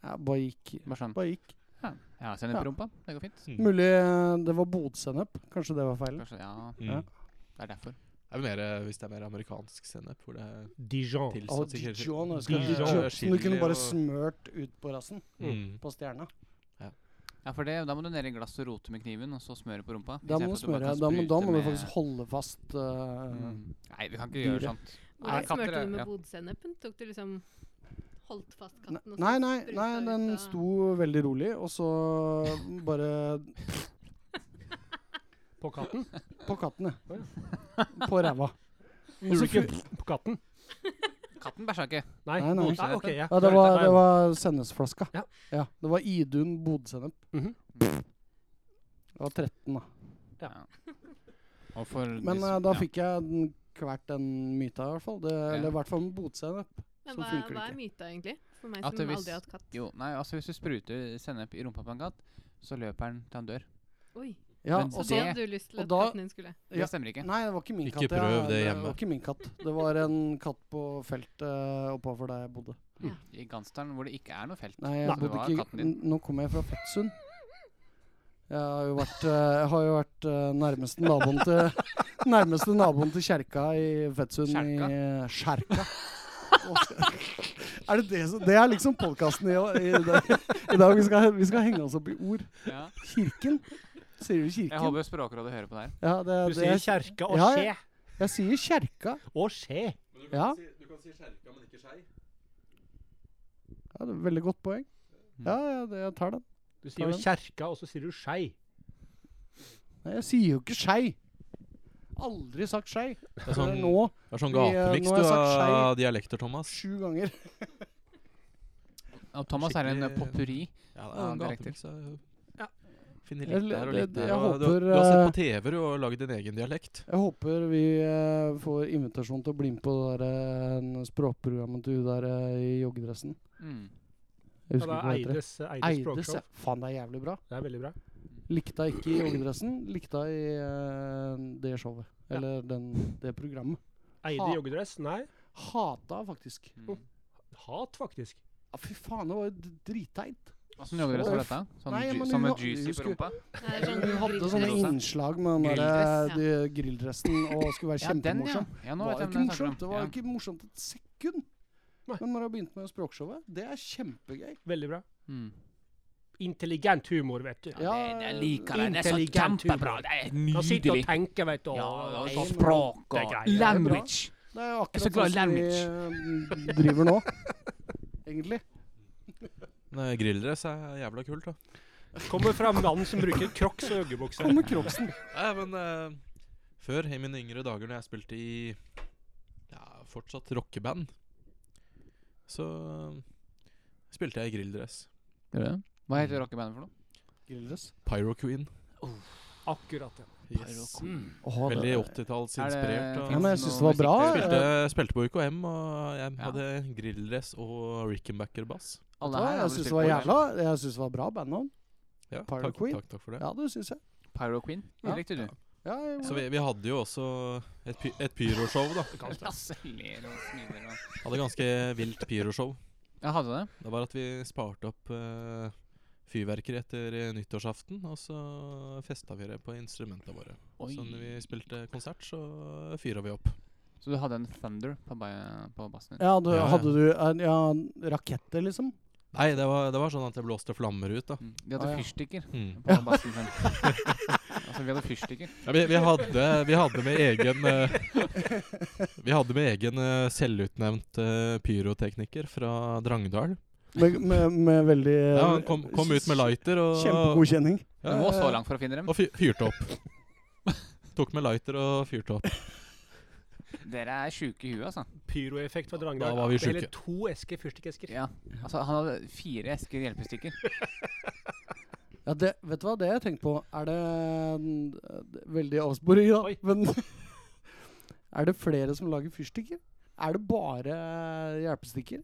S2: Jeg bare gikk.
S3: Bare sånn.
S2: Bare gikk.
S3: Ja, jeg har sennep på rumpa. Det går fint.
S4: Mm.
S2: Mulig eh, det var bodsennep. Kanskje det var feil.
S3: Kanskje, ja,
S4: Mm.
S2: Ja.
S3: det er derfor.
S4: Det er mer, eh, hvis det er mer amerikansk sennep, hvor det er
S6: Dijon.
S4: tilsatt
S2: Oh, Dijon,
S4: sikkert-
S2: jeg
S6: Dijon,
S2: husker Dijon. Som
S4: chili
S2: du kunne bare
S4: og-
S2: smørt ut på rassen.
S4: Mm.
S2: På stjerna.
S3: Ja, for det, Da må du ned i glass og rote med kniven, og så smøre på rumpa.
S2: Da må
S3: istedenfor
S2: du
S3: at bare
S2: smøre.
S3: kan
S2: Da må, da
S3: sprute
S2: må du
S3: med-
S2: faktisk holde fast eh,
S3: Mm. Nei, vi kan ikke gjøre
S2: dyret.
S3: sånt. Nei,
S5: Hvordan
S3: katter
S5: smørte
S3: er-
S5: du med
S3: ja.
S5: bodsennepen? Tok du liksom Holdt fast
S2: Ne-
S5: katten? og så
S2: Nei, nei,
S5: spruta
S2: nei,
S5: ut
S2: den
S5: av-
S2: sto veldig rolig, og så bare
S6: På katten?
S2: på katten, ja. På ræva.
S6: Og så Altså, ikke på katten?
S3: Katten bæsja ikke.
S6: Nei.
S2: Nei, nei.
S6: Nei, Ah, ok, ja.
S2: Ja, det var, det
S6: Nei.
S2: var sennepsflaska.
S6: Ja.
S2: ja. Det var Idun bodsennep.
S6: Mhm.
S2: Det var 13, da.
S3: Og for
S2: Men
S3: disse-
S2: eh, da
S3: ja.
S2: fikk jeg den, hvert den myta, i hvert fall. Det, Eller i hvert fall med bodsennep.
S5: Men
S2: så
S5: hva,
S2: sånn funker det
S5: hva
S2: ikke.
S5: er myta, egentlig? For meg
S3: At
S5: som
S3: hvis-
S5: aldri har hatt katt.
S3: Jo, nei, altså Hvis du spruter sennep i rumpa på en katt, så løper den til han dør.
S5: Oi.
S2: Ja,
S3: Men
S2: og
S5: Så
S2: så
S5: det
S2: Nei,
S5: hadde du lyst til
S2: og
S5: at
S2: da-
S5: katten din skulle
S2: Ja.
S3: Det stemmer ikke.
S2: det var ikke min
S4: Ikke
S2: katt. ja.
S4: prøv det
S2: Det
S4: hjemme.
S2: var ikke min katt. Det var en katt på feltet oppover der jeg bodde.
S3: I Gansdalen, hvor det ikke er noe felt.
S2: Nei, jeg
S3: så det
S2: bodde
S3: var
S2: ikke
S3: katten din.
S2: N- Nå kommer jeg fra Fettsund. Jeg har jo vært, eh, jeg har jo vært eh, nærmeste naboen til Nærmeste naboen til kjerka i Fettsund i eh, Skjerka. Er det, det, som, det er liksom podkasten i, i, dag- i dag. Vi skal, vi skal henge oss opp i ord.
S3: Ja.
S2: Kirken. Sier du
S3: Jeg
S2: kirken?
S3: håper Språkrådet hører på det her.
S2: Ja, det,
S6: Du
S2: det,
S6: sier kjerke og
S2: Ja,
S6: skje.
S2: ja. jeg sier kjerka.
S6: Og skje.
S4: Men du
S2: kan Ja.
S4: si, du kan si skjerka, men ikke skei.
S2: Ja, det er et veldig godt poeng.
S3: Mm.
S2: Ja, ja det, jeg tar den.
S6: Du sier jo
S2: den.
S6: kjerka, og så sier du skei.
S2: Nei, jeg sier jo ikke skei. Aldri sagt skei.
S4: Det er
S2: Før
S4: sånn,
S2: nå.
S4: det er sånn
S2: Vi, eh,
S4: gatemiks
S2: nå har jeg
S4: du
S2: sagt skei.
S4: av dialekter, Thomas.
S2: Sju ganger.
S3: Og Thomas er en eh,
S4: Skikkelig-
S3: potpurri.
S4: Ja, det
S3: Ja,
S4: er
S3: dialekter.
S4: gatemiks. er-
S6: Ja.
S4: Finner
S2: Jeg-
S4: litt der og
S2: det-
S4: litt
S2: det-
S4: der.
S2: jeg
S4: og Du, du,
S2: håper,
S4: har sett
S2: eh,
S4: på TV du, og lagd din egen dialekt.
S2: Jeg håper vi eh, får invitasjon til å bli med på det der, eh, språkprogrammet til hun der eh, i joggedressen.
S3: Mm.
S2: Jeg husker
S6: Ja, det
S2: ikke
S6: er
S2: hva det heter.
S6: Eides, Eides,
S2: Eides,
S6: språkshow.
S2: ja. Faen, det er jævlig bra.
S6: Det er veldig bra.
S2: Likte jeg ikke i joggedressen, likte jeg i eh, det showet.
S6: Ja.
S2: Eller den, det programmet.
S6: Eide
S2: Ha-
S6: joggedress? Nei.
S2: Hata faktisk.
S3: Mm.
S6: Hat, faktisk.
S2: Ja, fy faen, det var jo d- dritteit.
S3: Hva som jogger dere som
S2: Så-
S3: dette? Sånn,
S2: Nei,
S3: ju-
S2: men
S3: som
S2: vi
S3: en
S2: la-
S3: juicy
S2: vi
S3: på
S2: skulle-
S3: rumpa?
S5: Nei, det er sånn
S2: Vi hadde
S5: grill-
S2: sånne
S3: Grilldress, ja.
S2: innslag med den der,
S3: Grilldress,
S2: eh, de- grilldressen og skulle være
S3: Ja, den, ja.
S2: kjempemorsom.
S3: ja
S2: Det
S3: nå
S2: var
S3: vet
S2: jo
S3: jeg
S2: ikke
S3: hvem det er
S2: morsomt. Det var jo
S3: snakk om.
S2: ikke morsomt et sekund.
S6: Nei.
S2: Men når jeg begynte med språkshowet, det er kjempegøy.
S6: Veldig bra.
S3: Ja. Mm.
S6: Intelligent humor, vet du.
S2: Ja,
S3: det, det liker jeg. Det er så
S6: Intelligent
S3: kjempebra.
S6: humor.
S3: Det er
S6: Kan sitte og
S3: nydelig.
S6: tenke, vet du.
S3: Ja,
S6: og-
S3: og
S6: Nei,
S3: så
S6: men-
S3: språk
S6: det er
S3: og
S6: greit.
S3: language.
S2: Det er jo
S3: Jeg er
S2: akkurat
S3: så glad i
S2: sånn som vi eh, driver nå, egentlig.
S4: Nei, Grilldress er jævla kult, da.
S6: Kommer fra mannen som bruker crocs og joggebukse.
S2: Kommer Kroksen.
S4: Nei, men eh, før, i mine yngre dager, når jeg spilte i ja, fortsatt rockeband, så eh, spilte jeg i grilldress.
S3: Gjør du det? Hva heter rockebandet for noe?
S2: Grilldress.
S4: Pyro Queen.
S6: Akkurat, ja.
S4: Yes.
S2: Åh, det-
S4: Veldig
S3: altså.
S4: 80-tallsinspirert.
S2: Ja, men jeg
S3: Finnes
S2: syns
S3: det
S2: det var bra.
S3: noe musikk
S4: Spilte,
S2: eh.
S4: spilte på UKM, og jeg
S3: Ja.
S4: hadde grilldress og Rickenbacker-bass.
S2: Vet du
S3: Alle
S2: hva,
S3: her
S2: Jeg
S3: hadde
S2: syns det
S3: spilt
S2: var
S3: på
S2: jævla Jeg synes det var bra bandnavn.
S4: Ja,
S2: Pyro
S4: takk,
S2: Queen?
S4: Takk, takk for det.
S2: Ja, det syns jeg.
S3: Pyro Queen.
S2: Ja.
S3: Det likte du.
S2: Ja, jeg-
S4: Så vi, vi hadde jo også et, py et pyroshow, da.
S3: Lasse ler og smiler og
S4: Hadde ganske vilt pyroshow.
S3: Jeg hadde det.
S4: Det var at vi sparte opp eh, fyrverkeri etter eh, nyttårsaften, og så festa vi det på instrumentene våre.
S3: Oi.
S4: Så når Sånn vi spilte konsert, så fyra vi opp.
S3: Så du hadde en Thunder på, ba- på bassen din?
S2: ja, du,
S4: Ja, ja.
S2: hadde du eh, ja, raketter, liksom?
S4: Nei, det var, det var sånn at det blåste flammer ut, da.
S3: Mm. De hadde
S2: Ah, ja.
S3: fyrstikker
S4: Mm.
S3: på bassen sin. altså, vi hadde fyrstikker.
S4: Ja, vi, vi, hadde, vi hadde med egen eh, Vi hadde med egen eh, selvutnevnt eh, pyrotekniker fra Drangedal.
S2: Med, med, med veldig eh,
S4: Ja, han kom, kom ut med lighter og,
S2: Kjempegodkjenning.
S3: Du må så langt for å finne dem.
S4: og fyr, fyrte opp. Tok med lighter og fyrte opp.
S3: Dere er sjuke i huet, altså.
S6: Pyroeffekt fra Drangedal.
S4: Da var vi
S6: Det er
S4: sjuke.
S6: Hele to esker fyrstikkesker.
S3: Ja. altså. Han hadde fire esker hjelpestikker.
S2: Ja, det, vet du hva, det har jeg tenkt på Er det mm, det er Veldig avsporing, da.
S6: Oi.
S2: Men er det flere som lager fyrstikker? Er det bare hjelpestikker?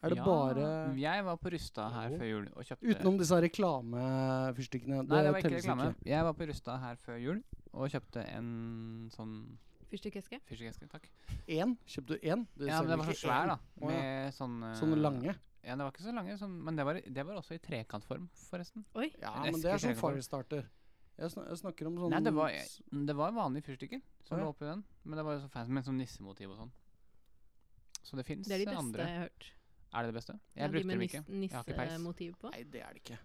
S2: Er det bare
S3: Jeg var på Rusta her
S6: Jo.
S3: før jul og kjøpte
S2: Eh, Utenom disse her reklamefyrstikkene?
S3: Nei, det var ikke
S2: telles
S3: reklame. Jeg var på Rusta her før jul og kjøpte en sånn
S5: Fyrstikkeske.
S3: fyrstikkeske. Takk.
S2: Én? Kjøpte du én? Du
S3: Ja, men
S2: selger
S3: den var så
S2: ikke
S3: svær,
S2: én.
S3: da.
S2: Å, ja.
S3: Med sånn eh,
S2: Sånne lange?
S3: Ja, det var ikke så lange, sånn, men det var, i- det var også i trekantform, forresten.
S5: Oi.
S2: Ja,
S3: En
S2: men det er
S3: eske
S2: sånn
S3: trenger man.
S2: firestarter. Jeg, snak, jeg snakker om sånn
S3: Nei, det var,
S2: s-
S3: det var vanlige fyrstikker
S2: Å, ja.
S3: som lå oppi den. Men det var jo så fancy med sånn nissemotiv og sånn. Så det fins
S5: Det er de beste
S3: andre.
S5: jeg har hørt.
S3: Er det det beste? Jeg
S5: Ja, de
S3: brukte
S5: med
S3: dem ikke.
S5: nis-
S3: har ikke peis.
S5: nissemotiv på.
S2: Nei, det er det ikke.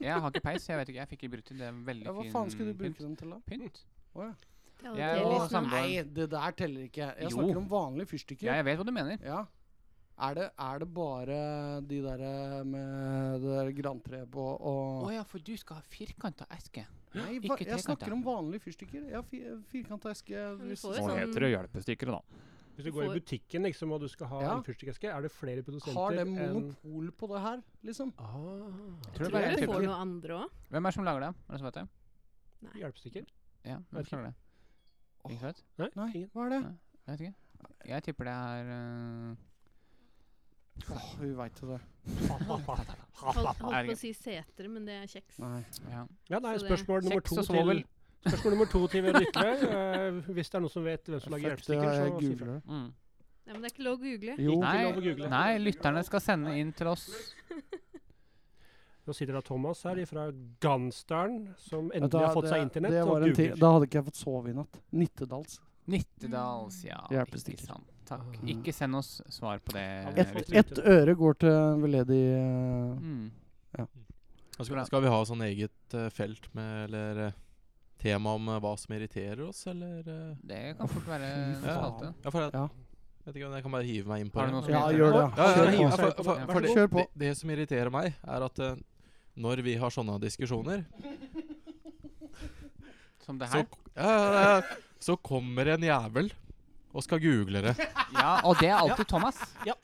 S3: Jeg har ikke peis, jeg vet ikke. Jeg fikk ikke brukt det. Det er en veldig
S2: Ja, hva
S3: fin
S2: faen skulle du bruke
S3: pynt.
S2: dem til, da?
S3: pynt.
S2: Å, ja.
S5: Det liksom er alle
S3: Jeg er
S5: tre
S3: jo
S5: lysene.
S3: sammen- samboeren.
S2: Nei, det der teller ikke. Jeg
S3: Jo.
S2: snakker om vanlige fyrstikker.
S3: Ja, jeg vet hva du mener.
S2: Ja. Er det, er det bare de der eh, med det der grantreet på
S3: Å
S2: og
S3: ja, for du skal ha firkanta eske.
S2: Nei,
S3: ikke
S2: hva, jeg
S3: trekant,
S2: snakker
S3: ja.
S2: om vanlige fyrstikker. Jeg har fi, firkanta eske.
S5: Men du
S2: hvis-
S5: får jo sånn
S3: hjelpestikker, da.
S6: Hvis du går
S5: Får-
S6: i butikken liksom, og du skal ha
S2: Ja.
S6: en fyrstikkeske, er det flere produsenter
S2: Har det
S3: eh,
S6: enn-
S2: monopol på det her, liksom?
S6: ah,
S3: Tror
S5: Tror
S3: du bare
S5: du
S3: jeg
S5: du får
S3: tipper?
S5: noe andre òg?
S3: Hvem er det som lager det? Er det som vet det?
S6: Hjelpestykker?
S3: Ja, hvem
S6: Vet
S3: som lager det?
S2: Åh.
S3: Ingen som vet?
S6: Nei,
S2: Nei,
S6: ingen.
S2: hva er det?
S3: Nei. Jeg vet ikke. Jeg tipper det er eh,
S2: Åh, vi veit jo det.
S5: Holdt på
S3: Er
S5: å
S3: det-
S5: si setere, men det er kjeks.
S2: Nei.
S3: ja.
S6: Ja, nei,
S5: Så det-
S6: spørsmål nummer
S3: Sex
S6: to
S3: og svovel.
S6: til Spørsmål nummer to til Vetle. hvis det er noen som vet hvem som lager
S2: Fuck, det
S6: hjelpestikker,
S2: jeg
S6: så si
S2: googler
S6: fra.
S2: det.
S3: Mm.
S5: Nei, men det er ikke lov å google.
S2: Jo.
S6: Ikke lov å
S3: Nei,
S6: google.
S3: nei, lytterne skal sende inn til oss.
S6: Nå sitter da Thomas her ifra Gansdalen, som
S2: Vet du
S6: endelig har
S2: hva,
S6: fått seg
S2: det-
S6: internett
S2: det
S6: og
S2: var en ti-
S6: googler.
S2: Da hadde ikke jeg fått sove i natt. Nittedals.
S3: Nittedals, ja.
S2: Hjelpestikker.
S3: Ikke sant. Takk.
S6: Ah.
S3: Ikke send oss svar på det.
S6: Et-
S3: Victor.
S2: Ett et øre går til en veldedig eh,
S3: Mm.
S4: Da Skal, skal vi ha sånn eget eh, felt med eller eh, tema om eh, hva som irriterer oss, eller eh,
S3: Det kan fort være
S2: fy
S3: en
S4: faen.
S3: spalte.
S4: Ja, for jeg
S2: Ja.
S4: vet ikke om jeg kan bare hive meg inn på
S3: Har du noe
S4: det.
S3: som
S2: Ja,
S3: heter-
S2: gjør det.
S4: Ja, ja,
S2: Kjør på.
S4: ja, for, for,
S3: Kjør
S4: for,
S3: på.
S4: det,
S2: Kjør på.
S4: det, det som irriterer meg, er at eh, når vi har sånne diskusjoner,
S3: Som det
S4: så,
S3: her.
S4: ja, ja, ja, så kommer en jævel og skal google det.
S3: Ja, og det er alltid Thomas.
S4: Ja,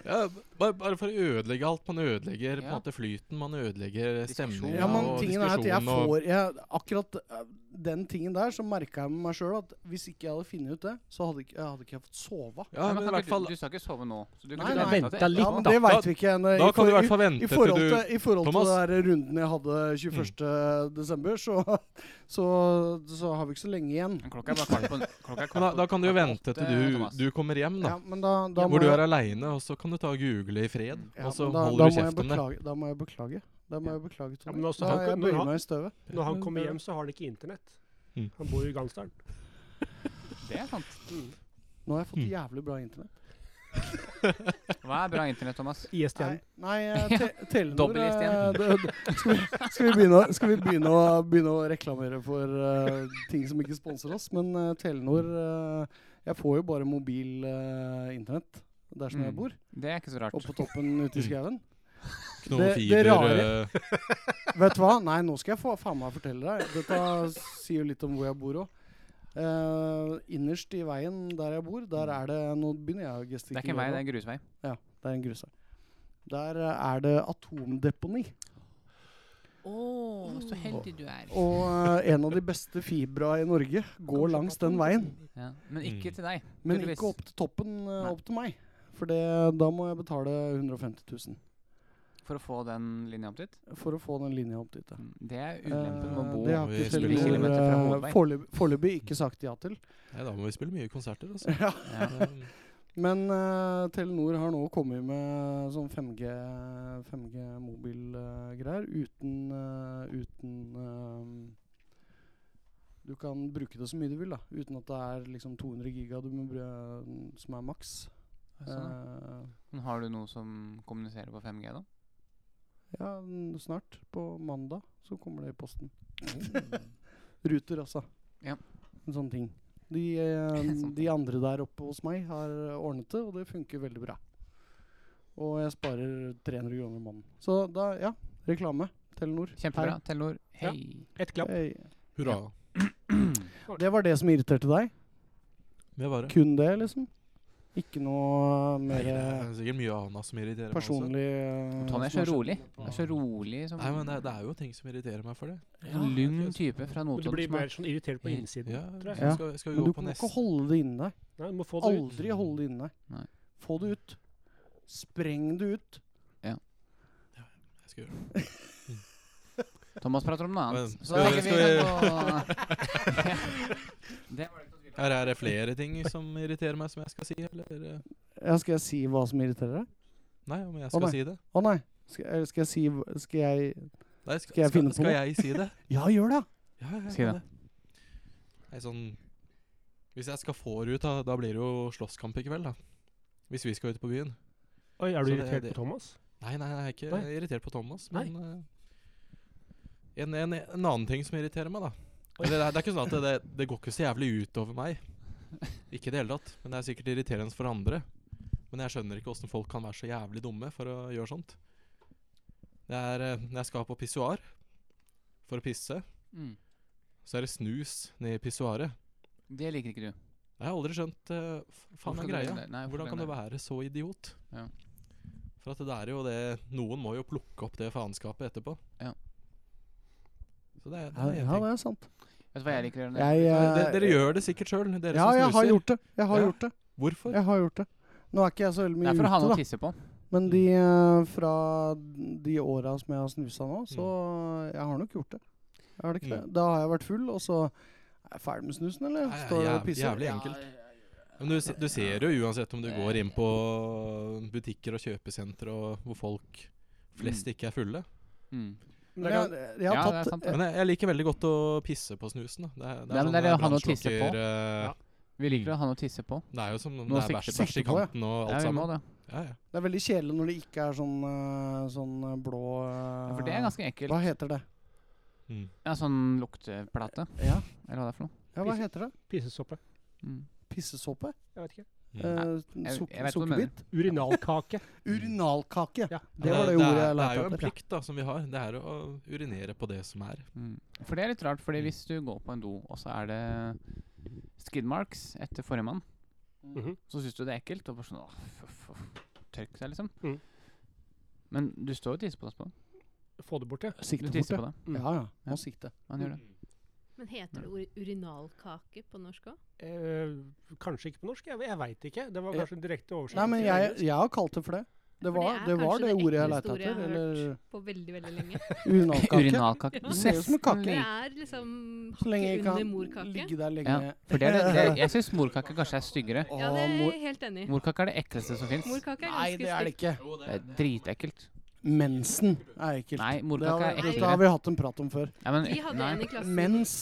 S4: bare, bare for å ødelegge alt. Man ødelegger på en
S3: Ja.
S4: måte flyten, man ødelegger stemningen
S2: Ja, men
S4: og
S2: tingen er at jeg
S4: diskusjonen. og-
S2: får jeg, Akkurat eh, den tingen der, så merka jeg med meg sjøl at hvis ikke jeg hadde funnet ut det, så hadde ikke, jeg hadde ikke jeg fått sova.
S3: Nei,
S4: Ja, men
S3: kan
S4: i hvert
S3: ikke
S4: fall
S3: du, du skal ikke sove nå. Så du
S2: Nei, nei.
S3: ikke vente til
S6: Venta litt.
S2: Ja,
S3: etterpå.
S2: men
S6: da.
S2: det
S4: Da-
S2: veit vi ikke. ennå.
S4: Da kan du i
S2: for-
S4: hvert fall
S2: I
S4: vente til
S2: forhold
S4: du
S2: til, i forhold til
S4: Thomas.
S2: den
S4: Mm.
S2: der runden jeg hadde 21. desember, så, så, så har vi ikke så lenge igjen.
S3: Men Klokka er bare kvart på klokka er
S4: Men da,
S3: kvart på-
S4: da kan du jo
S3: kvart på
S4: vente
S3: åtte,
S4: til du,
S3: Thomas.
S4: du kommer hjem, da.
S2: Ja, men da, da må
S4: hvor du
S2: jeg-
S4: er aleine, og så kan du ta og google i fred.
S2: ja,
S4: og så
S2: men da, da
S4: holder
S2: må jeg
S4: du kjeft om det.
S2: beklage- Da må jeg beklage. Da må jeg beklage,
S6: Ja,
S2: Tony.
S6: men også
S2: da
S6: han
S2: har
S6: kan-
S2: jeg
S6: når
S2: bøyer
S6: han-
S2: meg i støvet.
S6: Når han kommer hjem, så har han ikke internett.
S4: Mm.
S6: Han bor jo i Gansdalen.
S3: Det er sant.
S2: Nå har jeg
S6: Mm.
S2: fått jævlig bra internett.
S3: Hva er bra internett, Thomas?
S6: ISTN.
S2: Nei, nei eh, te Telenor
S3: Dobbel list igjen.
S2: eh, det- det- Skal, vi, skal vi, begynne, å- skal vi begynne, å, begynne å reklamere for eh, ting som ikke sponser oss? Men eh, Telenor eh, Jeg får jo bare mobil eh, internett der som jeg
S3: Mm.
S2: bor.
S3: Det er ikke så rart.
S2: Oppe på toppen ute i
S4: Mm.
S2: skauen.
S4: Ikke noe
S2: Det- det
S4: fiber
S2: rare-
S4: eh,
S2: Vet du hva? Nei, nå skal jeg få, faen meg fortelle deg. Dette sier jo litt om hvor jeg bor òg. innerst
S4: Mm.
S2: i veien der jeg bor, der er det Nå begynner jeg å
S3: Det er
S2: gestikulere.
S3: ikke en vei, det er en grusvei.
S2: Det er en grusvei. Der eh, er det atomdeponi.
S3: Å, så heldig du er.
S2: Og eh, en av de beste fibra i Norge går langs den veien.
S3: Ja. Men ikke
S4: Mm.
S3: til deg.
S2: Men
S3: Tydeligvis.
S2: ikke opp til toppen, eh,
S3: Nei.
S2: opp til meg. For det, da må jeg betale 150 000
S3: For å få den linja opp dit.
S2: for å få den linja opp dit. ja.
S3: Mm, Det er ulempen med å
S2: Eh,
S3: bo
S2: det har
S4: Vi
S2: ikke
S4: spiller-
S2: Telenor
S3: kilometer fra
S2: eh,
S3: hovedvei.
S2: foreløp- foreløpig ikke sagt ja til.
S4: Nei, da må vi spille mye konserter, altså.
S2: Ja.
S3: ja.
S4: Um,
S2: Men eh, Telenor har nå kommet med sånn 5G, 5G mobilgreier uten, eh, uten eh, Du kan bruke det så mye du vil, da. Uten at det er liksom 200 giga du må bru- som er maks.
S3: Sånn.
S2: Eh,
S3: Men har du noe som kommuniserer på 5G, da?
S2: Ja, n- snart. På mandag så kommer det i posten.
S4: Mm.
S2: Ruter, altså.
S3: Ja.
S2: En sånn ting. De, eh,
S3: Sånn
S2: de andre der oppe hos meg har ordnet det, og det funker veldig bra. Og jeg sparer 300 kroner i måneden. Så da, ja. Reklame. Telenor.
S3: Kjempebra. Telenor,
S6: Ja.
S3: hei.
S6: Ett
S2: Hei.
S6: klapp.
S2: Hei.
S4: hurra.
S2: Det var det som irriterte deg?
S4: Det var det.
S2: Kun det, liksom? Ikke noe
S4: Nei,
S2: mer
S4: det
S2: eh,
S4: er sikkert mye annet som irriterer meg også.
S2: personlig eh,
S3: Tony
S2: som
S3: er så
S2: har skjedd.
S3: rolig. Han er så rolig som
S4: Nei, men det, det er jo ting som irriterer meg for det.
S3: en lugn type fra
S6: Men Du
S3: Notodden
S6: blir
S3: som
S6: mer
S3: er
S6: sånn irritert på
S3: Helt-
S6: innsiden.
S4: Ja,
S6: tror jeg.
S2: Ja.
S4: jeg skal, jeg skal
S2: Men
S4: gå
S2: du
S4: på
S2: kan
S4: neste
S2: ikke holde det inni deg.
S6: Nei, du må få det ut.
S2: Aldri holde det inne.
S3: Nei.
S2: Få det ut. Spreng det ut.
S4: Jeg skal gjøre det.
S3: Thomas prater om noe annet.
S4: Men,
S3: Så
S4: skal
S3: da
S4: vi-
S3: tenker vi kan gå Det var det ikke noe tvil om.
S4: Her er det flere ting som irriterer meg, som jeg skal si, eller eh,
S2: Ja, skal jeg si hva som irriterer deg?
S4: Nei, om jeg
S2: Å,
S4: skal
S2: nei.
S4: si det.
S2: Å nei. Skal, eller skal jeg si hv- Skal jeg
S4: Nei, skal,
S2: Skal jeg finne på
S4: skal
S2: noe?
S4: jeg si det?
S2: Ja, gjør det!
S4: Ja, ja, ja,
S3: Si det.
S4: kan Nei, sånn Hvis jeg skal få det ut, da, da blir det jo slåsskamp i kveld, da. Hvis vi skal ut på byen.
S6: Oi, er
S4: Så
S6: du
S4: det-
S6: irritert
S4: det-
S6: på Thomas?
S4: Nei, nei, jeg er ikke
S6: Nei.
S4: irritert på Thomas,
S6: Nei.
S4: men eh, en, en, en annen ting som irriterer meg, da. Eller, det, er, det er ikke sånn at det, det, det går ikke så jævlig ut over meg. Ikke i det hele tatt. Men det er sikkert irriterende for andre. Men jeg skjønner ikke åssen folk kan være så jævlig dumme for å gjøre sånt. Det er eh, når jeg skal på pissoar for å pisse,
S3: Mm.
S4: så er det snus nedi pissoaret.
S3: Det liker ikke du.
S4: Jeg har aldri skjønt eh, f-
S3: Hvorfor
S4: faen er
S3: kan du
S4: greia.
S3: det? Nei, hvorfor
S4: Hvordan
S3: kan
S4: kan
S3: du
S4: du være så idiot?
S3: Ja.
S4: For at det er jo det Noen må jo plukke opp det faenskapet etterpå.
S3: Ja.
S4: Så det er,
S2: Ja,
S4: det er en
S2: ja,
S4: ting.
S2: det er sant.
S3: Vet du hva jeg liker å gjøre? når
S2: Jeg,
S4: Så
S2: eh,
S4: de- dere gjør det sikkert sjøl, dere
S2: ja,
S4: som snuser.
S2: jeg har gjort det. Jeg har
S4: Ja.
S2: gjort det.
S4: Hvorfor?
S2: Jeg har gjort det. Nå er ikke jeg så veldig
S3: Det
S2: mye
S3: er for å ha noe
S2: ute,
S3: å
S2: da.
S3: tisse på.
S2: Men de eh, fra de åra som jeg har snusa nå, så jeg har nok gjort det. Jeg har det ikke det. Da har jeg vært full, og så er jeg ferdig med snusen, eller?
S4: Nei,
S2: Står der
S4: jæv-
S2: og pisser.
S4: jævlig enkelt. Men du, se- du ser jo uansett om du går inn på butikker og kjøpesentre og hvor folk flest ikke er fulle.
S3: Mm.
S2: Men jeg, jeg
S3: Ja,
S2: har
S3: det er sant,
S2: tatt eh,
S3: det.
S4: Men jeg, jeg liker veldig godt å pisse på snusen. Da. Det er,
S3: Nei, men det er det å ha noe å tisse på.
S4: brannslukker, eh,
S3: Vi liker å ha noe å tisse på.
S4: Det er jo som om
S3: Noe
S4: det er
S3: å
S4: vers-
S3: sikte-
S4: vers i
S2: sikte på, ja.
S4: kanten og
S3: Ja,
S4: alt
S3: vi må
S4: sammen.
S3: det.
S4: Ja, ja.
S2: Det er veldig kjedelig når det ikke er sånn, eh, sånn eh, blå
S3: Ja,
S2: eh,
S3: For det er ganske
S2: Hva
S3: ekkelt.
S2: heter det?
S4: Mm.
S3: Ja, sånn lukteplate,
S2: Ja,
S3: eller hva det er for noe.
S2: ja hva heter det?
S6: Pisesoppe.
S3: Mm.
S2: Pissesåpe?
S6: Jeg vet ikke.
S4: Mm.
S2: Eh,
S3: jeg
S2: suk
S3: vet hva du
S2: sukkerbit?
S6: Urinalkake.
S2: Urinalkake.
S6: Ja.
S2: Det
S4: Men
S2: var det
S4: er-
S2: ordet jeg
S4: Det er jo
S2: lærte
S4: en
S2: etter.
S4: plikt da, som vi har. Det er å urinere på det som er.
S3: Mm. For det er litt rart, fordi hvis du går på en do, og så er det skid marks etter forrige mann, Mm.
S6: Mhm.
S3: så syns du det er ekkelt, og bare sånn åh, f- f- Tørk deg, liksom.
S6: Mm.
S3: Men du står jo og tisser på dasspå.
S6: Få det bort, ja.
S3: Du
S2: Sikte bort,
S3: tisser
S2: ja.
S3: på det.
S6: Mm.
S2: Ja, ja.
S3: Ja.
S2: Må sikte.
S3: Han gjør det.
S5: Men heter det ori- urinalkake på norsk òg?
S6: Eh, kanskje ikke på norsk, jeg, jeg veit ikke. Det var
S3: Eh,
S2: Ja.
S6: kanskje direkte oversatt.
S2: Nei, men
S6: til
S2: jeg,
S6: engelsk.
S2: jeg har kalt det for det. Det
S5: For det
S2: var
S5: er
S2: det, var
S5: kanskje
S2: det
S5: det
S2: ordet jeg
S5: ekleste
S2: lærte
S5: ordet jeg
S2: etter.
S5: har
S2: Eller
S5: På veldig, veldig lenge.
S2: urinalkake.
S3: Urinalkake.
S5: Ja.
S2: Det ser ut som en
S3: Nesten
S2: kake.
S5: Det
S3: lik-
S5: er liksom
S2: Så lenge jeg
S5: hakket under
S2: kan
S5: morkake.
S2: ligge der lenge.
S3: Ja, For det er det, det, jeg syns morkake kanskje er styggere.
S5: Ja, det er jeg helt enig i.
S3: Morkake er det ekleste som fins.
S5: Morkake er
S2: Nei,
S5: ganske
S2: det er det
S5: stygt.
S2: ikke.
S3: Det er dritekkelt.
S2: Mensen er ekkelt.
S3: Nei,
S2: Det har,
S3: morkake er
S2: vi- dette har
S3: eklere.
S2: vi hatt en prat om før.
S3: Nei, men,
S5: Vi hadde
S3: nei.
S5: en i klassen
S2: Mens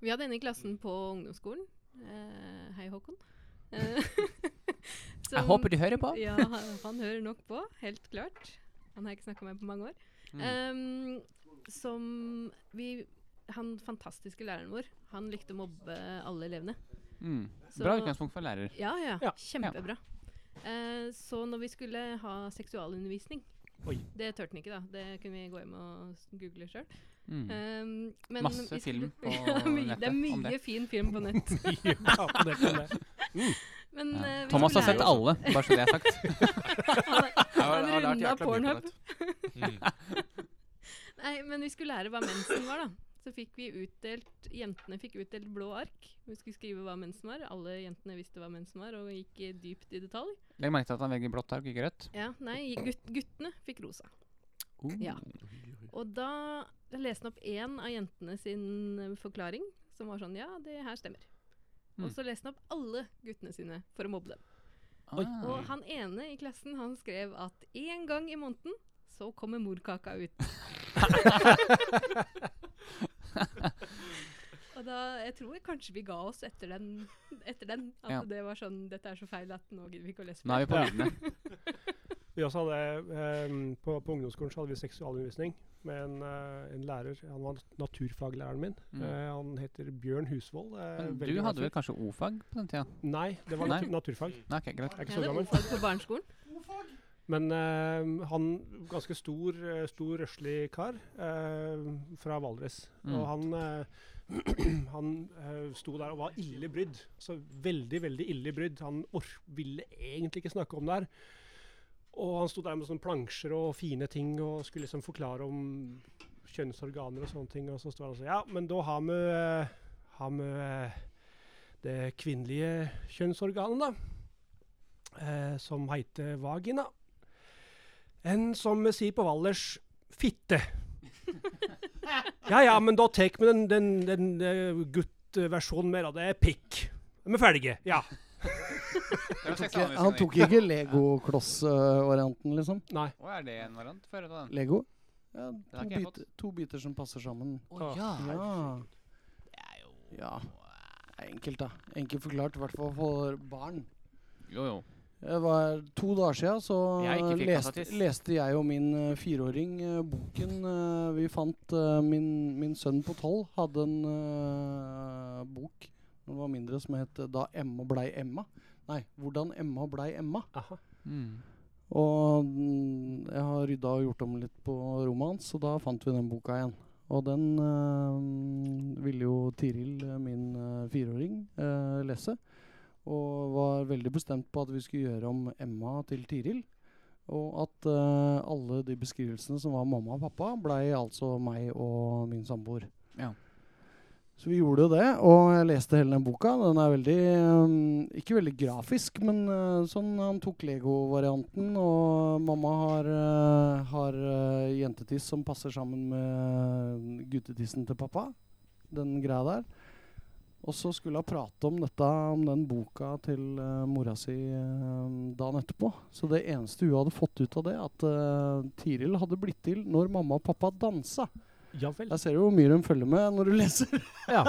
S5: Vi hadde en i klassen på ungdomsskolen. Eh, hei, Håkon. Eh,
S3: Jeg håper de hører på.
S5: sånn Ja, han, han hører nok på, helt klart. Han har ikke snakka med på mange år.
S3: Mm.
S5: Ehm, som vi Han fantastiske læreren vår, han likte å mobbe alle elevene.
S3: Mm.
S5: Så-
S3: Bra utgangspunkt for lærer.
S5: Ja, ja.
S6: Ja.
S5: Kjempebra. Eh, så når vi skulle ha seksualundervisning
S6: Oi.
S5: Det turte han ikke, da. Det kunne vi gå hjem og s- google sjøl.
S3: Mm.
S5: Um, men
S3: Masse
S5: vi skulle-
S3: film på
S5: ja, mye, Det
S3: nettet
S5: er
S3: om
S5: mye
S3: det.
S5: fin film på nett.
S6: Ja, på det, på det.
S5: Men
S3: Ja.
S5: eh, vi
S3: Thomas har
S5: skulle
S3: sett
S5: lære-
S3: alle, bare så det er sagt.
S5: Han er-
S4: Jeg har,
S5: Han
S4: jeg har lært
S5: runda
S4: jækla mye
S5: Pornhub.
S4: på nett. Mm.
S5: Nei, men vi skulle lære hva mensen var, da. Så fikk vi utdelt Jentene fikk utdelt blå ark. Vi skulle skrive hva mensen var. Alle jentene visste hva mensen var, og gikk eh, dypt i detalj.
S3: Legg merke til at han velger blått ark, ikke rødt.
S5: Ja, nei, gutt, Guttene fikk rosa. Ja. Og da leste han opp én av jentene sin eh, forklaring, som var sånn Ja, det her stemmer.
S3: Mm.
S5: Og så leste han opp alle guttene sine for å mobbe dem.
S3: Oi.
S5: Og han ene i klassen han skrev at én gang i måneden så kommer morkaka ut. Og da, Jeg tror kanskje vi ga oss etter den. Etter den at
S3: Ja.
S5: det var sånn Dette er så feil at nå gidder vi ikke å lese
S3: Nå er vi
S5: mer.
S3: på viddene.
S6: Vi også hadde, ehm, på, på ungdomsskolen så hadde vi seksualundervisning med en, eh, en lærer. Han var naturfaglæreren min.
S3: Mm.
S6: Eh, han heter Bjørn Husvold. eh,
S3: Men
S6: veldig
S3: du
S6: glad
S3: hadde vel
S6: fyr.
S3: kanskje O-fag på den tida?
S6: Nei, det var
S3: Nei.
S6: natu- naturfag.
S3: Nei, ok, greit.
S6: Jeg er
S5: Jeg
S6: ikke så
S5: hadde
S6: gammel.
S5: ordfag på barneskolen.
S6: Men eh, han ganske stor, eh, stor røslig kar eh, fra Valdres.
S3: Mm.
S6: Og han, eh, han eh, sto der og var ille brydd. Så veldig, veldig ille brydd. Han or ville egentlig ikke snakke om det her. Og han sto der med sånne plansjer og fine ting og skulle liksom forklare om kjønnsorganer og sånne ting. Og så sto han og sa ja, men da har vi, eh, har vi eh, det kvinnelige kjønnsorganet, da. Eh, som heter vagina. En som vi sier på Valdres fitte. ja ja, men da tar vi den, den, den eh, guttversjonen mer, og det er pikk. De er ferdige. Ja.
S2: Han tok ikke, han tok ikke Lego-kloss-varianten, liksom?
S6: Nei.
S3: Å, er det en variant? Få høre på den.
S2: Lego? Ja,
S3: har
S2: to,
S3: ikke jeg fått.
S2: biter, to biter som passer sammen.
S3: Å ja.
S2: Ja. Ja. Det er Enkelt, da. Enkelt forklart, i hvert fall for barn.
S3: Jo, jo.
S2: Det var to dager siden, så
S3: Jeg ikke fikk
S2: leste,
S3: kassatis.
S2: leste jeg og min eh, fireåring eh, boken eh, vi fant. eh, min, min sønn på tolv hadde en eh, bok da han var mindre som het eh, 'Da Emma blei Emma'. Nei, 'Hvordan Emma blei Emma'.
S6: Aha.
S3: Mm.
S2: Og mm, jeg har rydda og gjort om litt på rommet hans, så da fant vi den boka igjen. Og den eh, ville jo Tiril, eh, min eh, fireåring, eh, lese. Og var veldig bestemt på at vi skulle gjøre om Emma til Tiril. Og at eh, alle de beskrivelsene som var mamma og pappa, blei altså meg og min samboer.
S3: Ja.
S2: Så vi gjorde jo det, og jeg leste hele den boka. Den er veldig eh, Ikke veldig grafisk, men eh, sånn Han tok Lego-varianten, og mamma har, eh, har eh, jentetiss som passer sammen med guttetissen til pappa. Den greia der. Og så skulle hun prate om dette, om den boka til eh, mora si eh, dagen etterpå. Så det eneste hun hadde fått ut av det, at eh, Tiril hadde blitt til når mamma og pappa dansa.
S6: Ja vel.
S2: Der ser du hvor mye de følger med når du leser.
S6: Ja.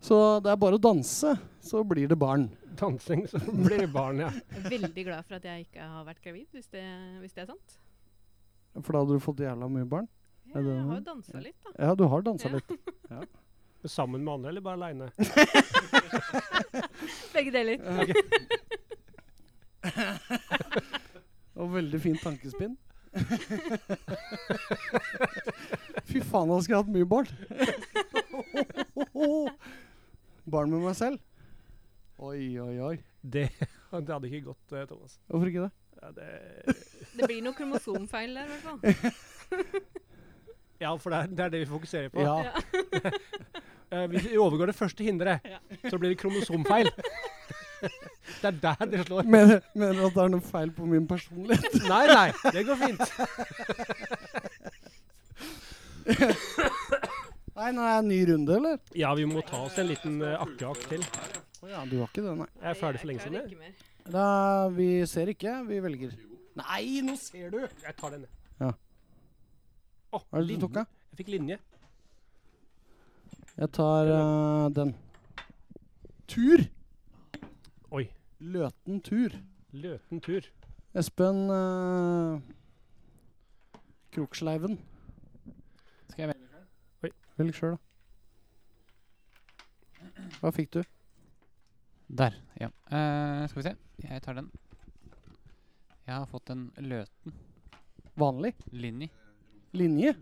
S2: Så det er bare å danse, så blir det barn.
S6: Dansing, så blir det barn, ja.
S5: Jeg er veldig glad for at jeg ikke har vært gravid, hvis det, hvis det er sant.
S2: For da hadde du fått jævla mye barn. Er
S5: Jeg
S2: det
S5: har
S2: noe?
S5: jo dansa litt, da.
S2: Ja, du har dansa
S5: Ja.
S2: litt.
S6: Sammen med andre, eller bare aleine?
S5: Begge deler.
S2: Og veldig fint tankespinn. Fy faen, han skulle hatt mye barn. barn med meg selv. Oi, oi, oi.
S6: Det, det hadde ikke gått, eh, Thomas.
S2: Hvorfor ikke det?
S6: Ja, det,
S5: Det blir noe kromosomfeil der, i hvert fall.
S6: ja for det er, det er det vi fokuserer på.
S2: Ja.
S5: Ja.
S6: Eh, hvis vi overgår det første hinderet,
S5: Ja.
S6: så blir det kromosomfeil. det er der det slår.
S2: Mener, mener du at det er noe feil på min personlighet?
S6: Nei, nei, det går fint.
S2: Nei, nå er det en ny runde, eller?
S6: Ja, vi må ta oss en liten eh, akkeakk til.
S2: Å ja, du har ikke det, nei.
S6: Jeg er ferdig for lenge siden.
S5: klarer
S6: jeg.
S5: ikke mer.
S2: Da, vi ser ikke, vi velger. Nei, nå ser du!
S6: Jeg tar den.
S2: Ja.
S6: Å,
S2: Hva er det du
S6: linje.
S2: tok av?
S6: Jeg fikk linje.
S2: Jeg tar eh, den. Tur!
S6: Oi.
S2: Løten tur.
S6: Løten tur.
S2: Espen eh, Kroksleiven.
S3: Skal jeg velge?
S2: Velg sjøl, da. Hva fikk du?
S3: Der, ja. Eh, skal vi se. Jeg tar den. Jeg har fått en løten
S2: Vanlig?
S3: linje.
S2: Linje?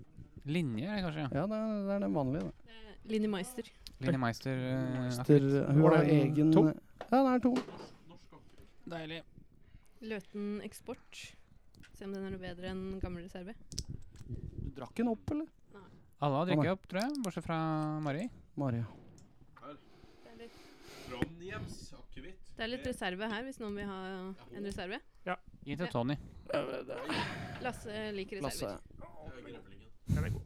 S3: Linje, er det kanskje?
S2: Ja, det er, det er den vanlige.
S5: Eh, Linni Meister.
S2: Da.
S3: Line Meister. eh,
S2: Meister, hun
S6: Var
S2: har
S6: det en
S2: egen
S6: to?
S2: Ja, det er to.
S3: Deilig.
S5: Løten eksport. Se om den er noe bedre enn gammel reserve.
S2: Du drakk den opp, eller?
S3: Alle har drukket
S2: Anna.
S3: opp, tror jeg, bortsett fra Mari.
S2: Maria.
S5: Det er litt,
S4: Trondheims akevitt.
S5: det er litt reserve her, hvis noen vil ha en reserve.
S3: Gi til Tony.
S5: Lasse liker
S2: Lasse.
S5: reserver.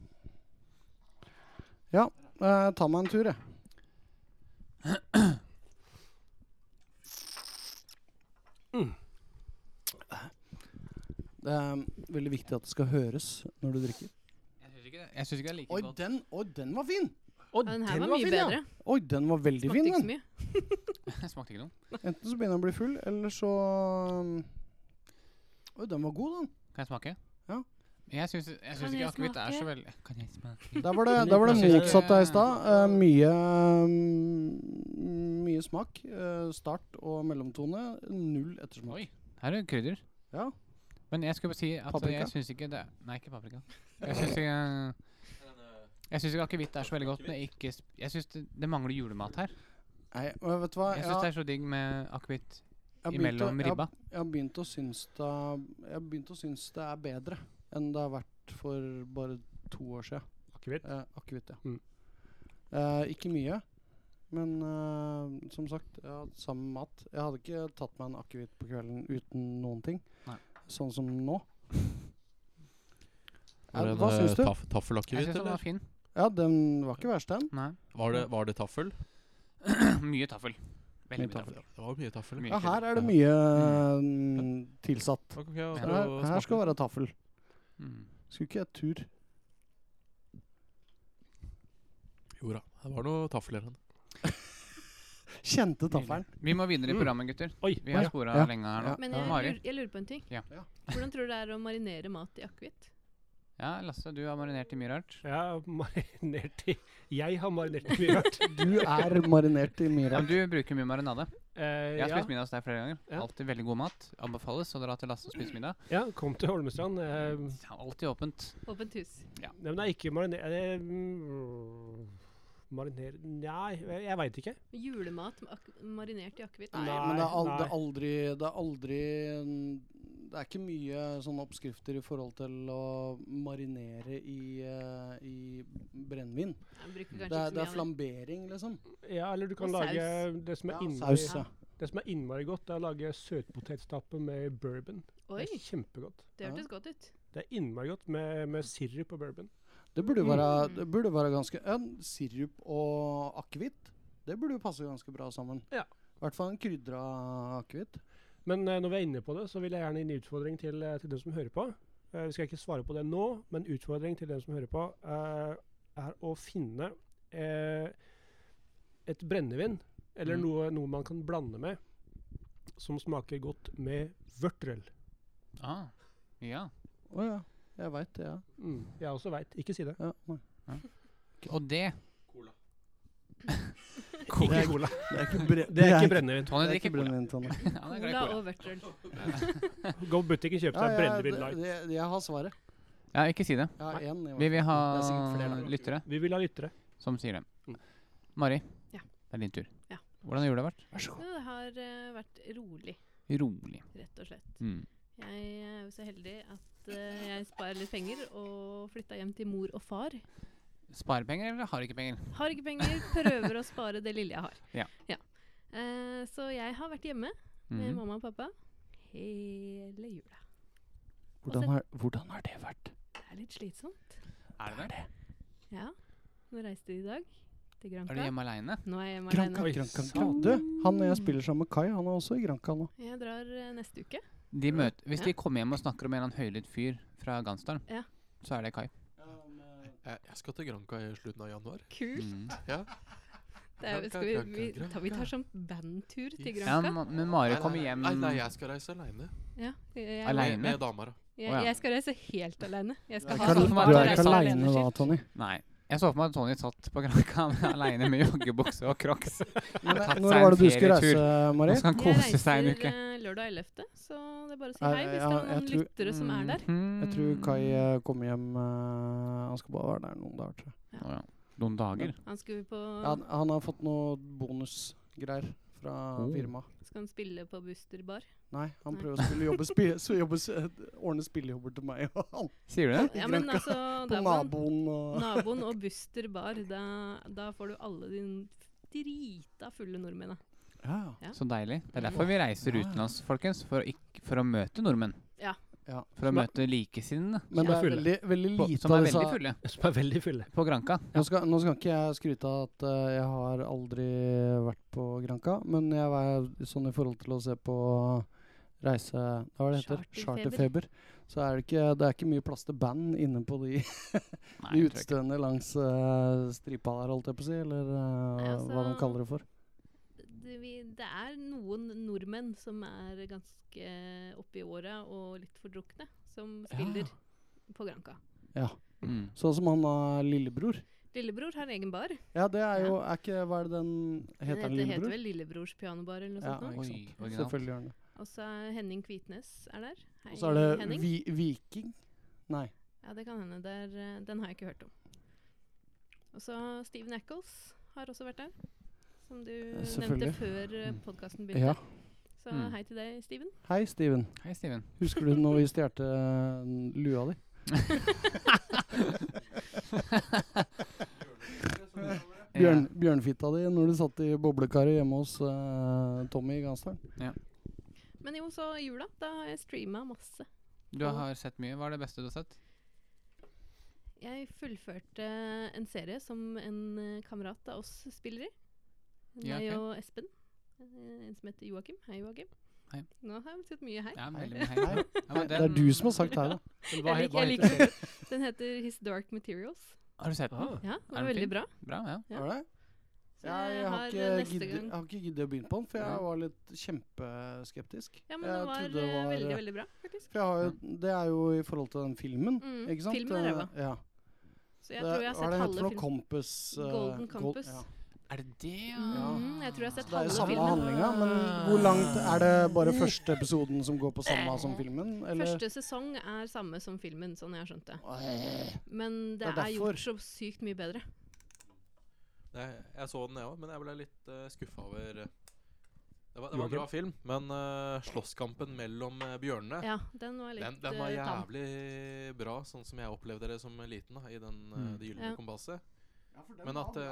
S2: Ja, eh, ta meg en tur, jeg. Det er veldig viktig at det skal høres når du drikker.
S3: Jeg syns ikke, jeg synes ikke det er like
S2: Oi,
S3: godt.
S2: den, oi, den var fin!
S5: Ja, den her var mye
S2: ja.
S5: bedre.
S2: Oi, den var veldig
S5: Smakte
S2: fin.
S5: ikke så
S2: Den.
S5: mye.
S3: Smakte ikke noe.
S2: Enten så begynner jeg å bli full, eller så um, Oi, den var god, den.
S3: Kan jeg smake?
S2: Ja.
S3: Men Jeg syns jeg synes
S5: Kan
S3: ikke
S5: jeg
S3: akevitt er så
S5: smake?
S3: veldig Kan jeg smake?
S2: Der var det, der var det
S3: Jeg synes
S2: motsatt av i
S3: ikke-
S2: stad. Eh, mye mm, Mye smak. eh, start og mellomtone. Null ettersmak.
S3: Oi, her er det krydder.
S2: Ja.
S3: Men jeg skulle bare si at
S2: Paprika?
S3: jeg syns ikke det Nei, ikke paprika. Jeg syns ikke Jeg syns ikke akevitt er så veldig godt, men ikke sp- Jeg syns det, det mangler julemat her.
S2: Nei, og vet du hva?
S3: Jeg syns det er så digg med akevitt
S2: jeg har begynt å-
S3: imellom ribba.
S2: Jeg, har- jeg har begynt å synes det er- Jeg har begynt å synes det er bedre enn det har vært for bare to år siden.
S6: Akevitt.
S2: Eh, Akevitt, ja.
S6: Mm.
S2: Eh, ikke mye, men eh, som sagt, jeg har hatt sammen med mat. Jeg hadde ikke tatt meg en akevitt på kvelden uten noen ting,
S3: Nei.
S2: sånn som nå. Ja,
S4: Var det
S2: hva syns du?
S4: en eh, taff-
S3: Jeg
S4: taffelakevitt,
S3: syns den var
S4: eller?
S3: fin.
S2: Ja, den var ikke verst, den.
S3: Nei.
S4: Var det, var det taffel?
S3: Mye taffel.
S2: Mye
S3: Veldig mye
S2: taffel.
S3: taffel.
S4: Det var mye taffel.
S3: Mye.
S2: Ja, her er det mye eh, tilsatt.
S4: Ok, jeg skal
S2: Her, her skal
S4: smake.
S2: være taffel.
S3: Mm.
S2: Skulle ikke jeg tur.
S4: Jo da, det var noe taffel i den.
S2: Kjente taffelen.
S3: Vi må videre i
S6: Mm.
S3: programmet, gutter.
S6: Oi.
S3: Vi har
S2: Ja.
S3: spora
S2: Ja.
S3: lenge her nå.
S2: Ja.
S5: Men
S2: Ja.
S5: jeg
S3: Mari?
S5: lurer, jeg lurer på en ting.
S3: Ja.
S2: Ja.
S5: Hvordan tror du det er å marinere mat i akevitt?
S3: Ja, Lasse, du har marinert i mye rart.
S6: Jeg har marinert i Jeg har marinert i mye rart.
S2: Du er marinert i mye
S3: Ja,
S2: rart.
S3: men du bruker mye marinade.
S6: Eh,
S3: Jeg har
S6: ja.
S3: spist middag hos deg flere ganger.
S6: Ja.
S3: Alltid veldig god mat. Anbefales å dra til Lasse og spise middag.
S6: ja, kom til Holmestrand. Eh,
S2: Mm.
S3: Det er Alltid åpent.
S5: Åpent hus.
S6: nei, men det er ikke mariner... Eh, mm, mariner Nei, jeg, jeg veit ikke.
S5: Julemat med ak marinert i akevitt.
S2: Nei,
S6: Nei,
S2: men det er, al det
S6: nei.
S2: er aldri Det er aldri mm, Det er ikke mye sånne oppskrifter i forhold til å marinere i, eh, i brennevin.
S5: Jeg bruker
S2: Det
S5: kanskje
S2: er, det er
S5: ikke så mye av det.
S2: flambering, liksom.
S6: Ja, eller du kan
S5: Og
S6: lage
S5: saus.
S6: det som er
S2: Ja,
S6: innmari
S2: saus, ja.
S6: Det som er innmari godt, det er å lage søtpotetstappe med bourbon.
S5: Oi,
S6: Det er kjempegodt.
S5: det hørtes godt ut.
S6: Det er innmari godt med, med sirup og bourbon.
S2: Det burde
S6: Mm.
S2: være, det burde være ganske ja, Sirup og akevitt, det burde jo passe ganske bra sammen.
S6: Ja.
S2: I hvert fall en krydra akevitt.
S6: Men eh, når vi er inne på det, så vil jeg gjerne gi en utfordring til, eh, til dem som hører på. Eh, vi skal ikke svare på det nå, men utfordring til dem som hører på, eh, er å finne eh, et brennevin, eller
S3: Mm.
S6: noe, noe man kan blande med, som smaker godt med vørterøl.
S3: Ah. Ja.
S2: Å ja. Jeg veit det, ja.
S6: Mm. Jeg også veit. Ikke si det.
S2: ja. nei.
S3: Og det
S6: Ikke cola.
S2: Det er ikke, bre
S6: Det er ikke brennevin.
S2: det
S3: Tony
S2: er
S3: drikker
S2: ikke
S3: cola.
S2: brennevin. Tonje.
S3: Ja, det er glad i
S5: Cola
S3: cola.
S5: og vørterøl.
S6: Gå på butikken, kjøp
S2: Ja,
S6: deg
S2: ja,
S6: brennevin
S2: det-
S6: light.
S2: det- jeg har svaret.
S3: Ja, ikke si det.
S2: Jeg har én. i hvert
S3: Vi vil ha
S2: Det er sikkert flere der.
S3: lyttere
S6: Vi vil ha lyttere.
S3: som sier det.
S6: Mm.
S3: Mari,
S5: Ja.
S3: det er din tur.
S5: Ja.
S3: Hvordan har jula vært?
S2: fall. Vær så god.
S5: Men Det har eh, vært rolig,
S3: Rolig.
S5: rett og slett.
S3: Mm.
S5: Jeg er jo så heldig at eh, jeg sparer litt penger og flytta hjem til mor og far.
S3: Sparepenger eller har ikke penger?
S5: Har ikke penger, prøver å spare det lille jeg har.
S3: Ja.
S5: Eh, så jeg har vært hjemme med
S3: Mhm.
S5: mamma og pappa hele jula.
S2: Hvordan har, hvordan har det vært?
S5: Det er litt slitsomt.
S3: Er det det?
S5: Ja. Nå reiste de i dag til
S3: Er du
S5: Granca.
S3: hjemme aleine?
S5: Nå er jeg hjemme
S2: Granca,
S5: alene.
S6: Oi,
S2: Granca,
S6: sant.
S2: Du, han jeg spiller sammen med Kai, han er også i Granca nå.
S5: Jeg drar eh, neste uke. Mm.
S3: Hvis de kommer hjem og snakker om en eller annen høylytt fyr fra Gansdalen,
S5: Ja.
S3: så er det Kai.
S4: Jeg, jeg skal til Granca i slutten av januar.
S5: Kult.
S3: Mm.
S5: Det er, jo- skal vi, vi, tar, vi tar sånn bandtur til
S3: Ja,
S5: Granca.
S3: ma- men Mari
S4: Nei,
S3: kommer
S4: nei,
S3: hjem
S4: Nei, nei, jeg skal reise aleine.
S5: Ja, jeg, jeg,
S3: Alene?
S4: Med, med dama, da.
S3: Å, ja.
S5: jeg, jeg skal reise helt alene. Jeg skal
S3: Du
S5: ha
S3: er ikke
S5: sånn
S3: al-
S5: bare
S3: du er
S5: reise
S3: ikke
S5: alene-skilt.
S2: Tony.
S3: Nei. Jeg så for meg at Tony satt på Granka aleine med joggebukse og crocs.
S2: Når
S3: tatt seg en
S2: var det du skulle
S3: ferietur.
S2: reise, Mari?
S3: Nå skal han
S5: Jeg
S3: kose seg en
S5: reiser,
S3: uke.
S5: eh, lørdag 11., så det er bare å si
S2: Nei,
S5: hei hvis
S2: ja,
S5: det er
S2: jeg
S5: noen
S2: tror-
S5: lyttere som er der.
S3: Mm.
S2: eh, Jeg tror Kai eh, kommer hjem eh, Han skal bare være der noen dager, tror jeg.
S3: Å, ja. Noen dager?
S5: Han skulle på
S2: Ja, han, han har fått noe bonusgreier fra firmaet.
S5: Skal han spille på Buster bar?
S2: Nei, han
S5: Nei.
S2: prøver å spille jobbe, spi, så jobbe, s- ordne spillejobber til meg og han.
S3: Sier du det?
S5: Ja, men
S2: Grønka.
S5: altså
S2: På
S5: da må han-
S2: naboen og
S5: Naboen og Buster bar. Da, da får du alle de drita fulle nordmennene.
S2: ja.
S3: Så deilig. Det er derfor vi reiser
S2: Ja.
S3: utenlands, folkens. For å, ikk- for å møte nordmenn.
S2: ja.
S3: For å
S2: Men-
S3: møte likesinnede.
S2: Men det
S6: er
S2: er
S6: fulle.
S2: veldig, veldig
S3: på-
S2: lite
S3: Som
S2: av
S3: er
S2: disse
S3: veldig fulle.
S6: Som er veldig fulle.
S3: På Granca.
S2: Nå skal, nå skal ikke jeg skryte av at eh, jeg har aldri vært på Granca, men jeg var sånn i forhold til å se på reise... Hva er det det heter?
S5: Charterfeber.
S2: Charterfeber. Så er det ikke, det er ikke mye plass til band inne på de, de
S3: Nei, jeg tror ikke.
S2: utestedene langs eh, stripa der, holdt jeg på å si, eller eh,
S5: Nei, altså-
S2: hva de kaller det for.
S5: Det, vi, det er noen nordmenn som er ganske oppi åra og litt fordrukne, som spiller på Granca.
S3: Mm.
S2: Sånn som han har lillebror.
S5: Lillebror har egen bar.
S2: Ja, det er jo er ikke, Hva er det den
S5: Den
S2: heter? den
S5: heter, heter
S2: lillebror?
S5: vel Lillebrors pianobar eller noe
S2: Ja,
S5: sånt. nå.
S2: ikke
S3: Oi,
S2: sant.
S3: originalt.
S2: Selvfølgelig gjør den det.
S5: Og så er Henning Kvitnes er der. Hei,
S2: Og så er det
S5: Henning.
S2: vi, Viking. Nei.
S5: Ja, det kan hende. Det er, eh, den har jeg ikke hørt om. Og så Steve Nackles har også vært der. Som du nevnte
S2: selvfølgelig.
S5: før eh, podkasten begynte.
S2: Ja.
S5: Så
S3: Mm.
S5: hei til deg, Steven.
S2: Hei, Steven.
S3: Hei, Steven.
S2: Husker du når vi stjal eh, lua di? Bjørn, Bjørnfitta di når du satt i boblekaret hjemme hos eh, Tommy i Gansdalen?
S5: Men jo, så i jula, da har jeg streama masse.
S3: Ja. Du har sett mye. Hva er det beste du har sett?
S5: Jeg fullførte en serie som en eh, kamerat av oss spiller i.
S3: Ja,
S5: Meg
S3: ok.
S5: og Espen. Eh, En som heter Joakim. Hei, Joakim.
S3: Hei.
S5: Nå har vi sett mye her.
S3: Ja,
S2: Hei.
S3: veldig mye hei. Ja, men
S2: Det er
S3: den-
S2: du som har sagt her, da.
S4: Men hva,
S5: jeg
S4: he- hva
S5: liker, jeg
S4: heter serien?
S5: liker. Den heter His Dark Materials.
S3: Har du sett den?
S6: Ah.
S5: Ja, det var
S3: Er den
S5: veldig
S3: fin?
S5: bra.
S3: Bra, ja.
S5: Ja.
S2: Var det?
S5: Så
S2: Jeg, jeg, har ikke
S5: eh,
S2: giddet- jeg har ikke giddet å begynne på den, for jeg
S3: Nei.
S2: var litt kjempeskeptisk.
S5: Ja, men
S2: jeg
S5: det var,
S2: trodde det
S5: eh,
S2: var-
S5: veldig, veldig bra, faktisk.
S2: For jeg har jo, det er jo i forhold til den filmen,
S5: Mm,
S2: ikke sant?
S5: filmen er ræva.
S2: Eh, Ja.
S5: Så jeg tror jeg har sett
S2: Hva er det
S5: halve
S2: heter for noe?
S5: filmen.
S2: Compass? eh,
S5: Golden
S2: Gold-
S5: Compass.
S2: ja.
S3: Er det det,
S2: Ja.
S5: Mm, jeg tror jeg har sett
S2: Det er jo
S5: halve
S2: samme
S5: filmen.
S2: handlinga, men
S3: Ah.
S2: hvor langt er det bare første episoden som går på samme som filmen? Eller?
S5: Eh. Første sesong er samme som filmen, sånn jeg har skjønt det.
S2: Åh,
S5: Men det,
S2: Det er
S5: er,
S2: derfor.
S5: gjort så sykt mye bedre.
S4: Nei, jeg så den, jeg òg, men jeg ble litt uh, skuffa over eh, Det var, det var
S6: Joakim?
S4: en bra film, men eh, slåsskampen mellom eh, bjørnene
S5: Ja, den var litt
S4: den, den var
S5: eh, tam.
S4: jævlig bra, sånn som jeg opplevde det som liten da, i den, eh,
S3: Mm.
S4: Det gylne
S5: Ja.
S4: kompasset. Men at eh,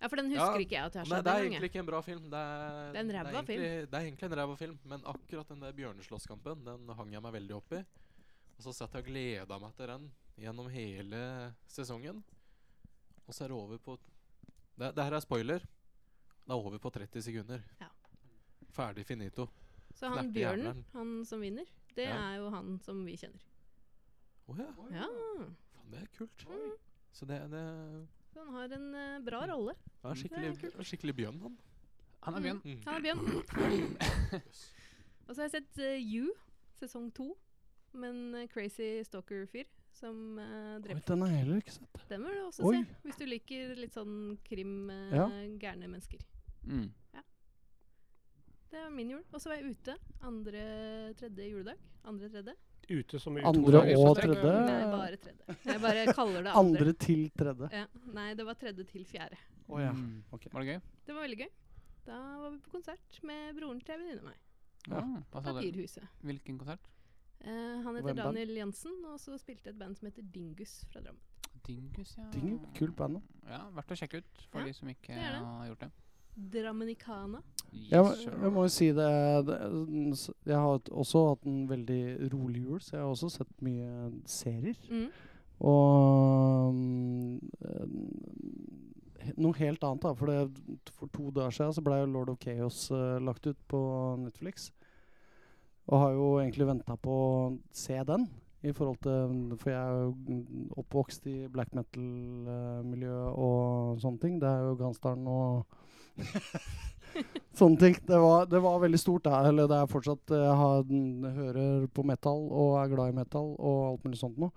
S5: Ja, for den
S4: Ja,
S5: husker ikke jeg at jeg har
S4: Nei,
S5: sett
S4: det er
S5: den
S4: egentlig
S5: gangen.
S4: ikke en bra film. Det er,
S5: Det er en ræva film.
S4: egentlig- Det er egentlig en ræva film, men akkurat den der bjørneslåsskampen Den hang jeg meg veldig opp i. Og så satt jeg og gleda meg til den gjennom hele sesongen. Og så er det over på Det, det her er spoiler. Det er over på 30 sekunder.
S5: Ja.
S4: Ferdig finito.
S5: Så han
S4: knepper
S5: bjørnen,
S4: jerneren.
S5: han som vinner, det
S4: Ja.
S5: er jo han som vi kjenner.
S4: Å ja.
S5: Ja,
S4: Faen, det er kult.
S5: Mm.
S4: Så det, det
S5: så han har en eh, bra rolle.
S4: det er skikkelig, det er skikkelig bjørn, han.
S3: Han er
S5: Mm.
S3: bjørn.
S4: Mm.
S5: Han er bjørn.
S4: Jøss.
S5: Og så har jeg sett eh, You, sesong to, med en eh, crazy stalker-fyr som eh,
S2: Oi,
S5: dreper
S2: den har jeg heller ikke sett.
S5: Den må du også
S2: Oi.
S5: se, hvis du liker litt sånn krim, eh,
S2: Ja.
S5: gærne mennesker.
S3: Mm.
S5: Det var min jul. Og så var jeg ute andre, tredje juledag. Andre, tredje.
S6: Ute som i to
S2: Andre
S6: dager i
S2: og
S6: strekk.
S2: tredje.
S5: Nei, bare tredje. Jeg bare kaller det andre.
S2: Andre til tredje.
S5: Ja. Nei, det var tredje til fjerde.
S2: Å ja.
S3: Mm.
S2: ok.
S3: Var det gøy?
S5: Det var veldig gøy. Da var vi på konsert med broren til en venninne av meg.
S2: Ja.
S3: Ah, hva sa du?
S5: Papirhuset.
S3: Hvilken konsert?
S5: Eh, han heter
S2: Hvem band?
S5: Daniel Jansen, og så spilte et band som heter Dingus fra Drammen.
S3: Dingus, ja.
S2: Ding, kult band, da.
S3: Ja, Verdt å sjekke ut for
S5: Ja,
S3: de som ikke
S5: det er det.
S3: har gjort det.
S5: Drammenicana.
S2: Jeg, må-
S3: Yes,
S2: jeg må jo si det, eh, det s- Jeg har hatt- også hatt en veldig rolig jul, så jeg har også sett mye serier.
S5: Mm.
S2: Og mm, eh, he- noe helt annet, da. For, det, for to dager siden så ble jo Lord of Chaos eh, lagt ut på Netflix. Og har jo egentlig venta på å se den. I forhold til, for jeg er jo mm, oppvokst i black metal-miljøet og sånne ting. Det er jo Gansdalen og sånne ting. Det var, det var veldig stort, da. Eller det er fortsatt Jeg har, hører på metal og er glad i metal og alt mulig sånt noe.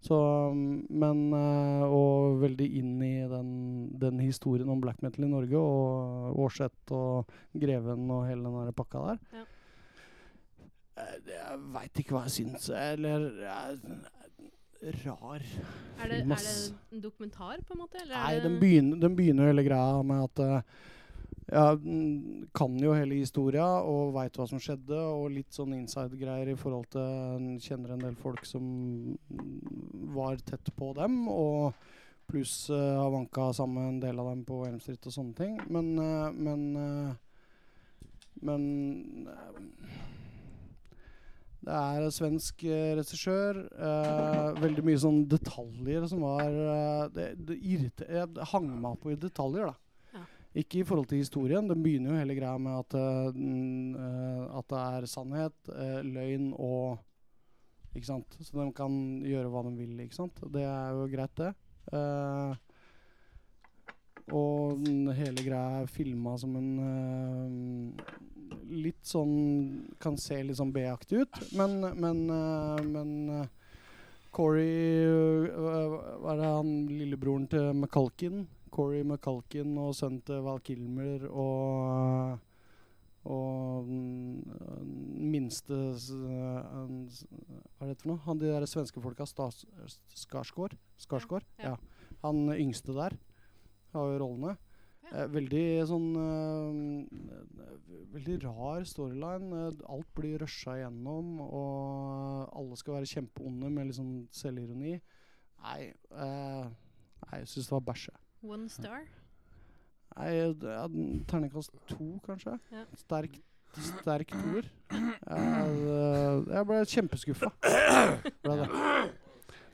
S2: Så, mm, men eh, Og veldig inn i den, den historien om black metal i Norge, og Aarseth og Greven og hele den der pakka der.
S5: Ja.
S2: Eh, det- Jeg veit ikke hva jeg syns, eller jeg, rar
S5: Er det,
S2: film,
S5: er det
S2: ass.
S5: en dokumentar, på en måte? Eller
S2: Nei,
S5: er
S2: den
S5: det
S2: begynner, den begynner hele greia med at eh, ja, den kan jo hele historia og veit hva som skjedde, og litt sånn inside-greier i forhold til en Kjenner en del folk som mm, var tett på dem, og pluss eh, har vanka sammen en del av dem på Elm Street og sånne ting. Men eh, Men eh, Men eh, det er en svensk eh, regissør. eh, veldig mye sånn detaljer som var eh, Det, det irrite- jeg d- hang meg på i detaljer, da.
S5: Ja.
S2: Ikke i forhold til historien. Den begynner jo hele greia med at, eh, den, eh, at det er sannhet, eh, løgn og Ikke sant? Så de kan gjøre hva de vil, ikke sant? Det er jo greit, det. Eh, og den hele greia er filma som en eh, litt sånn Kan se litt sånn B-aktig ut, men Men, eh, men eh, Corey eh, hva- Hva er det han lillebroren til McCulkin? Corey McCulkin og sønnen til Val Kilmer og og den den minste s- en s- Hva er det for noe? Han de der svenske folka. Stas- Skarsgård? Skarsgård?
S5: Ja, ja.
S2: Ja. Han yngste der har jo rollene. Eh, veldig sånn eh, Veldig rar storyline. Eh, alt blir rusha igjennom, og alle skal være kjempeonde med litt sånn selvironi. Nei, eh, nei jeg syns det var bæsje.
S5: One Star?
S2: Nei, det er en Terningkast to, kanskje.
S5: Ja.
S2: Sterk, sterk toer. Jeg, eh, jeg ble kjempeskuffa. Ble det.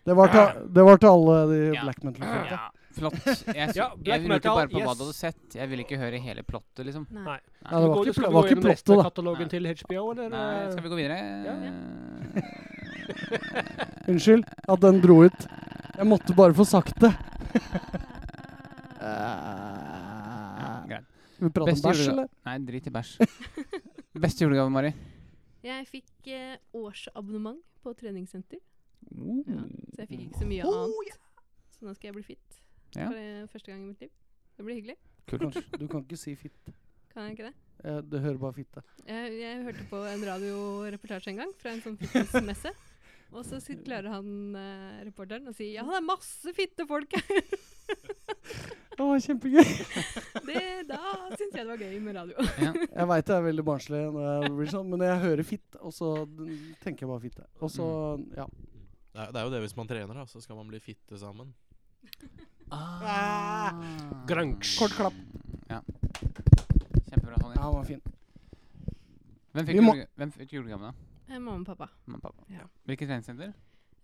S2: Det var, til, det var til alle de
S3: Ja.
S2: black metal-folka.
S3: Ja, flott. Jeg,
S6: Ja,
S3: ja,
S6: black
S3: jeg ville ikke
S6: metal,
S3: bare på hva
S6: yes.
S3: du hadde sett. Jeg ville ikke høre hele plottet, liksom.
S5: Nei.
S6: Nei.
S2: Ja, det var ikke,
S6: skal
S2: pl- var
S6: vi gå
S2: ikke
S6: gjennom
S2: plottet, da.
S6: restekatalogen til HBO, eller? eh,
S3: Nei, skal vi gå videre?
S6: Ja.
S2: Unnskyld at den dro ut. Jeg måtte bare få sagt det.
S3: Ja, greit.
S2: Vi prater om
S3: Beste
S2: bæsj,
S3: julega-
S2: eller?
S3: Nei, drit i bæsj. Beste julegave, Mari?
S5: Jeg fikk eh, årsabonnement på treningssenter,
S3: Uh.
S2: Mm.
S5: så jeg fikk ikke så mye annet. Så nå skal jeg bli fit
S3: Ja.
S5: for eh, første gang i mitt liv. Det blir hyggelig.
S2: Du kan, ikke- du kan ikke si fitte.
S5: Kan jeg ikke det?
S2: Eh, Det hører bare fitte.
S5: Jeg, jeg hørte på en radioreportasje en gang fra en sånn fitnessmesse. Og så sit- klarer han eh, reporteren å si ja, det er masse fitte folk her.
S2: Å, kjempegøy.
S5: Det- Da syns jeg det var gøy med radio.
S2: Jeg veit det er veldig barnslig, når jeg blir sånn, men jeg hører fitt, og så tenker jeg bare fitte. Og så, ja.
S4: Det er, det er jo det hvis man trener, da. Så skal man bli fitte sammen.
S6: Grunch.
S2: Ah. Kort klapp.
S3: Ja. Kjempebra,
S2: Ja,
S3: Tonje.
S2: han var fin.
S3: Hvem
S2: Vi
S3: fikk,
S2: må-
S3: julega hvem fikk julegave, da?
S5: Eh, Mamma og pappa.
S3: Mamma og pappa.
S5: Ja.
S3: Hvilket treningssenter?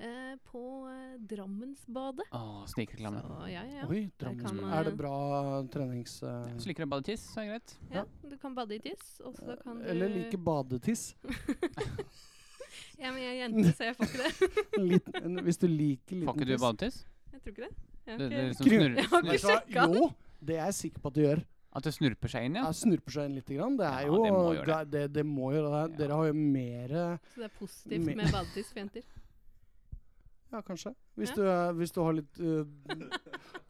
S5: Eh, på eh, Drammensbadet.
S3: Å, snikreklame.
S5: Så ja, ja, ja.
S2: Oi,
S5: Der kan
S2: Drammensbadet.
S5: man-
S2: Er det bra trenings... eh,
S3: Hvis du liker å bade tiss, så er det greit.
S5: ja. Du kan bade i tiss, og så kan du
S2: Eller like badetiss.
S5: Ja, men jeg er jente, så jeg får ikke det.
S2: En liten, en, hvis du liker
S3: Får
S2: liten
S3: ikke du badetiss?
S5: Jeg tror ikke det.
S3: Det,
S5: Jeg har
S3: det
S5: ikke-
S3: liksom
S2: Krim.
S3: snurrer,
S5: Jeg har
S3: snurrer,
S2: Vet
S5: ikke
S2: du hva?
S5: sjekka det.
S2: Jo, det er jeg sikker på at du gjør.
S3: at det snurper seg inn, ja?
S2: Jeg snurper seg inn litt. Grann. Det er
S3: Ja,
S2: jo
S3: det må gjøre
S2: det. er- det, det må gjøre det.
S3: Ja.
S2: Dere har jo mer
S5: Så det er positivt
S2: Me-
S5: med badetiss for jenter.
S2: Ja, kanskje. Hvis,
S5: Ja.
S2: du, er- hvis du har litt eh,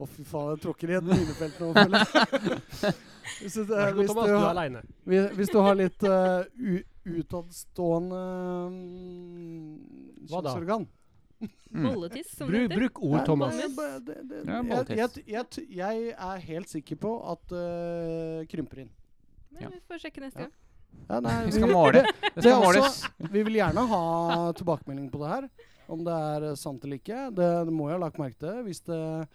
S2: Å, fy faen, jeg tråkker i et minefelt nå, føler jeg. Hvis du, eh,
S6: Vær så god,
S2: hvis
S6: Thomas,
S2: du,
S6: du er
S2: har-
S6: aleine.
S2: hvis, hvis du har litt eh, u- utadstående mm,
S6: Hva da?
S2: kjønnsorgan
S3: Mm.
S5: Bolletiss, som det
S6: Bru,
S5: heter.
S6: bruk ord,
S2: Nei,
S6: Thomas.
S2: bare- bare- det- det-
S3: Ja,
S2: jeg, jeg,
S3: bolletiss.
S2: jeg, t- jeg er helt sikker på at eh, krymper inn.
S5: Men vi får sjekke neste
S2: Ja.
S5: gang.
S2: Ja, nei,
S3: Vi skal
S2: vi-
S3: måle.
S2: det-
S3: Det
S2: Det er
S3: skal måles.
S2: også, vi vil gjerne ha tilbakemelding på det her. Om det er eh, sant eller ikke. Det, det må jeg ha lagt merke til. Hvis det,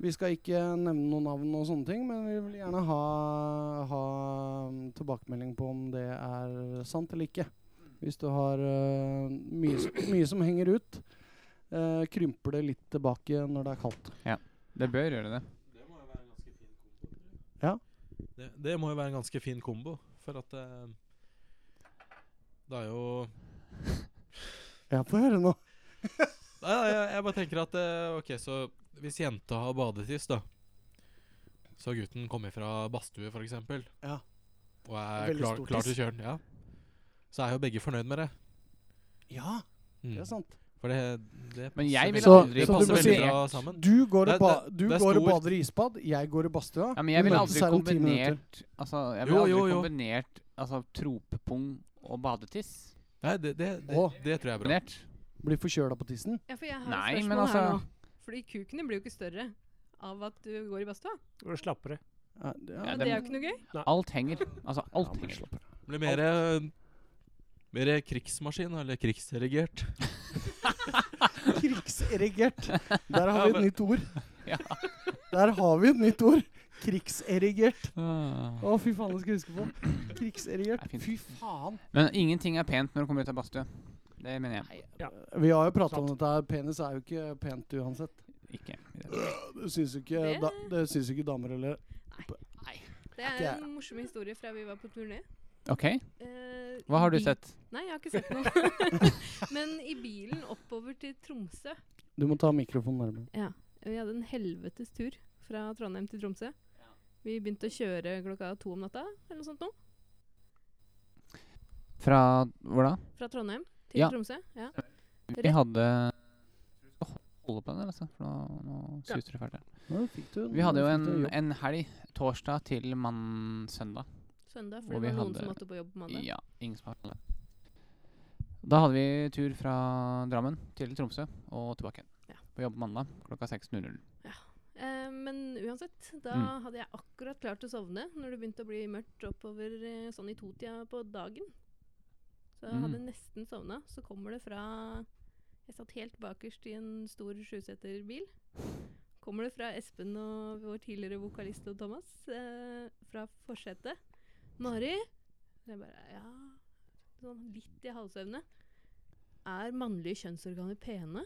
S2: vi skal ikke nevne noen navn og sånne ting, men vi vil gjerne ha, ha mm, tilbakemelding på om det er sant eller ikke. Hvis du har eh, mye, s- mye som henger ut, eh, krymper det litt tilbake når det er kaldt.
S3: Det bør gjøre det.
S4: Det, det må jo være en ganske fin kombo, for at eh, Det er jo
S2: Ja, få høre nå.
S4: Nei, nei, jeg, jeg bare tenker at eh, Ok, så hvis jenta har badetiss, da Så har gutten kommet fra badstue, for eksempel
S2: Ja.
S4: Og er
S2: Veldig
S4: klar,
S2: stor
S4: klar
S2: tiss.
S4: til å kjøre den, ja Så er jo begge fornøyd med det.
S2: Ja,
S4: Mm.
S2: det er sant.
S4: For det, det
S3: Men jeg
S4: passer
S3: ville
S4: veldig-
S2: aldri
S4: Det passer
S2: kombinert-
S4: veldig bra sammen.
S2: Du går,
S4: Det-
S2: og, ba
S4: det-
S2: du
S4: det er
S2: går og
S4: stort.
S2: bader i isbad, jeg går i badstua.
S3: Ja, men jeg
S2: Vi
S3: ville
S2: møtes
S3: aldri
S2: her om ti minutter.
S3: kombinert altså, Jeg ville
S4: Jo,
S3: aldri
S4: jo, jo.
S3: kombinert altså, tropepung og badetiss.
S4: Nei, det, det, det,
S2: Å.
S4: det tror jeg er bra.
S3: Kombinert.
S2: Blir forkjøla på tissen.
S5: Ja, for jeg har
S3: Nei,
S5: et
S3: men
S5: spørsmål her
S3: altså-
S5: nå. Fordi kuken din blir jo ikke større av at du går i badstua.
S6: Når du slapper av.
S2: Ja, det- ja.
S3: Ja, det-
S5: Men det er jo ikke noe gøy.
S3: Alt henger. Altså, alt
S2: men
S3: henger.
S2: slapp av.
S4: Blir mer, eh, mer krigsmaskin, eller krigsdelegert.
S2: Krigserigert. Der har vi et nytt ord.
S3: Ja.
S2: Der har vi et nytt ord. Krigserigert.
S3: Ah.
S2: Å, fy faen, det skal jeg huske på. Krigserigert.
S3: Det er fint.
S2: Fy faen.
S3: Men ingenting er pent når du kommer ut av badstue. Det mener jeg
S2: Vi har jo prata om dette her. Penis er jo ikke pent uansett.
S3: ikke. i det.
S2: Det syns jo ikke,
S5: Det-
S2: da, det syns jo ikke damer heller.
S5: Det er
S2: Ja.
S5: en morsom historie fra vi var på turné.
S3: OK,
S5: Eh,
S3: hva har du
S5: i-
S3: sett?
S5: Nei, jeg har ikke sett noe. Men i bilen oppover til Tromsø
S2: Du må ta mikrofonen nærmere.
S5: Vi hadde en helvetes tur fra Trondheim til Tromsø. Vi begynte å kjøre klokka to om natta, eller noe sånt nå.
S3: Fra hvor da?
S5: Fra Trondheim til
S3: Ja.
S5: Tromsø. Ja.
S3: Vi hadde Holde på den der, altså. For nå, nå suser det fælt her.
S2: Ja, fikk du,
S3: Vi hadde jo
S2: fikk
S3: en,
S2: du jobb.
S3: en helg, torsdag til mann søndag.
S5: Søndag, for
S3: Hvor
S5: det
S3: vi
S5: var noen
S3: hadde-
S5: som måtte på jobb på mandag.
S3: Ja, ingen som har det. Da hadde vi tur fra Drammen til Tromsø og tilbake igjen.
S5: Ja.
S3: På jobb mandag klokka 6.00.
S5: Eh, men uansett, da
S3: Mm.
S5: hadde jeg akkurat klart å sovne når det begynte å bli mørkt oppover eh, sånn i totida på dagen. Så jeg hadde
S3: Mm.
S5: nesten sovna. Så kommer det fra Jeg satt helt bakerst i en stor sjuseterbil. Kommer det fra Espen og vår tidligere vokalist og Thomas eh, fra forsetet. 'Mari?' Og Jeg bare Ja. Sånn litt i halvsøvne. Er mannlige kjønnsorganer pene?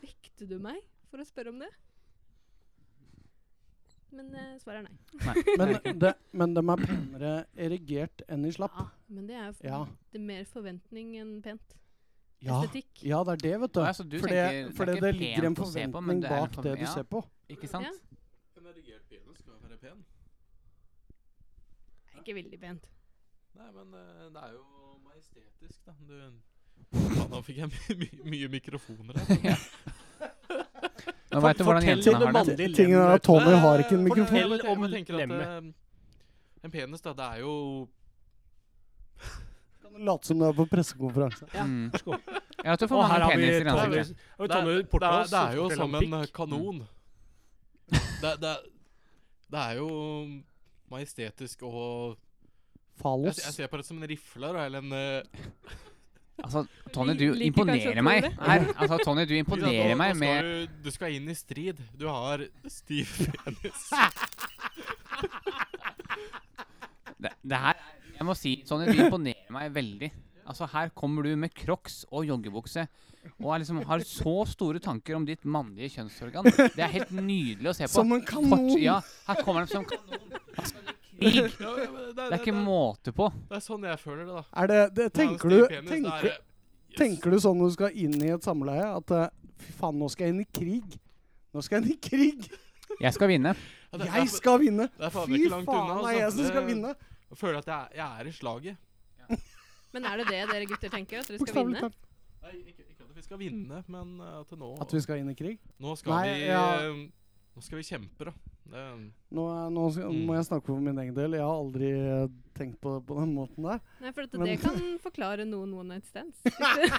S5: Vekte du meg for å spørre om det? Men eh, svaret er nei.
S2: Men, det, men de er penere erigert enn i slapp.
S5: Ja, men det er, f-
S2: Ja.
S5: det er mer forventning enn pent.
S2: Ja,
S5: Estetikk.
S2: ja det er det, vet du.
S3: Å, ja, så du
S2: for det,
S3: tenker det er
S2: for det,
S3: ikke
S2: det ligger en
S3: pent å se på, men
S2: forventning
S3: det er en
S2: bak det
S3: forven-
S2: du
S3: ja.
S2: ser på.
S3: Ikke sant?
S5: Ja.
S4: En erigert penis skal være pen.
S5: Det er ikke veldig pent.
S4: Nei, men eh, det er jo majestetisk, da. Du Faen, nå fikk jeg my my mye mikrofoner her.
S3: Nå veit du hvordan
S6: fortell
S3: jentene har
S6: det
S3: det.
S6: mannlige lem,
S2: Tingen er at
S6: vet du.
S2: Tommy har ikke en
S4: Eh,
S2: mikrofon.
S4: fortell
S6: Fortell
S4: om
S6: om
S4: jeg tenker at
S6: lemmet.
S4: eh, En penis, da, det er jo
S2: Kan du late som du er på pressekonferanse?
S3: Mm.
S6: Vær så god.
S3: Ja, at du
S6: Og
S3: får
S6: her
S3: mange
S6: har vi
S3: peniser i
S6: Tommy,
S3: ansiktet.
S6: har vi Tommy
S4: det, er,
S6: Portås.
S4: det er jo
S6: forteller om
S4: som en
S6: pikk.
S4: eh, kanon. Det, det, det er jo majestetisk og jeg,
S2: Falos.
S4: jeg ser på det som en rifle da, eller en eh,
S3: Altså, Tony,
S5: Li-
S3: du
S5: liker kanskje
S3: imponerer
S5: å tro
S3: meg
S5: det.
S3: her. Altså, Tony, du
S4: Ikke sant,
S3: imponerer
S4: nå-
S3: meg
S4: nå
S3: med
S4: skal du, du skal inn i strid. Du har stiv penis.
S3: Det, det her er- Jeg må si, Sonny, du imponerer meg veldig. Altså, her kommer du med crocs og joggebukse og er liksom, har så store tanker om ditt mannlige kjønnsorgan. Det er helt nydelig å se på.
S2: Som en kanon!
S3: Fort- ja, her kommer de som kanon. Altså, krig.
S4: Ja, ja, men det,
S3: Det er ikke måte på.
S4: det er sånn jeg føler det, da.
S2: Er det, det
S4: Når jeg har
S2: tenker,
S4: stiv
S2: du,
S4: altså, penis, da er
S2: tenker,
S4: det- Yes.
S2: tenker du sånn når du skal inn i et samleie at eh, fy faen, nå skal jeg inn i krig? Nå skal jeg inn i krig!
S3: Jeg skal vinne.
S4: Ja, det- det
S2: Jeg
S4: er-
S2: skal vinne!
S4: det er faen
S2: Fy
S4: ikke langt
S2: faen,
S4: unna,
S2: det er jeg
S4: altså.
S2: som skal
S4: Det-
S2: vinne!
S4: Jeg føler at jeg, jeg er i slaget.
S5: Men er det det dere gutter tenker? At dere skal
S2: Bokstavelig
S5: vinne?
S2: talt.
S4: Nei, ikke, ikke at vi skal vinne, men eh, at nå
S2: At vi skal inn i krig?
S4: Nå skal
S2: Nei,
S4: vi
S2: ja.
S4: eh, Nå skal vi kjempe, da. Det, um,
S2: Nå, er- nå skal,
S4: Mm.
S2: må jeg snakke for min egen del. Jeg har aldri eh, tenkt på det på den måten der.
S5: Nei, for at
S2: Men-
S5: det kan forklare noen one night stands. eh,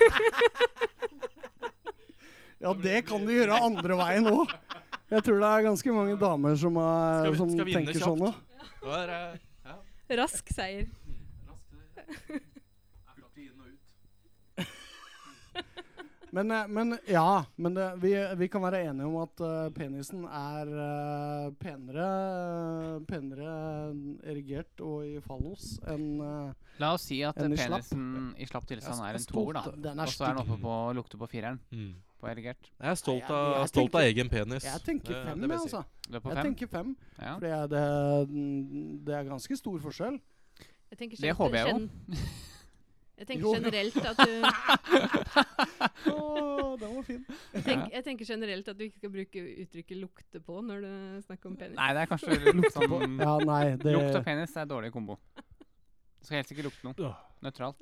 S2: Ja, det kan du gjøre andre veien òg. Jeg tror det er ganske mange damer som, er,
S4: Skal vi-
S2: som
S4: skal vi vinne
S2: tenker
S4: kjapt?
S2: sånn nå.
S4: det er eh, ja.
S5: Rask seier.
S2: Men, eh, men ja, men det, vi, vi kan være enige om at eh, penisen er eh, penere, penere erigert og i fallos enn eh,
S3: La oss si at
S2: Enn i slapp.
S3: penisen i slapp tilstand er en toer, da.
S2: Den
S3: Og
S2: er
S3: så er den
S2: stygg.
S3: oppe på lukter på fireren
S4: Mm.
S3: på erigert.
S4: Jeg er stolt
S2: Nei, jeg-
S4: av,
S2: jeg
S4: stolt av
S2: tenker-
S4: egen penis.
S2: Jeg tenker
S4: Det-
S2: fem,
S4: det vil
S2: jeg,
S4: si.
S2: altså.
S3: Du er på
S2: Jeg
S3: fem?
S2: tenker fem.
S3: Ja.
S2: For det, er- det, det er ganske stor forskjell.
S3: Mm.
S5: Jeg tenker
S3: Det
S5: gen-
S3: håper jeg jo.
S5: gen- Jeg tenker
S2: Jo.
S5: generelt at du
S2: Å, den var fin.
S5: tenk, Jeg tenker generelt at du ikke skal bruke uttrykket 'lukte på' når du snakker om penis.
S3: Nei, det er kanskje litt sånn
S2: Ja, nei, det
S3: Lukt og
S2: er
S3: penis er dårlig kombo. Det skal helst ikke lukte noe.
S6: Ja.
S3: Nøytralt.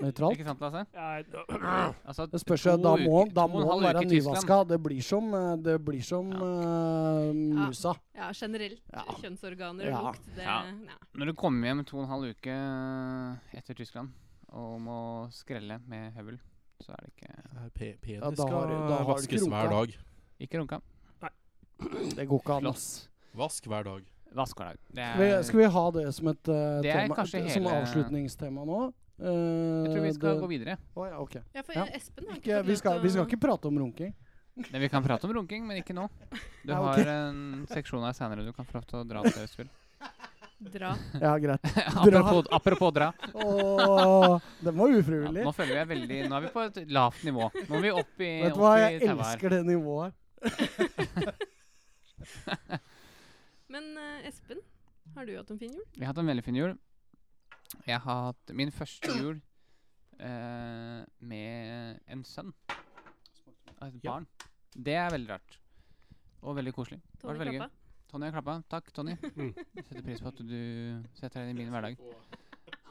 S2: nøytralt.
S3: Ikke sant, Lasse?
S6: Nei, da-
S3: Altså,
S2: Det spørs jo,
S3: to
S2: da må,
S3: uker-
S2: da
S3: to og
S2: må
S3: en
S2: han
S3: halv
S2: være
S3: uke i Tyskland.
S2: nyvaska. Det blir som, eh, det blir som eh, musa.
S5: Ja, generelt
S2: Ja.
S5: kjønnsorganer
S2: Ja.
S5: og lukt, det
S3: Ja.
S5: ja.
S3: Når du kommer eh, hjem to og en halv uke etter Tyskland og må skrelle med høvel, så er det ikke
S4: Eh, Pe Penis
S2: Ja, da har du- da
S4: skal
S2: har du
S4: vaskes
S2: ikke
S4: hver
S2: runka.
S4: dag.
S3: Ikke runka.
S2: Det går ikke an. ass.
S3: Flott.
S4: Vask hver dag.
S3: Vask hver dag. Det
S2: Skal vi,
S3: er,
S2: skal vi ha det som et eh,
S3: Det er
S2: tema,
S3: kanskje
S2: som
S3: hele-
S2: avslutningstema nå? Eh,
S3: jeg tror vi skal gå videre.
S2: ja, ok.
S5: Ja, for
S2: Ja.
S5: Espen har
S2: Ikke,
S5: fått
S2: vi,
S5: lov
S2: skal,
S5: til
S2: vi skal
S5: å-
S2: ikke prate om runking.
S3: Nei, vi kan prate om runking, men ikke nå. Du
S2: Ja,
S3: har
S2: ok.
S3: en seksjon her senere du kan få lov til å dra til Østfjell.
S5: Dra.
S2: Ja, greit.
S3: apropos, apropos dra.
S2: Åh, den var
S3: Ja,
S2: ufrivillig.
S3: nå føler jeg veldig Nå er vi på et lavt nivå. Nå er vi opp i
S2: Vet du
S3: opp
S2: hva,
S3: i
S2: jeg
S3: taua her.
S2: elsker det nivået.
S5: Men eh, Espen, har du hatt en fin jul?
S3: Vi har hatt en veldig fin jul. Jeg har hatt min første jul eh, med en sønn. Av Et
S6: Ja.
S3: barn. Det er veldig rart. Og veldig koselig. Var
S5: Tony
S3: det veldig gøy?
S5: klappa.
S3: Tony har klappa. Takk, Tony.
S6: Mm.
S3: Jeg setter pris på at du setter deg inn i min hverdag.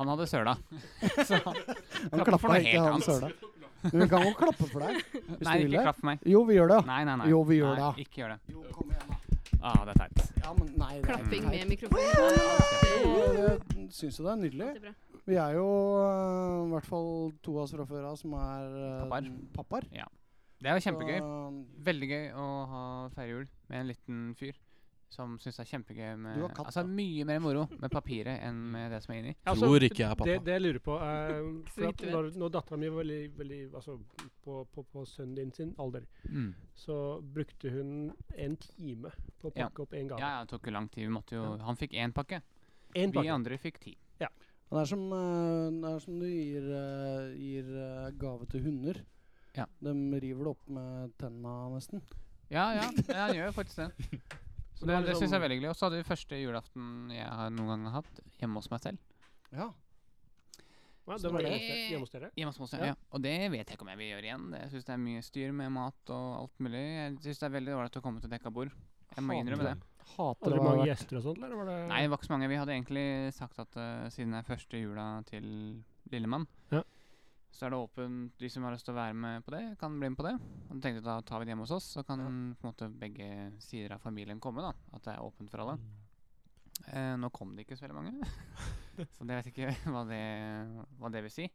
S3: Han hadde søla. Så han,
S2: Han
S3: Klappe for
S2: klappa
S3: noe
S2: ikke,
S3: helt
S2: han
S3: annet.
S2: søla. Men vi kan jo klappe for deg. Hvis
S3: nei,
S2: du vil
S3: ikke
S2: det.
S3: klapp for meg.
S2: Jo, vi gjør det.
S3: Nei, nei, nei.
S2: Jo, vi gjør
S3: nei,
S2: det.
S3: Ikke gjør det.
S2: Jo, kom igjen, da.
S3: Ah, det er teit.
S2: Ja, men nei, det er
S5: Klapping
S2: ikke
S5: med
S2: teit.
S5: mikrofonen. på.
S2: Jeg syns jo det er nydelig.
S5: Det er bra.
S2: Vi er jo øh, i hvert fall to av oss fra før av som er øh,
S3: Pappaer.
S2: pappaer.
S3: Det er jo kjempegøy.
S2: Så,
S3: Veldig gøy å ha feire jul med en liten fyr som syns det er kjempegøy med
S2: Du har katt,
S3: Altså
S2: da.
S3: mye mer moro med papiret enn med altså, det som er inni.
S4: Tror ikke jeg er pappa.
S6: Det, det jeg lurer på eh,
S5: vidt
S6: for at
S5: du vet.
S6: Når, når dattera mi var veldig, veldig altså, på, på, på sønnen din sin alder, så brukte hun en time på å
S3: Ja.
S6: pakke opp en
S3: Ja,
S6: gave.
S3: ja, det tok jo lang tid. Vi måtte jo Han fikk én pakke.
S6: En
S3: Vi
S6: pakke.
S3: andre fikk ti.
S2: Men Det er som, eh, det er som du gir, eh, gir eh, gave til hunder.
S3: Ja.
S2: De river det opp med tenna nesten.
S3: Ja, ja, ja, han gjør jo faktisk det. Så det, sånn
S6: det var
S3: det syns jeg
S6: liksom-
S3: er veldig hyggelig. Og så hadde vi første julaften jeg har noen gang har hatt, hjemme hos meg selv.
S2: Ja. Så
S6: Ja,
S3: Sånn
S6: det var
S2: det-
S6: det hjemme hos dere.
S3: Hjemme hos meg,
S2: Ja.
S3: ja. Og det vet jeg ikke om jeg vil gjøre igjen. Det- Jeg syns det er mye styr med mat og alt mulig. Jeg syns det er veldig ålreit å komme til dekka bord. Jeg må innrømme det.
S2: Hater
S6: Hadde
S2: det
S6: du mange
S2: var
S6: gjester og sånt, eller var det
S3: Nei, det var ikke så mange. Vi hadde egentlig sagt at eh, siden det er første jula til Lillemann,
S6: Ja.
S3: så er det åpent. De som har lyst til å være med på det, kan bli med på det. Og da tenkte jeg da tar vi det hjemme hos oss, så kan på en måte begge sider av familien komme. da, At det er åpent for alle.
S4: Mm.
S3: Eh, nå kom det ikke så veldig mange, så det vet jeg ikke hva det, hva det vil si.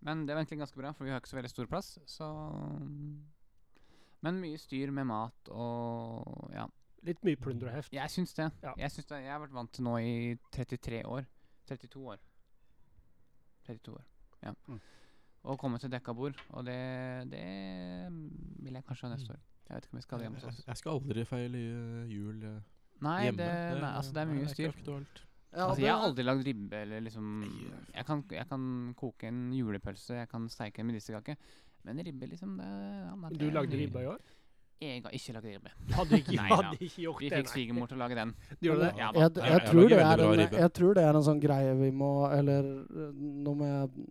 S3: Men det var egentlig ganske bra, for vi har ikke så veldig stor plass, så mm. Men mye styr med mat og ja.
S6: litt mye plunder og heft?
S3: Jeg syns det.
S6: Ja.
S3: Jeg, syns det. jeg har vært vant til nå i 33 år. 32 år. 32 år, ja.
S2: Mm.
S3: Å komme til dekka bord, og det, det mm, vil jeg kanskje ha neste
S4: Mm.
S3: år. Jeg vet ikke om vi skal hjem hos
S4: Jeg,
S3: oss.
S4: jeg skal aldri feile eh, jul eh,
S3: Nei,
S4: hjemme.
S3: det, nei, altså det er
S4: nei,
S3: mye
S4: ikke
S3: styr.
S4: aktuelt.
S2: ja,
S3: Altså,
S2: det,
S3: jeg har aldri lagd ribbe eller liksom Jeg kan, jeg kan koke en julepølse, jeg kan steike en medisterkake. Men ribbe, liksom det, ja, nei, det
S6: Du
S3: er
S6: lagde
S3: mye-
S6: ribba i år?
S3: Jeg har ikke lagd ribbe.
S6: Hadde ikke,
S3: Nei,
S6: hadde
S3: da.
S6: ikke gjort
S3: Vi
S6: det,
S3: fikk
S6: nei.
S3: svigermor til å lage den.
S6: Du gjorde det?
S4: Ja da.
S2: jeg,
S4: Jeg-
S2: jeg,
S4: jeg
S2: tror
S4: lager
S2: det
S4: veldig
S2: er
S4: bra
S2: en,
S4: ribbe.
S2: jeg tror det er en sånn greie vi må Eller eh, nå må jeg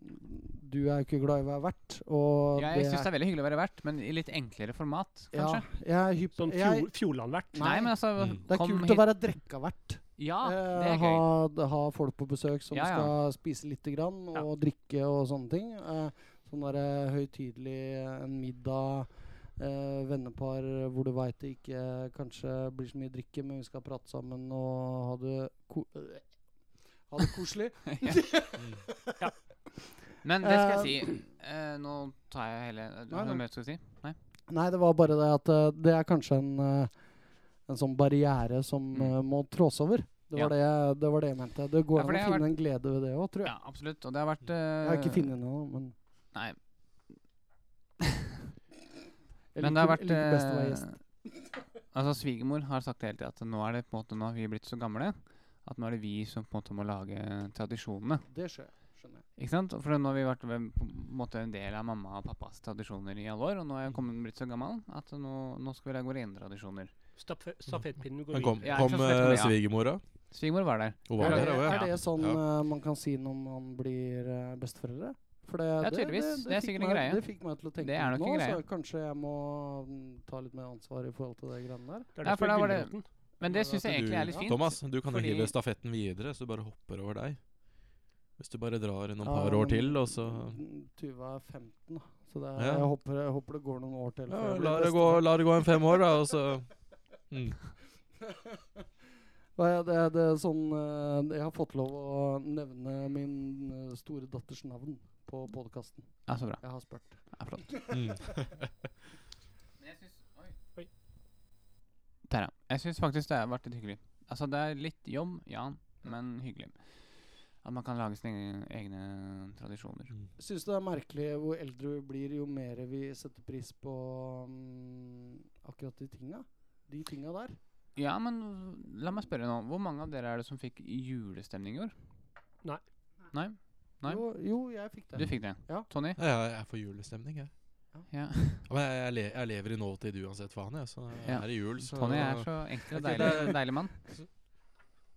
S2: Du er jo ikke glad i å være vert, og
S3: Jeg
S2: det
S3: syns det
S2: er-
S3: er veldig hyggelig å være vert, men i litt enklere format,
S2: ja,
S3: kanskje.
S2: jeg er hypp
S6: Sånn
S2: jeg,
S6: fjol, Fjordlandvert?
S3: Nei,
S2: Nei.
S3: men altså
S4: Mm.
S2: Det er
S3: kom
S2: kult
S3: hit.
S2: å være drekkavert.
S3: Ja,
S2: Eh,
S3: det er gøy.
S2: ha, d- ha folk på besøk som
S3: Ja, ja.
S2: skal spise lite grann og
S6: Ja.
S2: drikke og sånne ting. Eh, sånn derre høytidelig eh, en middag, eh, vennepar eh, hvor du veit det ikke eh, kanskje blir så mye drikke, men vi skal prate sammen og ha det ko øh, ha det koselig.
S3: Men det skal jeg si. Eh, nå tar jeg hele Du
S2: Nei,
S3: har
S2: nei.
S3: noe mer du skal si? Nei?
S2: Nei, det var bare det at eh, det er kanskje en, eh, en sånn barriere som
S3: Mm.
S2: eh, må trås over. Det
S3: Ja.
S2: var, det, jeg- det var det jeg mente. Det går
S3: Ja, for
S2: an
S3: det
S2: å
S3: har
S2: finne en glede ved det òg, tror jeg.
S3: Ja, absolutt. Og det har vært
S2: Jeg har ikke
S3: eh,
S2: funnet den ennå, men
S3: Nei.
S2: jeg
S3: Men det har
S2: liker- jeg
S3: vært
S2: liker best å være gjest.
S3: eh, Altså, svigermor har sagt hele tida at nå er det på en måte Nå har vi blitt så gamle at nå er det vi som på en måte må lage tradisjonene.
S2: Det skjønner jeg. Skjønner jeg.
S3: Ikke sant? For nå har vi vært ved- på en måte en del av mamma og pappas tradisjoner i alle år, og nå er jeg kommet blitt så gammel at nå, nå skal vi lage våre egne tradisjoner.
S6: Staffe- Stafettpinnen går
S4: Men kom,
S6: videre.
S3: Ja,
S4: kom
S3: ikke sant, vet du
S4: eh,
S3: det, ja.
S4: svigermora.
S3: Svigermor var der.
S4: Hun
S3: Ja,
S4: var
S2: Er,
S4: der
S2: det,
S4: òg, ja.
S2: er det sånn
S4: Ja.
S2: eh, man kan si når man blir eh, besteforeldre? For det,
S3: Ja, tydeligvis. Det er
S2: fikk
S3: sikkert en
S2: meg,
S3: greie.
S2: Det fikk meg til å tenke
S3: Det er
S2: litt
S3: nok
S2: nå,
S3: en greie.
S2: så kanskje jeg må mm, ta litt mer ansvar i forhold til det greiene der.
S6: Det
S3: Ja,
S6: er det
S3: for
S6: som
S3: da
S6: er
S3: var det-
S6: gulroten.
S3: Men det syns jeg egentlig er litt fint.
S4: Thomas, du kan
S3: fordi-
S4: hive stafetten videre, så du bare hopper over deg. Hvis du bare drar noen
S2: Ja,
S4: par år
S2: men
S4: til, og så
S2: Um, Mm, Tuva er 15, da. Så det er,
S4: Ja.
S2: jeg, håper, jeg håper det går noen år til.
S4: ja,
S2: før jeg blir
S4: la, det gå,
S2: bestefar.
S4: la det gå en fem år, da, og så mm.
S2: Nei, det, det er sånn eh, Jeg har fått lov å nevne min eh, store datters navn på podkasten.
S3: Ja, så bra.
S2: Jeg har spurt.
S3: er flott.
S4: Mm.
S3: Men jeg syns Oi.
S6: Oi.
S3: Der, ja. Jeg syns faktisk det har vært litt hyggelig. Altså, det er litt jobb, ja, men hyggelig. At man kan lage sine egne tradisjoner.
S2: Syns du det er merkelig hvor eldre du blir, jo mer vi setter pris på mm, akkurat de tinga? De tinga der?
S3: Ja, men la meg spørre nå. Hvor mange av dere er det som fikk julestemning i år?
S6: Nei.
S3: Nei? Nei.
S2: Jo, jo, jeg fikk
S3: Du
S2: det.
S3: fikk det?
S2: Ja.
S3: Tony?
S4: Ja, jeg, jeg får julestemning, jeg.
S3: Ja.
S4: Ja, Men jeg, jeg, le, jeg lever i nåtid uansett faen, jeg. Så
S3: Ja.
S4: er det jul, så
S3: Tony er så enkel og
S4: Ok,
S3: deilig,
S4: det-
S3: deilig mann.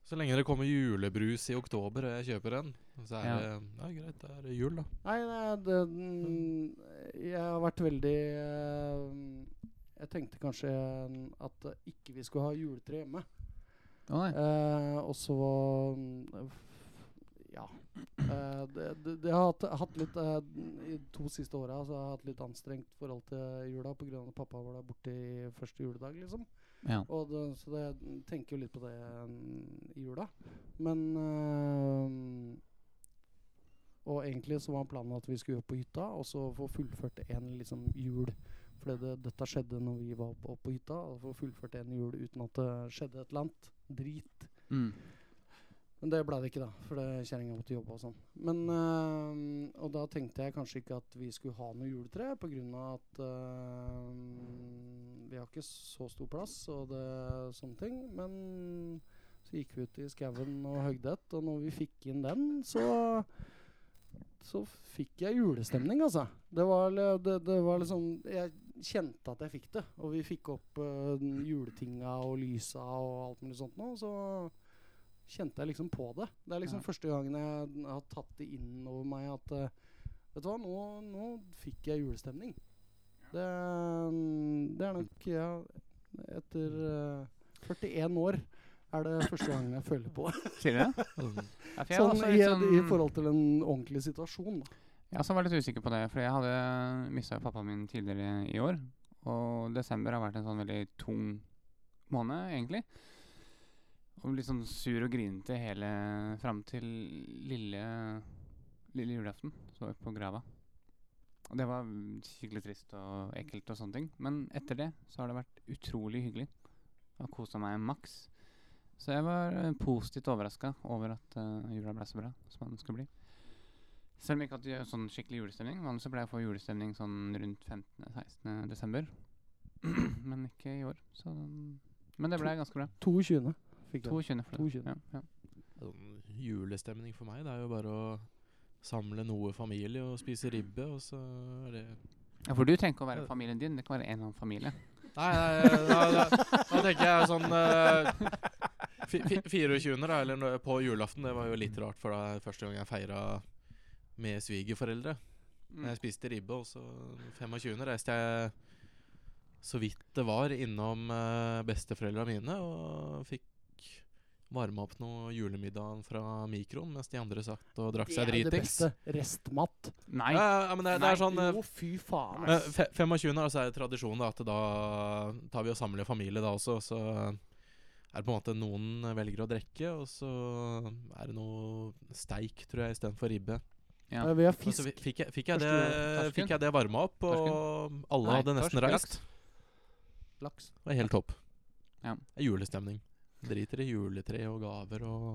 S4: Så lenge det kommer julebrus i oktober og jeg kjøper en, så er
S3: Ja.
S4: det ja, greit, da er det jul, da.
S2: Nei, nei det, mm, jeg har vært veldig eh, Jeg tenkte kanskje mm, at eh, ikke vi skulle ha juletre hjemme.
S3: Å nei.
S2: Eh, og så mm, f- Ja. Eh, det, det, det har hatt, hatt litt eh, I de to siste åra har jeg hatt litt anstrengt forhold til jula pga. at pappa var der borte i første juledag, liksom.
S3: Ja.
S2: Og det, så det, jeg tenker jo litt på det mm, i jula. Men øhm, Og egentlig så var planen at vi skulle opp på hytta, og så få fullført en liksom jul. For det, dette skjedde når vi var oppe opp på hytta. Og få fullført en jul uten at det skjedde et eller annet. Drit.
S3: Mm.
S2: Men det ble det ikke, da. For det- kjerringa måtte jobbe og sånn. Men øhm, Og da tenkte jeg kanskje ikke at vi skulle ha noe juletre, på grunn av at øhm, vi har ikke så stor plass og det, sånne ting. Men så gikk vi ut i skauen og høgde et, og når vi fikk inn den, så så fikk jeg julestemning, altså. Det var, li- det, det var liksom Jeg kjente at jeg fikk det. Og vi fikk opp eh, den juletinga og lysa og alt mulig sånt nå, og så kjente jeg liksom på det. Det er liksom
S3: Ja.
S2: første gangen jeg har tatt det inn over meg at eh, Vet du hva, nå, nå fikk jeg julestemning. Det, mm, det er nok ja, Etter eh, 41 år er det første gangen jeg føler på det.
S3: Sier du det? Ja, for jeg var
S2: Sånn,
S3: også
S2: i,
S3: litt
S2: I
S3: sånn
S2: forhold til en ordentlig situasjon. Da.
S3: Jeg også var litt usikker på det, for jeg hadde mista pappaen min tidligere i år. Og desember har vært en sånn veldig tung måned, egentlig. Og litt sånn sur og grinete hele fram til lille, lille julaften. Så var vi på grava. Og det var skikkelig trist og ekkelt og sånne ting. Men etter det så har det vært utrolig hyggelig. Jeg har kosa meg maks. Så jeg var eh, positivt overraska over at eh, jula ble så bra som den skulle bli. Selv om jeg ikke hadde gjør sånn skikkelig julestemning. Vanligvis så pleier jeg å få julestemning sånn rundt 15.-16. desember. Men ikke i år. Så Men det ble ganske bra.
S2: 22. fikk jeg.
S3: 22. for det.
S2: 22.
S3: Ja, ja.
S4: Sånn julestemning for meg, det er jo bare å samle noe familie og spise ribbe, og så er det
S3: ja, for du trenger ikke å være familien din. Det kan være en annen familie.
S4: Nei, nei, da, da, da tenker jeg sånn eh, fi, fi, 24. da, eller nå- på julaften, det var jo litt rart, for da er første gang jeg feira med svigerforeldre.
S3: Mm.
S4: Jeg spiste ribbe, og så 25. reiste jeg så vidt det var innom uh, besteforeldra mine og fikk varma opp noe julemiddagen fra mikroen mens de andre satt og drakk seg
S2: Det er det
S4: dritings.
S2: beste. Restmat.
S3: Nei.
S4: Ja, ja, men det, det er sånn eh,
S2: Jo, fy faen.
S4: men
S2: ass.
S4: fe- 25. altså, er det tradisjon da, at da tar vi og samler familie da også. og Så er det på en måte noen velger å drikke, og så er det noe steik, tror jeg, istedenfor ribbe.
S3: Ja.
S2: Eh, Vi har
S4: Og så
S2: fisk.
S4: fi- Altså, fikk jeg, fikk jeg det,
S3: Første- torsken?
S4: fikk jeg det varma opp, og alle
S3: Nei,
S4: hadde nesten
S3: torsk,
S4: reist.
S2: Laks.
S4: Det var helt topp.
S3: Ja.
S4: Det er julestemning. Driter i juletre og gaver og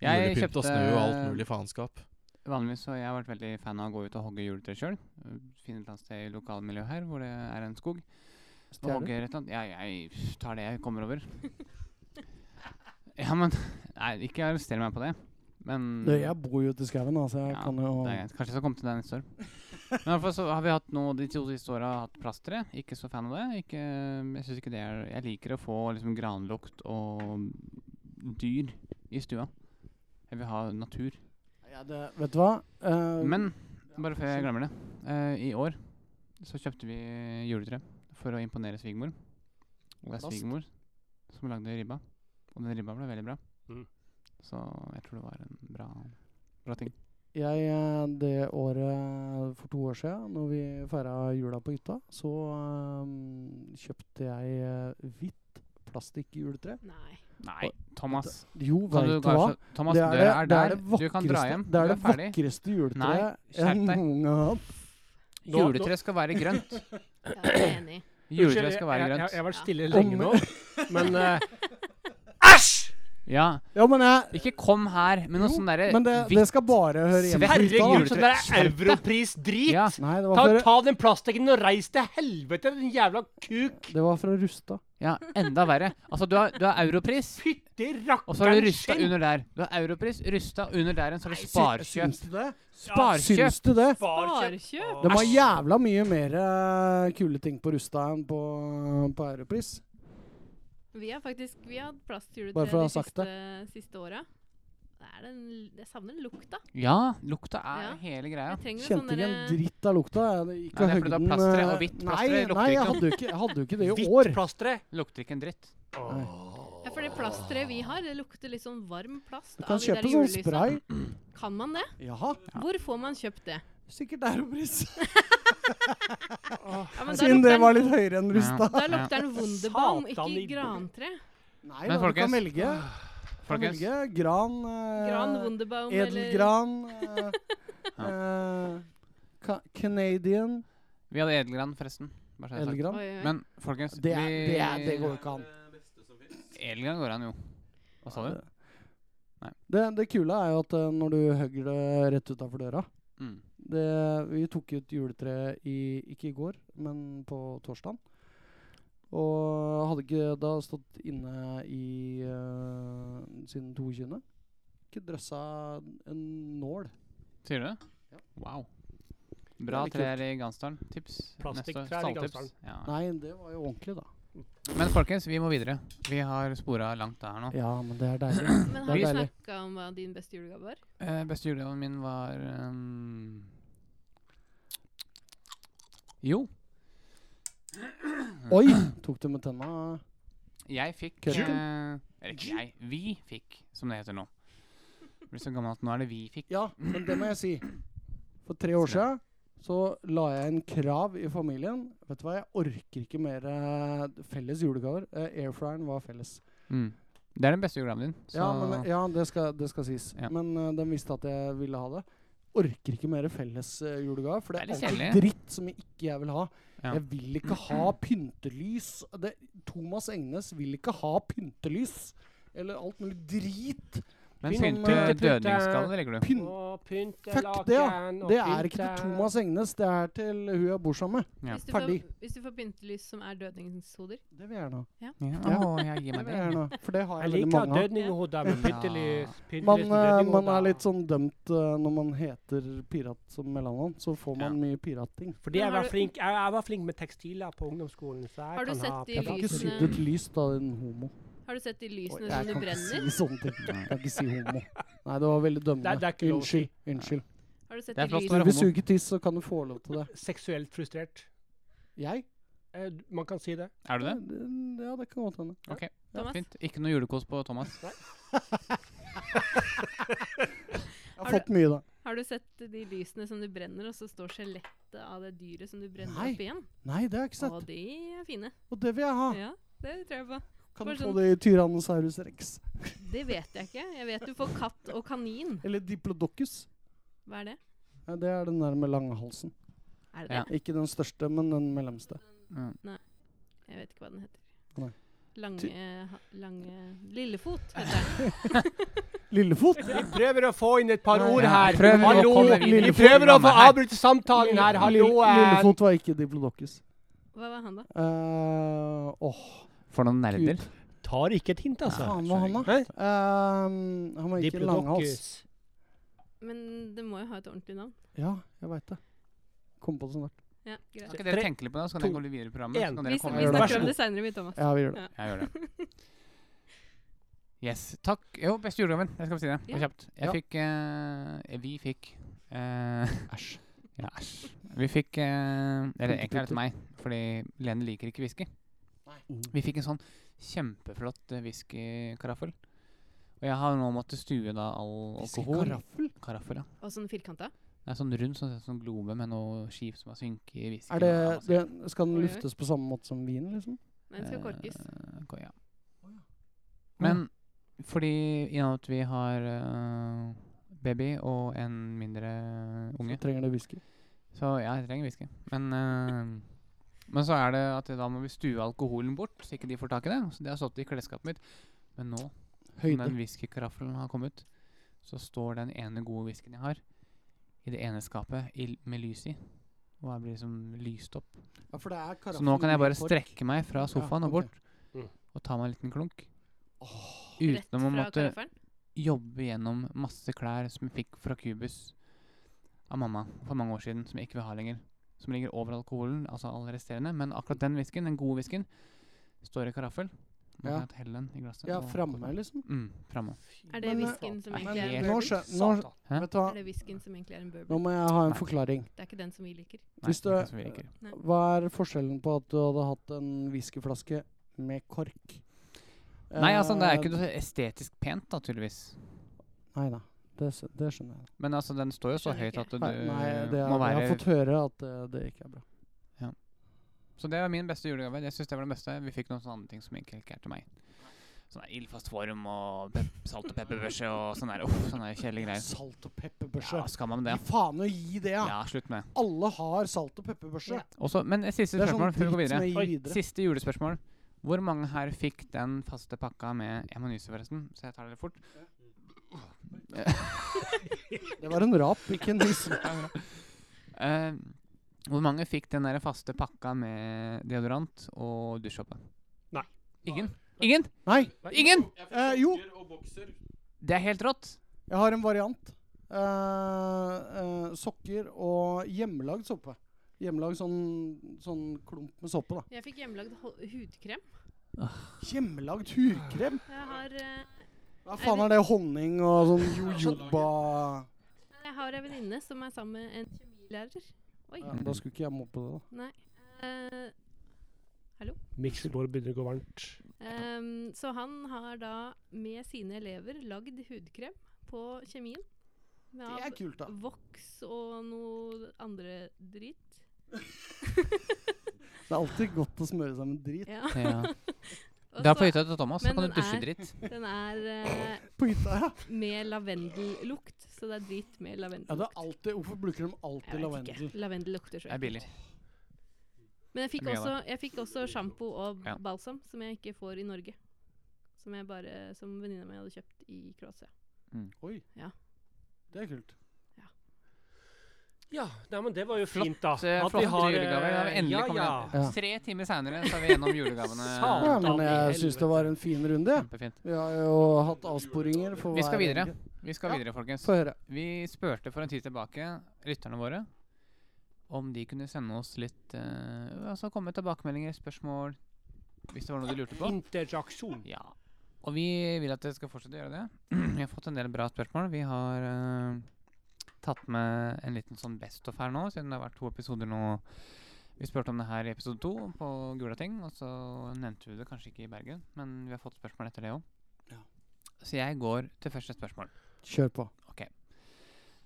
S3: Jeg
S4: julepynt og
S3: kjøpte-
S4: snø og alt mulig faenskap.
S3: Vanligvis så har jeg vært veldig fan av å gå ut og hogge juletre sjøl. Finne et eller annet sted i lokalmiljøet her hvor det er en skog. Og
S2: Stjerne.
S3: hogger et eller annet. Ja, jeg tar det jeg kommer over. Ja, men Nei, ikke arrester meg på det. Men
S2: Du, jeg bor jo ute i skauen, da, så jeg
S3: Ja,
S2: kan jo
S3: Det er greit. Kanskje jeg skal komme til deg neste år. Men i hvert fall så har vi hatt nå de to siste åra hatt plastre. Ikke så fan av det. Ikke, jeg synes ikke det er Jeg liker å få liksom granlukt og dyr i stua. Jeg vil ha natur.
S2: ja, det, Vet du hva? Eh,
S3: Men bare før jeg glemmer det. eh, I år så kjøpte vi juletre for å imponere svigermor. Og det er
S2: Plast.
S3: svigermor som lagde ribba. Og den ribba ble veldig bra.
S6: Mm.
S3: Så jeg tror det var en bra, bra ting.
S2: jeg, eh, det året for to år siden, når vi feira jula på hytta, så eh, kjøpte jeg eh, hvitt plastikkjuletre.
S5: Nei.
S3: Nei, Thomas.
S2: Jo,
S3: Kan
S2: veit
S3: du
S2: du hva?
S3: kanskje Thomas,
S2: Det er
S3: døra
S2: det,
S3: er
S2: det
S3: der.
S2: er det
S3: du kan dra
S2: vakreste,
S3: hjem.
S2: det er
S3: du
S2: det
S3: er ferdig.
S2: vakreste
S3: Nei,
S2: juletreet jeg
S3: skjerp deg.
S2: noen gang har hatt.
S6: Nå- nå-
S3: Juletre skal være grønt.
S5: Ja, det er jeg enig i.
S3: Juletre skal
S6: jeg,
S3: være
S6: jeg, jeg,
S3: grønt.
S6: jeg har vært stille
S2: Ja.
S6: lenge nå, men eh,
S3: Ja.
S2: Ja, men jeg
S3: Ikke kom her med noe
S2: Jo,
S3: sånn derre
S2: Men det, det skal bare høre hjemme på hytta,
S7: Herregud,
S2: da.
S7: så det er europrisdrit!
S3: Ja.
S2: Nei, det
S7: Ta,
S2: var for,
S7: ta den plastikken og reis til helvete, din jævla kuk!
S2: det var for å ruste.
S3: ja, enda verre. Altså, du har, du har europris,
S7: Fytti
S3: og så har
S7: rakkeren
S3: du rysta under der. Du har europris, rysta under der sånn igjen, så har du
S2: Sy-
S3: sparkjøp.
S2: Syns du det?
S3: Sparkjøp!
S2: Syns du det?
S5: Sparekjøp.
S2: De har jævla mye mer eh, kule ting på Rusta enn på, på Europris.
S5: Vi har faktisk vi har hatt plass til
S2: Bare for å
S5: juletre
S2: ha
S5: de
S2: sagt
S5: siste, siste åra. Det er den, jeg savner lukta.
S3: Ja, lukta er
S5: Ja.
S3: hele greia.
S5: Jeg trenger en
S2: Kjente ikke en
S5: sånn
S2: dritt av lukta. Jeg
S3: Nei,
S2: Ikke
S3: det er fordi du har
S2: høgden,
S3: plastre,
S2: eh,
S3: og hvitt
S2: Nei,
S3: plastre lukter
S2: nei
S3: ikke
S2: jeg
S3: noe.
S2: hadde jo ikke, jeg hadde jo ikke det i år.
S7: Hvitt plastre!
S3: Lukter ikke en dritt.
S5: ja, For det plasteret vi har, det lukter litt sånn varm plast.
S2: Du
S5: av
S2: kan
S5: de der
S2: kjøpe sånn
S5: julelysa.
S2: spray.
S5: Kan man det?
S2: Jaha,
S5: Hvor får man kjøpt det?
S2: sikkert Europris.
S5: Ja, men da
S2: Siden det
S5: lukter
S2: var
S5: den-
S2: litt høyere enn Rusta.
S5: Da lukter den Wunderbaum,
S7: Satan i-
S5: ikke grantre.
S2: Nei,
S3: Men
S2: da, du kan
S3: folkens-
S2: velge. Du kan
S3: Folkens,
S2: velge gran, eh,
S5: Gran Wunderbaum eller
S2: edelgran, eh, eh, ca- Canadian
S3: vi hadde edelgran, forresten. Bare så det er sagt.
S5: Oi,
S2: edelgran.
S5: oi, oi.
S3: Men folkens
S2: Det, er,
S3: vi-
S2: det, er, det går jo ikke an. Eh,
S3: Edelgran går an, jo. Hva sa du?
S2: Det, det kule er jo at eh, når du hogger det rett utafor døra
S3: Mm.
S2: det, Vi tok ut juletre i, ikke i går, men på torsdagen. Og hadde ikke da stått inne i uh, siden 22. Ikke drøssa en nål.
S3: Sier du det? Wow. Bra
S2: litt
S3: trær i Gansdalen. Tips. Neste år.
S6: Plastikktrær i
S3: Stalltips.
S6: Gansdalen.
S3: Ja.
S2: Nei, det var jo ordentlig, da.
S3: Men folkens, vi må videre. Vi har spora langt der nå.
S2: Ja, men det er deilig.
S5: Men
S2: Det
S5: har
S2: er
S5: du
S2: deilig.
S5: snakka om hva din beste julegave var?
S3: Eh, beste julegaven min var ehm, Jo,
S2: Oi! Tok du med tenna?
S3: jeg fikk eh,
S2: Kjøkken?
S3: Eller ikke jeg. Vi fikk, som det heter nå. Jeg blir så gammel at nå er det vi fikk.
S2: Ja, men det må jeg si. For tre år siden så la jeg inn krav i familien. Vet du hva, jeg orker ikke mer eh, felles julegaver. Eh, Airfryeren var felles.
S3: Mm. Det er den beste julegaven din. Så
S2: Ja, men, eh, ja det, skal, det skal sies.
S3: Ja.
S2: Men eh, den visste at jeg ville ha det. Orker ikke mer felles uh, julegave, for det er
S3: Det er litt
S2: alltid
S3: kjedelig.
S2: dritt som ikke jeg vil ha.
S3: Ja.
S2: Jeg vil ikke ha pyntelys. Det, Thomas Engnes vil ikke ha pyntelys. Eller alt mulig drit.
S3: men eh,
S6: Pynt,
S3: pynte
S6: pynt, pynt,
S3: dødningsskalle, legger du.
S2: Pynt
S6: å, pynte
S2: Fuck det, ja.
S6: laken og
S2: Det er ikke til
S6: pynte-
S2: Thomas Engnes, det er til hun jeg bor sammen med.
S3: Ja.
S5: Hvis du, får,
S2: Ferdig.
S5: hvis du får pyntelys som er dødningshoder.
S2: Det vil jeg gjerne ha.
S3: Ja. Å, jeg gir
S2: Det
S3: meg
S2: vil
S3: det.
S2: jeg gjerne ha. For det har
S6: Jeg
S2: jeg veldig
S6: liker
S2: mange av.
S6: dødninghoder med pyntelys.
S2: Man,
S6: pyntelys med
S2: eh, man
S6: dødninghoder.
S2: er litt sånn dømt eh, når man heter pirat som mellomnavn, så får man mye piratting.
S6: Fordi jeg
S5: Men har
S6: var,
S5: du-
S6: flink, jeg, jeg var flink med tekstiler på ungdomsskolen. Så jeg
S5: Har du
S6: kan
S5: sett
S6: ha
S5: de
S2: Jeg får ikke
S5: lysene-
S2: sydd ut lys, da, din homo.
S5: Har du sett de
S2: Oi,
S5: lysene
S2: Jeg
S5: som du
S2: kan ikke
S5: brenner?
S2: si sånne ting. Jeg kan ikke si homo. Nei, det var veldig dømmende.
S6: Nei, det er ikke lov å si.
S2: Unnskyld. Unnskyld.
S5: Har du sett
S3: Det er
S5: de
S3: flott å
S5: lysene?
S3: være
S2: Hvis du
S3: homo.
S2: ikke tiss, så kan du få lov til det.
S6: Seksuelt frustrert.
S2: Jeg?
S6: Eh, du- Man kan si det.
S3: Er du det?
S2: Ja, det kan godt hende.
S5: Thomas?
S3: Fint. Ikke noe julekos på Thomas.
S2: Jeg har
S5: Har du-
S2: fått mye, da.
S5: Har du sett de lysene som du brenner, og så står skjelettet av det dyret som du brenner
S2: Nei.
S5: opp igjen?
S2: Nei, det har jeg ikke Ah.
S5: Å,
S2: sett.
S5: de er fine.
S2: Og det vil jeg ha.
S5: Ja, det tror jeg på.
S2: Kan
S5: bare
S2: du få
S5: sånn-
S2: det i Tyrannosaurus rex?
S5: Det vet jeg ikke. Jeg vet du får katt og kanin.
S2: Eller Diplodocus?
S5: Hva er det?
S2: Nei, det er den der med langhalsen.
S5: Er det
S3: Ja.
S5: det?
S2: Ikke den største, men den mellomste.
S3: Mm.
S5: Jeg vet ikke hva den heter.
S2: Nei. Ty-
S5: Lange, ha- lange Lillefot heter den.
S2: Lillefot?
S6: Vi prøver å få inn et par
S2: Nei,
S6: ord
S2: ja.
S6: her.
S3: Prøver å
S6: Hallo!
S2: komme videre
S6: Vi
S2: i
S6: prøver å få
S3: programmet her.
S6: avbryte samtalen her. Hallo!
S2: Lille-
S6: eh,
S2: Lillefot var ikke Diplodocus.
S5: Hva var han da?
S2: Uh, åh,
S3: For noen
S2: gud.
S3: nerder.
S6: Tar ikke et hint, altså.
S2: Faen hva han da?
S6: Hæ?
S2: Ehm, han var ikke langhals.
S6: Diplodocus.
S5: Men det må jo ha et ordentlig navn.
S2: Ja, jeg veit det. Kom på det sånn der.
S5: Ja, greit.
S3: Kan ikke dere
S6: Tre,
S3: tenke litt på det, så kan dere
S6: to,
S3: gå litt videre i programmet?
S6: en.
S3: Så kan
S5: Vi,
S3: dere
S5: sn-
S3: komme
S5: vi
S2: Vær
S5: snakker
S2: så
S5: om
S2: god.
S5: det seinere, vi, Thomas.
S2: Ja, vi gjør det.
S3: Jeg gjør det. Yes. Takk. Jo, beste julegaven. Jeg skal si det. Det var
S5: Ja.
S3: kjapt. Jeg
S2: Ja.
S3: fikk eh, Vi fikk eh, Æsj. ja, æsj. Vi fikk eh, Eller egentlig er det til meg, fordi Lene liker ikke whisky. Vi fikk en sånn kjempeflott eh, whiskykaraffel. Og jeg har nå måttet stue da all alkohol.
S2: Karaffel?
S3: Karaffel, ja.
S5: Og sånn firkanta.
S3: Det er sånn rund, sånn, sånn globe med noe skip som har synket i whisky.
S2: Er det, det Skal den
S5: Oi, oi.
S2: luftes på samme måte som vin, liksom?
S5: Nei, den skal korkes.
S3: Eh, ko- ja. Men fordi i og med at vi har eh, baby og en mindre
S2: Så
S3: unge,
S2: trenger det whisky.
S3: så, Så ja, jeg trenger whisky. Men, eh, men så er det at da må vi stue alkoholen bort, så ikke de får tak i det. Så det har stått i klesskapet mitt. Men nå, som
S2: Høyde.
S3: den whiskykaraffelen har kommet, så står den ene gode whiskyen jeg har, i det ene skapet i, l- med lys i. Og jeg blir liksom lyst opp.
S2: Ja, for det er
S3: Så nå kan jeg bare
S2: karaffel i kork.
S3: strekke meg fra sofaen og
S2: ok.
S3: bort
S6: Mm.
S3: og ta meg en liten klunk.
S5: Rett
S3: Uten å
S5: fra
S3: måtte
S5: karaffelen.
S3: jobbe gjennom masse klær som jeg fikk fra Cubus av mamma for mange år siden, som jeg ikke vil ha lenger. Som ligger over alkoholen, altså all resterende. Men akkurat den whiskyen, den gode whiskyen, står i karaffel. Nå
S2: Ja.
S3: kan jeg helle den i glasset.
S2: Ja,
S3: og-
S2: framme, liksom.
S3: Mm, framme.
S5: Er det
S2: Men, eh,
S5: whiskyen som
S3: men-
S5: egentlig er
S3: Helt
S5: en
S2: Nå,
S5: bourbon?
S2: skjø nå,
S3: Hæ?
S2: vet du hva,
S5: Er det whiskyen som egentlig er en
S2: nå
S5: bourbon?
S2: må jeg ha en
S3: Nei.
S2: forklaring.
S5: Det er ikke den som vi liker.
S3: Nei,
S2: Hvis
S3: det er
S2: det-
S3: ikke som vi liker.
S2: Hva er forskjellen på at du hadde hatt en whiskyflaske med kork?
S3: Nei, altså, det er
S2: Eh,
S3: ikke noe estetisk pent, da, tydeligvis.
S2: Nei da, det, s- det skjønner jeg.
S3: Men altså, den står jo så
S5: Skjønner
S3: høyt
S5: ikke.
S3: at du
S2: Nei, nei det,
S3: må
S2: er- jeg har
S3: være
S2: fått høre at det, det ikke er bra.
S3: Så det var min beste julegave. Jeg synes det var den beste. Vi fikk noen sånne andre ting som egentlig ikke er til meg. Sånn der ildfast form og pep salt og pepperbørse og sånn der. Uff, sånne der kjedelige greier.
S2: Salt og pepperbørse.
S3: Ja, skal man det?
S2: Gi faen å gi det, ja.
S3: Ja, slutt med.
S2: Alle har salt og pepperbørse.
S6: Ja.
S3: Også, men et siste
S2: Det er sånn
S3: spørsmål før vi går
S2: dritt som
S3: videre.
S2: jeg
S6: Oi,
S2: gir videre.
S3: Siste julespørsmål. Hvor mange her fikk den faste pakka med Jeg må nyse, forresten, så jeg tar det litt fort.
S2: Det var en rap, ikke en hiss.
S3: Eh, hvor mange fikk den der faste pakka med deodorant og dusjsåpe?
S6: Nei.
S3: Ingen? Ingen?
S2: Nei,
S3: Ingen!
S2: eh, jo.
S3: Det er helt rått.
S2: Jeg har en variant. Eh, eh, sokker og hjemmelagd såpe. Hjemmelagd sånn, sånn klump med såpe, da.
S5: Jeg fikk hjemmelagd ho- hudkrem.
S2: Hjemmelagd hudkrem?
S5: Jeg har, eh,
S2: Hva faen er det? Honning og sånn jojoba
S5: jeg har ei venninne som er sammen med en kjemilærer. Oi.
S2: ja, Da skulle ikke jeg mobbe det, da.
S5: Nei. Eh,
S6: Mikser vår begynner å gå varmt.
S5: ehm, så han har da med sine elever lagd hudkrem på kjemien. Med
S2: Det er kult, da.
S5: voks og noe andre drit.
S2: Det er alltid godt å smøre seg med drit.
S5: Ja.
S3: Ja.
S5: Og
S3: Det er på
S5: så
S3: hytta til Thomas. Så
S5: Altså, Men
S3: kan du
S5: den
S3: dusje
S5: er-
S3: dritt.
S5: den er eh,
S2: På hytta, ja.
S5: med lavendellukt, så det er drit med
S2: ja det er
S5: lavendellukt.
S2: alltid, hvorfor bruker de
S5: Jeg
S2: alltid
S5: vet
S2: lavendel?
S5: ikke. Lavendel lukter så
S3: Det er billig.
S5: Men jeg fikk,
S3: Mye av
S5: også, jeg fikk også sjampo og
S3: Ja.
S5: balsam, som jeg ikke får i Norge. Som jeg bare, som venninna mi hadde kjøpt i Kroatia.
S2: Oi.
S5: Ja.
S2: Det er kult.
S6: Ja, nei, men det var jo
S3: Flott,
S6: fint, da.
S3: Eh, Flotte julegaver. Da har vi
S6: eh,
S3: endelig
S6: ja,
S3: kommet
S6: ja.
S3: ned.
S2: Ja.
S3: Tre timer seinere så er vi gjennom
S2: Ja,
S3: julegavene.
S6: Satan.
S2: men
S6: i
S2: jeg syns det var en fin runde. jeg.
S3: Kjempefint.
S2: Vi har jo hatt avsporinger. For
S3: Vi skal
S2: hver
S3: videre.
S2: enkelt.
S3: Vi skal
S2: Ja.
S3: videre, folkens.
S2: Få høre.
S3: Vi spurte for en tid tilbake lytterne våre om de kunne sende oss litt eh, Altså komme med tilbakemeldinger, spørsmål, hvis det var noe de lurte på.
S4: Mm.
S6: Interaksjon.
S3: Ja. Og vi vil at dere skal fortsette å gjøre det. Vi har fått en del bra spørsmål. Vi har eh, tatt med en liten sånn best of her nå, siden det har vært to episoder nå. Vi spurte om det her i episode to på Gulating, og så nevnte vi det kanskje ikke i Bergen. Men vi har fått spørsmål etter det òg.
S2: Ja.
S3: Så jeg går til første spørsmål.
S2: Kjør på.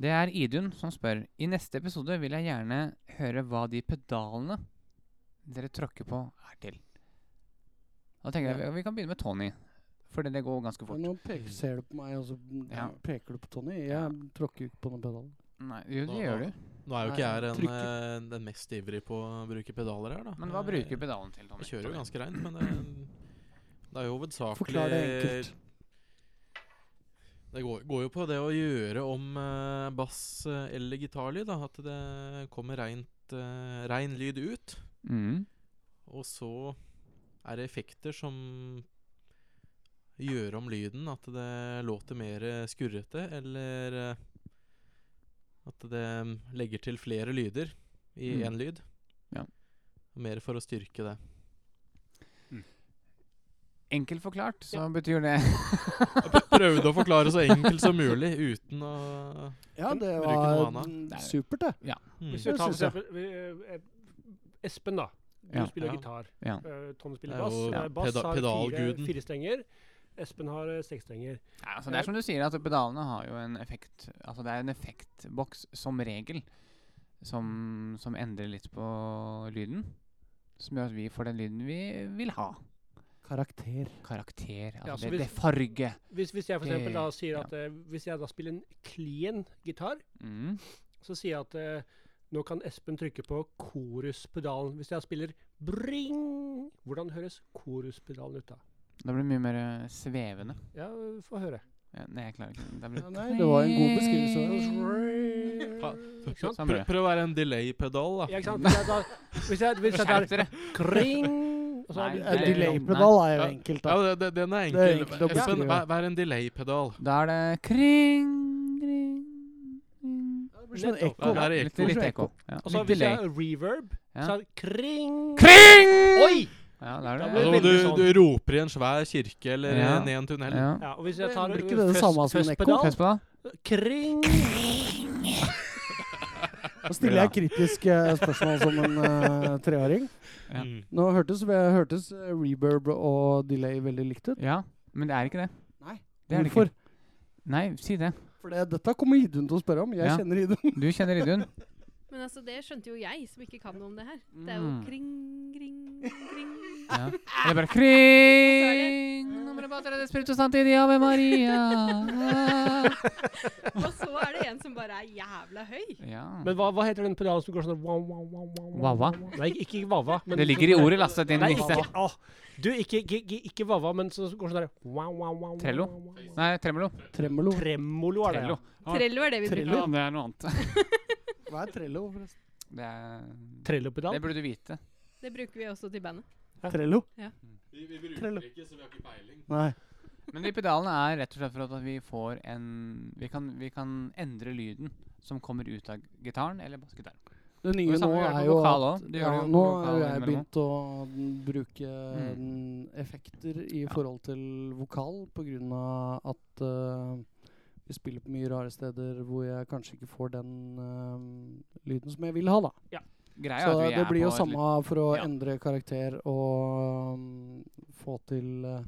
S3: Det er Idun som spør. I neste episode vil jeg gjerne høre hva de pedalene dere tråkker på, er til. Da tenker jeg vi, vi kan begynne med Tony, fordi det går ganske fort.
S2: Nå peker, ser du på meg, og så
S3: Ja.
S2: peker du på Tony. Jeg tråkker jo ikke på noen pedal.
S3: Nei, jo, det
S4: Nå-
S3: gjør du.
S4: Nå er jo ikke jeg den,
S2: Trykker.
S4: eh, den mest ivrig på å bruke pedaler her, da.
S3: Men hva
S4: Jeg-
S3: bruker pedalen til, Tommy?
S4: Jeg kjører jo ganske reint, men det, det er jo hovedsakelig
S2: Forklar det enkelt.
S4: Det går, går jo på det å gjøre om eh, bass eh, eller gitarlyd, da. At det kommer reint, eh, rein lyd ut.
S3: Mm.
S4: Og så er det effekter som gjør om lyden. At det låter mer eh, skurrete, eller eh, at det mm, legger til flere lyder i
S3: Mm.
S4: én lyd.
S3: Ja.
S4: Mer for å styrke det.
S3: Enkelt forklart, så betyr det
S4: Prøvde å forklare så enkelt som mulig uten å
S2: Ja, det
S4: Bruker
S2: var
S4: noe
S2: mm,
S3: Nei.
S2: supert, det.
S4: mm.
S6: Hvis vi
S2: Det
S6: tar for
S2: synes jeg.
S6: eksempel eh, eh, Espen, da. Du
S3: Ja.
S6: spiller
S4: Ja.
S6: gitar.
S3: Ja.
S6: Eh, Tom spiller
S4: Det er
S6: bass.
S4: jo
S6: Eh, Bass
S4: peda-
S6: har fire,
S4: pedalguden.
S6: fire strenger. Espen har eh, seks strenger.
S3: Nei, altså Det er som du sier, at pedalene har jo en effekt Altså det er en effektboks som regel som, som endrer litt på lyden. Som gjør at vi får den lyden vi vil ha.
S2: Karakter.
S3: Karakter. Altså
S6: Ja, så
S3: det,
S6: hvis-
S3: det er farge.
S6: Hvis, hvis jeg for
S3: Det-
S6: eksempel da eh, sier at eh, Hvis jeg da spiller en clean gitar,
S3: Mm.
S6: så sier jeg at eh, Nå kan Espen trykke på koruspedalen. Hvis jeg spiller bring, hvordan høres koruspedalen ut da?
S3: Det blir mye mer eh, svevende.
S6: Ja, få høre.
S3: Ja, nei, jeg klarer ikke. Det blir
S8: Ja, nei, det var en god beskrivelse.
S6: Ikke sant?
S3: Sånn
S4: Prøv,
S3: blir det.
S4: prøv å være en delay-pedal, da.
S6: Ja, ikke sant? Hvis jeg da, hvis jeg, hvis jeg
S3: Skjerp
S6: tar
S3: dere!
S6: kring, og så er
S3: Nei,
S6: det
S3: det er-
S2: Delay-pedal er jo
S4: Ja.
S2: enkelt,
S4: Ja,
S2: da.
S4: det, det, den er
S2: Det er
S4: enkel.
S2: enkelt å
S4: Espen,
S2: beskrive.
S4: vær, vær en delay-pedal.
S3: Da er det kring, kring, kring.
S2: Det blir som en
S4: Ja,
S2: ekko.
S4: det er
S3: Litt,
S4: ekko.
S3: litt ekko. Ja.
S6: Og så
S3: Litt
S6: hvis jeg
S3: delay.
S6: har reverb,
S3: Ja.
S6: så er det kring.
S3: Kring!
S6: Oi!
S3: Ja, da er
S6: Da
S3: det
S6: blir
S4: Altså,
S6: det
S4: du,
S6: veldig
S4: du roper i en svær kirke eller
S3: Ja.
S4: ned en tunnel. Mm.
S3: ja.
S6: Ja, og hvis jeg tar
S2: Blir ikke det det
S6: fuzz-
S2: samme som en ekko?
S6: fuzzpedal,
S3: Fest på da.
S6: Kring.
S2: Da stiller jeg kritiske spørsmål som en eh, treåring.
S3: Ja.
S4: Mm.
S2: Nå hørtes, hørtes eh, reverb og delay veldig likt ut.
S3: Ja, men det er ikke det.
S2: Nei.
S3: Det er det
S2: Hvorfor?
S3: ikke. Nei, si det.
S2: For det, dette kommer Idun til å spørre om. Jeg
S3: Ja.
S2: kjenner Idun.
S3: Du kjenner Idun.
S5: Men altså, det skjønte jo jeg, som ikke kan noe om det her. Det er jo
S3: Mm.
S5: kring, kring, kring.
S3: Ja. Eller bare kring! Nummer Patria de Spiritus Santi di Ave Maria.
S5: Og så er det en som bare er jævla høy.
S3: Ja.
S6: Men hva, hva heter den pedalen som går sånn wow, wow, wow, wow, wow,
S3: Wawa?
S6: wow? Nei, ikke ikke wawa. men
S3: Det ligger i ordet lastet inn
S6: Nei,
S3: i
S6: ikke,
S3: mikset.
S6: åh, du, ikke, ikke, ikke, ikke wawa, men sånn som går sånn der wow, wow, wow, wow,
S3: Trello?
S6: wow, wow, wow.
S3: Nei, tremolo.
S2: Tremolo.
S6: Tremolo er det,
S3: Trello.
S6: ja.
S3: Ah.
S5: Trello er det vi
S3: Ja,
S5: bruker.
S3: det er noe annet.
S2: Hva er trello, forresten?
S3: Det, er,
S6: Trellopedal.
S3: det burde du vite.
S5: Det bruker vi også til bandet.
S2: Trello?
S4: Vi,
S2: Trello.
S4: ikke, så vi har ikke peiling.
S2: Nei.
S3: Men de pedalene er rett og slett for at vi får en Vi kan, vi kan endre lyden som kommer ut av gitaren eller bassgitaren.
S2: Det nye nå
S3: Det samme gjør det
S2: er
S3: på
S2: jo
S3: vokal
S2: at
S3: også. Det
S2: ja,
S3: gjør det jo på
S2: Nå
S3: vokal
S2: har jeg
S3: innimellom.
S2: begynt å mm, bruke mm, effekter i forhold til vokal pga. at eh, vi spiller på mye rare steder hvor jeg kanskje ikke får den eh, lyden som jeg vil ha, da.
S3: Greia
S2: Så
S3: er at vi
S2: det
S3: er
S2: blir jo
S3: på et
S2: samme for å
S3: Ja.
S2: endre karakter og mm, få til eh,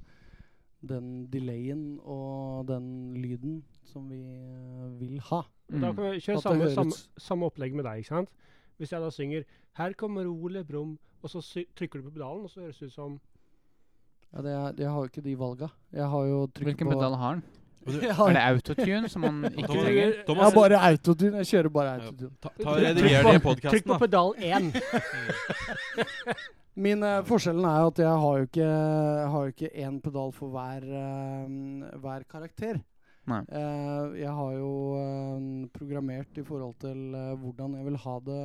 S2: den delayen og den lyden som vi eh, vil ha.
S3: litt-
S6: Da
S3: Mm.
S6: kan vi kjøre
S2: At det
S6: samme,
S2: høres-
S6: samme, samme opplegg med deg, ikke sant? Hvis jeg da synger 'Her kommer Ole Brumm', og så sy trykker du på pedalen, og så høres det ut som
S2: Ja, det er, jeg har jo ikke de valga. Jeg har jo trykket
S3: Hvilken
S2: på
S3: pedal har den?
S2: Jeg
S3: Er
S2: har
S3: det autotune som man ikke
S4: Thomas-
S3: trenger?
S2: Jeg har
S4: Thomas,
S2: bare autotune. Jeg kjører bare
S4: Ja.
S2: autotune.
S4: ta, ta og rediger det i podkasten,
S6: Trykk på
S4: da.
S6: pedal 1.
S2: Min eh, Forskjellen er jo at jeg har jo ikke, har jo ikke én pedal for hver, eh, hver karakter.
S3: Nei.
S2: Eh, jeg har jo eh, programmert i forhold til eh, hvordan jeg vil ha det.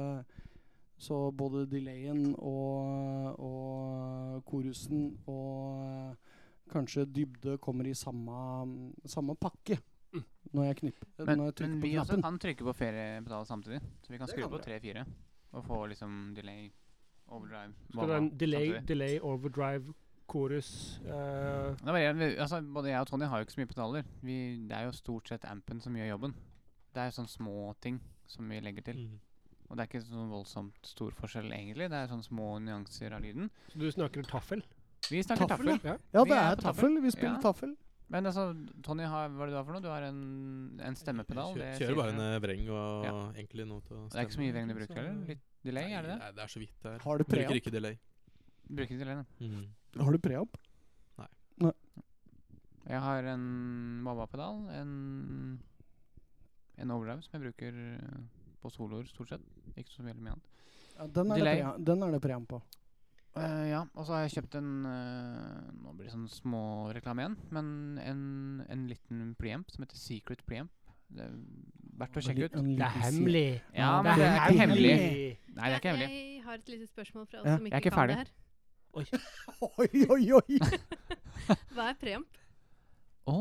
S2: Så både delayen og, og korusen og eh, kanskje dybde kommer i samme, samme pakke
S3: Mm.
S2: når jeg knipper.
S3: Men,
S2: når jeg trykker
S3: men
S2: på
S3: vi også
S2: knappen.
S3: kan trykke på flere pedaler samtidig. Så vi kan
S2: Det
S3: skru
S2: kan
S3: på
S2: dere.
S3: tre-fire og få liksom delay, overdrive
S6: Skal det
S3: wah-wah
S6: være en delay,
S3: samtidig.
S6: delay overdrive, chorus eh,
S3: Det er bare, vi- altså, både jeg og Tony har jo ikke så mye pedaler. Vi, det er jo stort sett ampen som gjør jobben. Det er jo sånne små ting som vi legger til.
S4: Mm.
S3: Og det er ikke sånn voldsomt stor forskjell egentlig. Det er sånne små nyanser av lyden.
S6: Så du snakker taffel?
S3: Vi snakker
S2: Taffel,
S3: taffel.
S6: Ja.
S2: Ja,
S3: Vi
S2: det
S3: er
S2: er
S3: på
S2: taffel. Vi spiller
S3: Ja.
S2: taffel.
S3: Men altså, Tony, har, hva er det du har for noe? Du har en, en stemmepedal.
S4: Kjører,
S3: det sier
S4: kjører bare en
S3: dere.
S4: eh, vreng og
S3: Ja.
S4: egentlig noe til å
S3: Det er ikke så mye vengende bruk heller? Litt delay, er det det?
S4: Nei, det er så vidt det er.
S2: Har du
S4: Bruker
S2: preamp?
S4: ikke delay.
S3: Bruker ikke delay, da.
S4: Mm.
S2: Har du preamp?
S3: Jeg har en wah-wah-pedal, en, en overdrive som jeg bruker eh, på soloer stort sett. Ikke så veldig mye annet.
S2: Ja, den, er det
S3: Delay.
S2: prea- den er det preamp på.
S3: Eh, ja, og så har jeg kjøpt en eh, Nå blir det sånn småreklame igjen, men en, en liten preamp som heter Secret Preamp. Det er verdt å sjekke ut.
S2: Det
S3: Ja,
S2: det
S3: men
S2: er
S3: det er ikke hemmelig.
S2: hemmelig.
S3: Nei, det er ikke hemmelig.
S5: Jeg har et lite spørsmål fra oss
S2: Ja.
S5: som
S3: Jeg er
S5: ikke,
S3: ikke
S5: kan
S3: ferdig.
S5: det her.
S2: Oi, oi, oi!
S5: Hva er preamp?
S3: Å,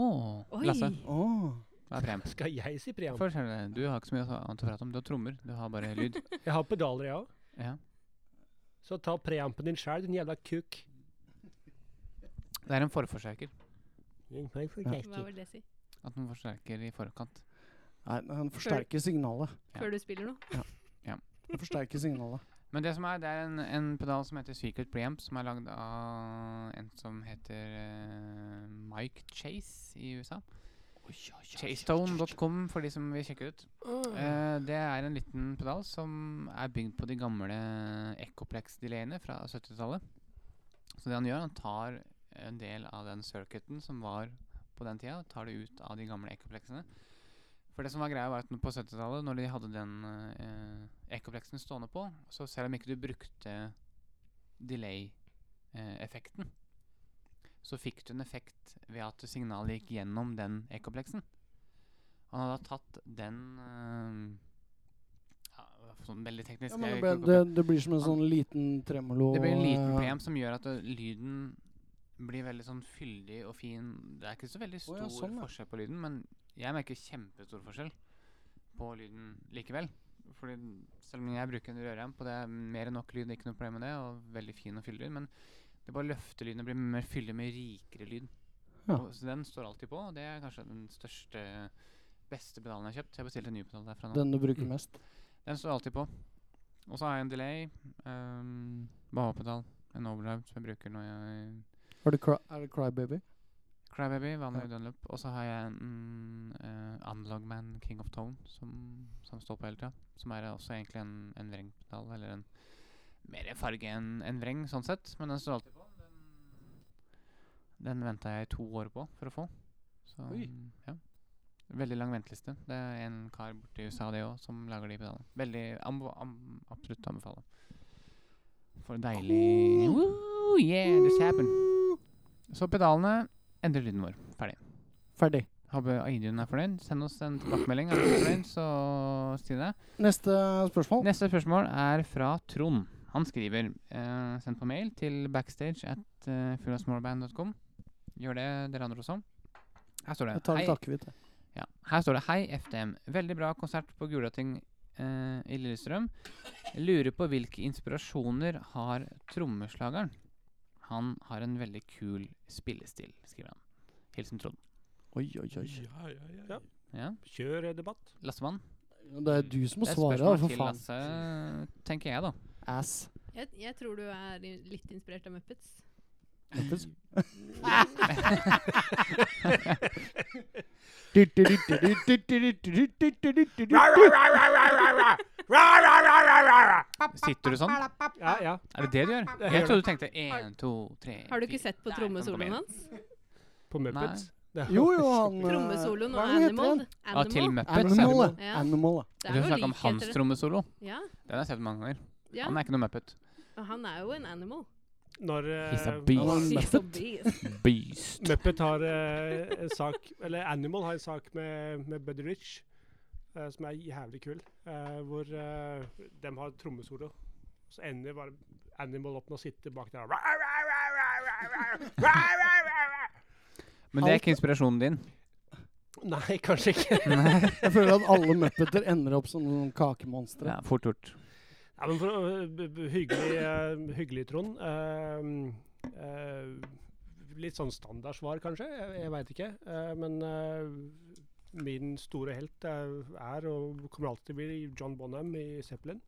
S5: Oi!
S3: Lasse.
S2: Åh.
S3: Hva er preamp?
S6: Skal jeg si preamp?
S3: Først er det, Du har ikke så mye annet å prate om. Du har trommer. Du har bare lyd.
S6: Jeg har pedaler, jeg òg.
S3: Ja.
S6: Så ta preampen din sjæl, din jævla kuk.
S3: Det er en forforsterker.
S5: Hva vil det si?
S3: At den forsterker i forkant.
S2: Nei, han forsterker signalet.
S3: Ja.
S5: Før du spiller noe?
S2: Han forsterker signalet.
S3: Men det som er, det er en, en pedal som heter Secret Preamp, som er lagd av en som heter eh, Mike Chase i USA. Chasestone.com for de som vil sjekke ut. Eh, det er en liten pedal som er bygd på de gamle Ecoplex-delayene fra 70-tallet. Så det han gjør, han tar en del av den circuiten som var på den tida, tar det ut av de gamle Ecoplexene. For det som var greia, var at på 70-tallet, når de hadde den eh, ekopleksen stående på, så selv om ikke du brukte delay-effekten, så fikk du en effekt ved at signalet gikk gjennom den ekopleksen. Han hadde tatt den eh, ja, sånn veldig teknisk
S8: Ja, men
S3: jeg
S8: det,
S3: vil
S8: ble,
S3: ikke gå
S8: det,
S3: på-
S8: det blir som en sånn liten tremolo.
S3: det blir en liten
S8: eh,
S3: PM som gjør at ø, lyden blir veldig sånn fyldig og fin. Det er ikke så veldig
S8: Å
S3: stor
S8: ja, sånn, ja.
S3: forskjell på lyden, men jeg merker kjempestor forskjell på lyden likevel. Fordi den- selv om jeg bruker en rørhjem på det, er mer enn nok lyd, det er ikke noe problem med det, og veldig fin og fyldig, men det bare løfter lyden og blir mer fyldig med rikere lyd.
S8: Ja.
S3: Og, så den står alltid på, og det er kanskje den største, beste pedalen jeg har kjøpt. Jeg bestilte en ny pedal derfra nå.
S8: Den du bruker
S4: Mm.
S8: mest.
S3: Den står alltid på. Og så har jeg en delay. Um, Bahopedal. En overdrive som jeg bruker når jeg
S8: Har du cry, er det Crybaby?
S3: Crybaby, vanlig
S8: Ja.
S3: dunlop. Og så har jeg en uh, Unlogman King of Tone som, som står på hele tida. Som er også egentlig en, en vrengpedal, eller en mer farge enn en vreng, sånn sett. Men den står alltid på. Den, den venta jeg i to år på for å få. Så
S8: Oi.
S3: ja. Veldig lang venteliste. Det er en kar borte i USA, det òg, som lager de pedalene. Veldig anbe- am- Absolutt anbefale. For deilig Woo, Yeah, this happened. Så pedalene endrer lyden vår. Ferdig.
S8: Ferdig.
S3: Håper Aidun er fornøyd. Send oss en tilbakemelding. Er du ikke fornøyd, så si det.
S8: Neste spørsmål.
S3: Neste spørsmål er fra Trond. Han skriver eh, Send på mail til backstage at eh, fullasmålband.com. Gjør det, dere andre også. Her står det
S8: Jeg tar
S3: «Hei».
S8: litt akevitt. jeg.
S3: Ja. Her står det Hei, FDM. Veldig bra konsert på Gulating eh, i Lillestrøm. Lurer på hvilke inspirasjoner har trommeslageren? Han har en veldig kul spillestil, skriver han. Hilsen Trond.
S8: Oi, oi, oi.
S4: Ja, ja, ja.
S6: Ja.
S3: Ja.
S6: Kjør eh, debatt.
S3: Lassemann?
S8: Det er du som må
S3: Det er
S8: svare, da,
S3: spørsmål
S8: for
S3: til
S8: faen.
S3: Lasse, tenker jeg, da.
S8: Ass.
S5: Jeg, jeg tror du er i- litt inspirert av Muppets.
S3: Sitter du sånn?
S6: Ja, ja.
S3: Er det det du gjør? Jeg trodde du tenkte én, to, tre
S5: Har du ikke sett på
S3: Der kom det
S5: trommesoloen
S3: mer.
S5: hans?
S6: På Muppets. Det er
S8: Jo, jo, han eh,
S5: Trommesoloen
S8: hva
S5: og
S8: er det den heter
S5: Animal.
S8: igjen?
S3: Ja, til
S5: Animal.
S3: Muppets. ja.
S8: Animal, ja.
S5: Ja.
S8: Animal, ja.
S5: Det
S3: Jeg
S5: er
S3: tror du
S5: jo
S3: snakker om hans
S5: likheter.
S3: trommesolo.
S5: Ja,
S3: Den har jeg sett mange ganger.
S5: ja.
S3: Han er ikke noe Muppet.
S5: Og han er jo en animal.
S6: Når eh,
S3: He's a beast.
S8: Han er en
S5: She's a beast.
S3: Beast.
S6: Muppet har eh, en sak Eller Animal har en sak med, med Buddy Rich, eh, som er jævlig kul, eh, hvor eh, de har trommesolo. Så ender bare Animal opp med å sitte bak der.
S3: Men det er ikke inspirasjonen din.
S6: Nei, kanskje ikke.
S8: Jeg føler at alle muppeter ender opp som noen kakemonstre.
S3: Ja, fort gjort.
S6: Ja, men for, å- b- b- hyggelig, eh, hyggelig, Trond. Eh, eh, litt sånn standardsvar, kanskje. Jeg, jeg veit ikke. Eh, men eh, min store helt eh, er og kommer alltid til å bli John Bonham i Zeppelin.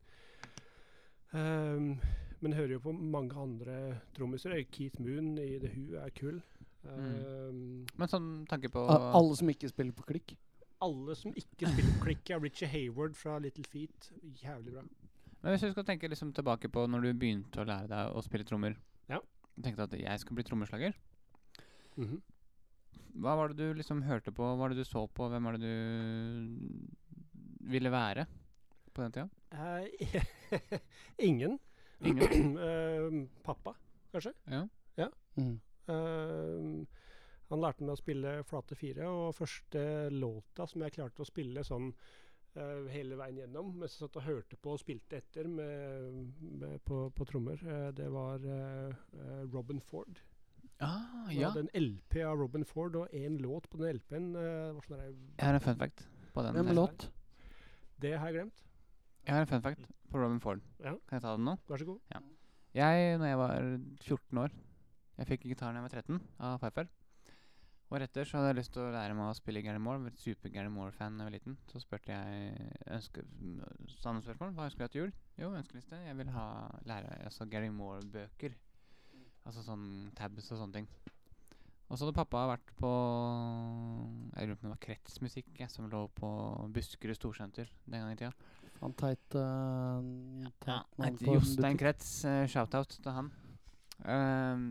S6: Eh, men hører jo på mange andre trommiser. Eh, Keith Moon i The Who er kul. Eh,
S3: Men sånn tanke på
S8: A- Alle som ikke spiller på klikk.
S6: Alle som ikke spiller klikk, er Richie Hayward fra Little Feet. Jævlig bra.
S3: Men hvis du skal tenke liksom tilbake på når du begynte å lære deg å spille trommer
S6: Ja.
S3: Du tenkte at jeg skulle bli trommeslager.
S6: Mhm.
S3: Hva var det du liksom hørte på? Hva var det du så på? Hvem var det du ville være på den tida?
S6: Eh, Ingen.
S3: Ingen?
S6: Eh, pappa, kanskje.
S3: Ja.
S8: Mm.
S6: Eh, han lærte meg å spille flate fire, og første låta som jeg klarte å spille sånn eh, hele veien gjennom, mens jeg satt og hørte på og spilte etter med, med, på, på trommer, eh, det var eh, eh, Robin Ford.
S3: Ah,
S6: Jeg
S3: ja.
S6: hadde en LP av Robin Ford, og én låt på den LP-en. eh, var sånn der,
S3: Jeg har en fun fact på den.
S8: Hvem
S3: her.
S8: låt?
S6: det har jeg glemt.
S3: Jeg har en fun fact på Robin Ford.
S6: Ja.
S3: Kan jeg ta den nå?
S6: Vær så god.
S3: Jeg, når jeg var 14 år Jeg fikk gitaren da jeg var 13 av Pfeiffer. Året etter så hadde jeg lyst til å lære meg å spille Gary Moore. Jeg var super Gary Moore-fan da jeg var liten. Så spurte jeg ønske, m, samme spørsmål. Hva ønsker du deg til jul? Jo, ønskeliste. Jeg vil ha lære altså Gary Moore-bøker. Altså sånn tabs og sånne ting. Og så hadde pappa vært på Jeg lurer på om det var kretsmusikk jeg, som lå på Buskerud Storsenter den gangen i tida.
S8: Han teit eh,
S3: Ja,
S8: teit
S3: han
S8: mann
S3: heter
S8: på en
S3: Jostein
S8: butikk.
S3: Kretz. eh, Shoutout til han. Ehm,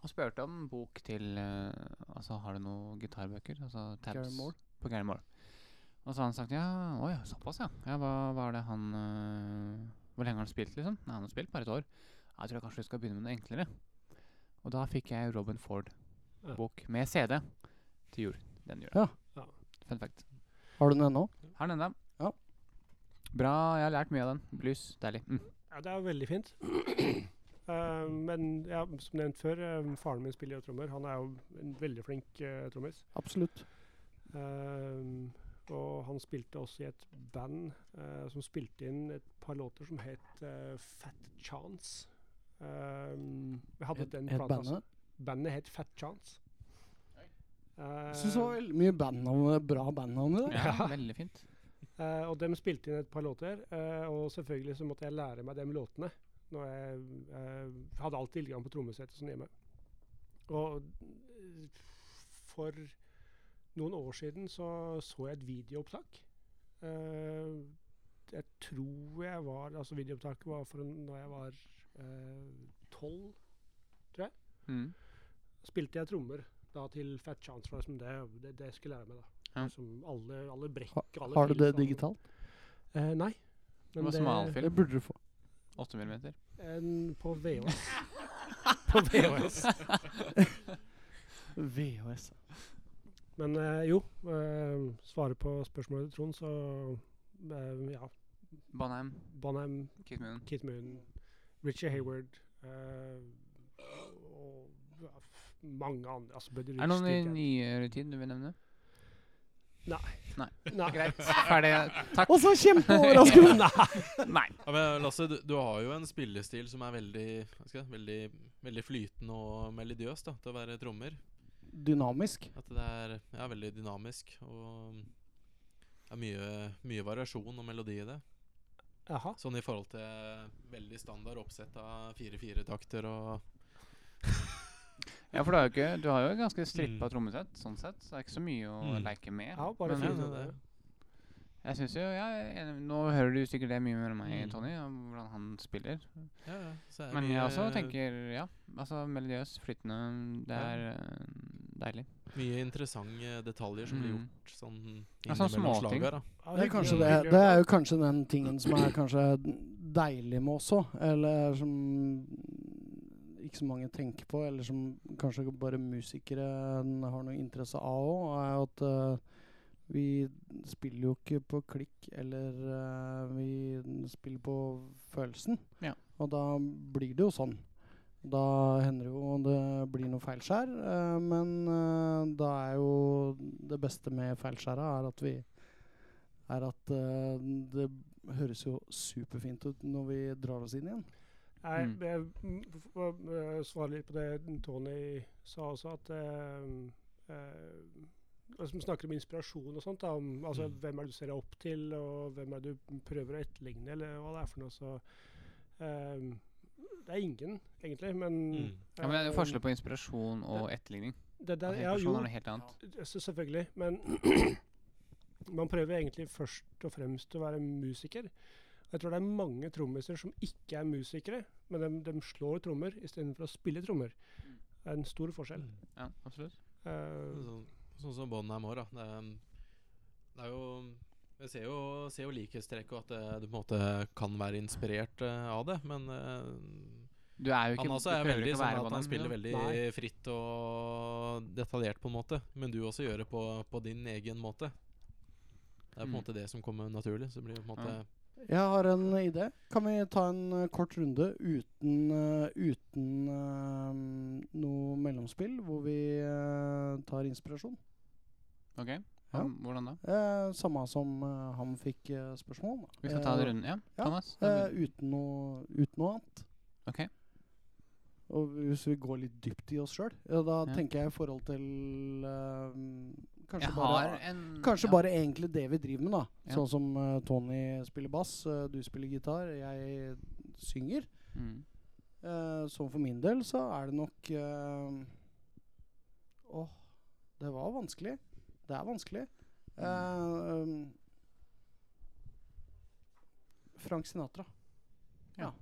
S3: og spurte om bok til eh, Altså, har du noen gitarbøker? Altså tabs
S8: Gary Moore.
S3: på Gary Moore. Og Og så har han sagt ja, å ja, såpass, ja. ja hva, hva er det han øh, Hvor lenge har han spilt, liksom? Nei, han har spilt bare et år. Jeg tror kanskje du skal begynne med noe enklere. Og da fikk jeg Robin
S6: Ja.
S3: Ford-bok med CD til jul den jula.
S2: Ja.
S6: Ja.
S3: Fun fact.
S2: Har du den ennå?
S3: Her er den da.
S2: Ja.
S3: Bra. Jeg har lært mye av den. Blues. Deilig. Mm.
S6: Ja, det er veldig fint. Eh, men ja, som nevnt før, eh, faren min spiller jo trommer. Han er jo en veldig flink eh, trommis.
S2: Absolutt.
S6: Eh, og han spilte også i et band eh, som spilte inn et par låter som het eh, Fat Chance. Eh, vi hadde den
S2: Helt
S6: plata
S2: bandet.
S6: Bandet het Fat Chance.
S2: Jeg syns det var veldig mye bandnavn, bra bandnavn i dag.
S3: Ja, Veldig fint.
S6: Eh, og dem spilte inn et par låter, eh, og selvfølgelig så måtte jeg lære meg de låtene. Når jeg eh, hadde alltid tilgang på trommesettet sånn hjemme. Og eh, for noen år siden så så jeg et videoopptak. Eh, jeg tror jeg var Altså videoopptaket var fra når jeg var eh, tolv.
S3: Mm.
S6: spilte jeg trommer da til Fat Chance. For liksom det, det, det skulle jeg lære meg, da.
S3: Ja.
S6: Som alle, alle brekk,
S2: Ha-
S6: alle
S2: Har du
S6: fills,
S2: det
S6: alle-
S2: digitalt?
S6: Eh, nei.
S3: Det var
S2: Det
S3: smalfilm.
S2: burde du få.
S3: 8 millimeter.
S6: en på VHS.
S3: På VHS.
S2: VHS.
S6: Men eh, jo, eh, svare på spørsmålet til Trond, så eh, ja.
S3: Bonheim.
S6: Bonham,
S3: Kiss Moon.
S6: Keith Moon, Richie Hayward eh, og ja, f- mange andre. Altså, Buddy
S3: Er det noen i
S6: Rich, Dick-
S3: nyere tid du vil nevne?
S6: Nei.
S3: Greit. Ferdig. Takk.
S2: Og så kjempeoverraskende!
S3: Nei.
S4: Ja, men eh, Lasse, du, du har jo en spillestil som er veldig, hva skal jeg, si, veldig, veldig flytende og melodiøs da, til å være trommer.
S2: Dynamisk.
S4: At det er ja, veldig dynamisk og mm, det er mye, mye variasjon og melodi i det.
S6: Jaha.
S4: Sånn i forhold til veldig standard oppsett av fire-fire-takter og
S3: Ja, for du har jo ikke Du har jo et ganske strippa
S4: Mm.
S3: trommesett, sånn sett. Så det er ikke så mye å
S4: Mm.
S3: leke med.
S6: Ja, bare
S3: Men,
S4: ja,
S6: fint.
S4: det, det.
S3: Jeg synes jo, jeg er enig- Nå hører du sikkert det mye mer enn meg,
S4: Mm.
S3: Tony, om hvordan han spiller.
S4: Ja, ja. Så er
S3: Men jeg
S4: mye-
S3: også tenker, ja, altså melodiøs, flytende, det
S4: Ja.
S3: er eh, deilig.
S4: Mye interessante detaljer som blir
S3: Mm.
S4: gjort sånn
S3: Ja, sånn
S4: innimellom
S3: småting.
S4: slaga.
S6: Ja,
S4: da.
S2: Det er,
S6: hyggelig-
S2: kanskje det,
S6: hyggelig å
S2: det
S6: høre.
S2: er jo kanskje den tingen som er kanskje deilig med også, eller som ikke så mange tenker på, eller som kanskje bare musikere har noe interesse av òg, er jo at eh, vi spiller jo ikke på klikk, eller eh, vi spiller på følelsen.
S3: Ja.
S2: Og da blir det jo sånn. Da hender det jo det blir noe feilskjær, eh, men eh, da er jo det beste med feilskjæra er at vi er at eh, det høres jo superfint ut når vi drar oss inn igjen.
S6: Nei,
S3: Mm.
S6: jeg mm, f- f- eh, svarer litt på det Tony sa også, at eh, eh, altså, Som snakker om inspirasjon og sånt. Da, om, altså,
S4: Mm.
S6: Hvem er det du ser opp til, og hvem er det du prøver å etterligne, eller hva det er for noe. Så, eh, det er ingen, egentlig, men
S4: Mm.
S3: Ja, men det er jo
S6: eh,
S3: forskjell på inspirasjon og etterligning.
S6: det, det,
S3: Altså,
S6: ja, jo,
S3: inspirasjon er noe helt annet.
S6: ja, så selvfølgelig. Men man prøver egentlig først og fremst å være musiker. Jeg tror det er mange trommiser som ikke er musikere, men de, slår trommer istedenfor å spille trommer. Det er en stor forskjell.
S4: Mm.
S3: Ja, absolutt. Mm.
S6: Eh,
S4: Sånn, sånn som Bonham òg, da. Det, er- det er jo Jeg ser jo, ser jo likhetstrekk, og at eh, du på en måte kan være inspirert eh, av det, men eh,
S3: Du er jo ikke
S4: han også
S3: du
S4: er
S3: prøver
S4: veldig
S3: ikke å
S4: sånn
S3: være
S4: at han
S3: banan, liksom.
S4: spiller veldig
S6: Nei.
S4: fritt og detaljert, på en måte. Men du også gjør det på, på din egen måte. Det er på en
S3: Mm.
S4: måte det som kommer naturlig. Så det blir jo på en måte
S3: Ja.
S2: Jeg har en idé. Kan vi ta en eh, kort runde uten, eh, uten eh, noe mellomspill, hvor vi eh, tar inspirasjon?
S3: Ok,
S2: Ja.
S3: Hva- hvordan da?
S2: Eh, samme som eh, han fikk eh, spørsmål om.
S3: Vi skal ta
S2: Eh,
S3: den runden, ja?
S2: ja,
S3: Thomas? da
S2: eh,
S3: begynner
S2: uten, noe, uten noe annet.
S3: du. Ok.
S2: Og hvis vi går litt dypt i oss sjøl, ja, da
S3: Ja.
S2: tenker jeg i forhold til eh, Kanskje
S3: Jeg
S2: bare
S3: har en
S2: Kanskje
S3: Mm, ja.
S2: bare egentlig det vi driver med, da.
S3: Ja.
S2: Sånn som eh, Tony spiller bass, eh, du spiller gitar, jeg synger.
S3: Mm.
S2: Eh, så for min del så er det nok eh, Åh, det var vanskelig. Det er vanskelig.
S3: Mm.
S2: Eh, um, Frank Sinatra.
S3: Ja.
S2: ja.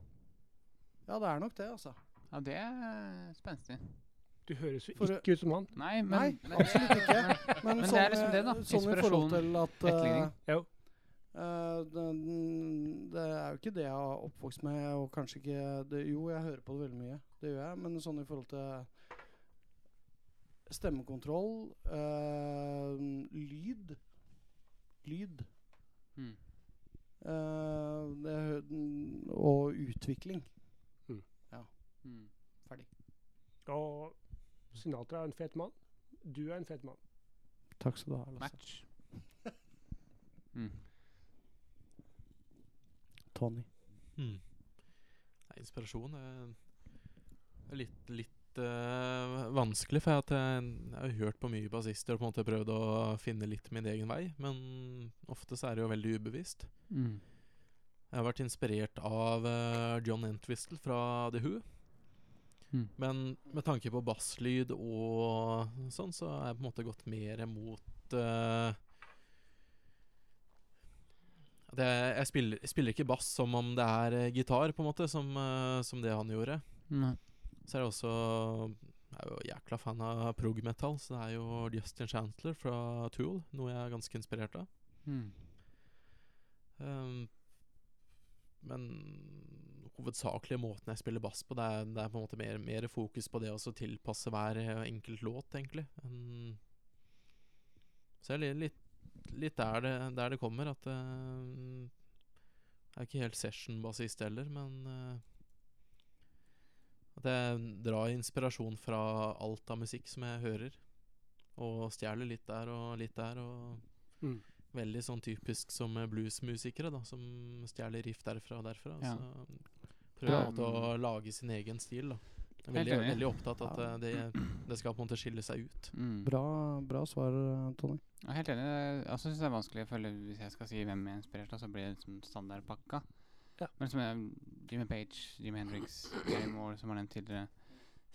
S2: Ja, det er nok det, altså.
S3: Ja, det er spenstig.
S6: Du høres jo
S2: For,
S6: ikke ut som han.
S3: Nei, men,
S2: Nei,
S3: men
S2: absolutt ikke. Men,
S3: Men det
S2: sånn,
S3: er liksom det, da.
S2: eh, Sånn i forhold til at eh,
S3: etterligning.
S6: Jo.
S2: eh, den- det er jo ikke det jeg er oppvokst med, og kanskje ikke det, Jo, jeg hører på det veldig mye, det gjør jeg, men sånn i forhold til stemmekontroll, eh, lyd Lyd
S3: Mm.
S2: eh, det, hø- og utvikling.
S3: Mm.
S6: Og Sinatra er en fet mann. Du er en fet mann.
S2: Takk skal du ha. Lasse.
S3: Match. Mm.
S2: Tony.
S4: Hmm. Nei, inspirasjon er er litt, litt eh, vanskelig, for at jeg, jeg har hørt på mye bassister og på en måte prøvd å finne litt min egen vei, men ofte så er det jo veldig ubevisst.
S3: Mm.
S4: Jeg har vært inspirert av eh, John Entwistle fra The Who.
S3: Mm.
S4: Men med tanke på basslyd og sånn, så har jeg på en måte gått mer mot eh, at jeg, jeg, spiller, jeg spiller ikke bass som om det er eh, gitar, på en måte, som, eh, som det han gjorde.
S3: Nei.
S4: Så er det også Jeg er jo jækla fan av prog-metal, så det er jo Justin Chantler fra Tool, noe jeg er ganske inspirert av.
S3: Mm.
S4: Ehm, men hovedsakelig måten jeg spiller bass på, det er, det er på en måte mer, mer fokus på det å så tilpasse hver eh, enkelt låt, egentlig. enn- så jeg er litt, litt der, det, der det kommer, at eh, Jeg er ikke helt session-bassist heller, men eh, at jeg drar inspirasjon fra alt av musikk som jeg hører, og stjeler litt der og litt der. og...
S6: Mm.
S4: Veldig sånn typisk som eh, bluesmusikere, da, som stjeler riff derfra og derfra.
S3: Ja.
S4: Så prøver
S3: Ja,
S4: alltid å lage sin egen stil, da. Jeg er
S3: Helt
S4: veldig,
S3: enig.
S4: veldig opptatt at eh, det, det skal på en måte skille seg ut.
S3: Mm.
S2: Bra, bra svar, Tony.
S3: Jeg er helt enig. Jeg altså, synes det er vanskelig å følge Hvis jeg skal si hvem jeg er inspirert av, så blir det liksom standardpakka.
S6: Ja.
S3: Men som jeg, Jimmy Page, Jimi Hendrix, Gary Moore, som var nevnt tidligere.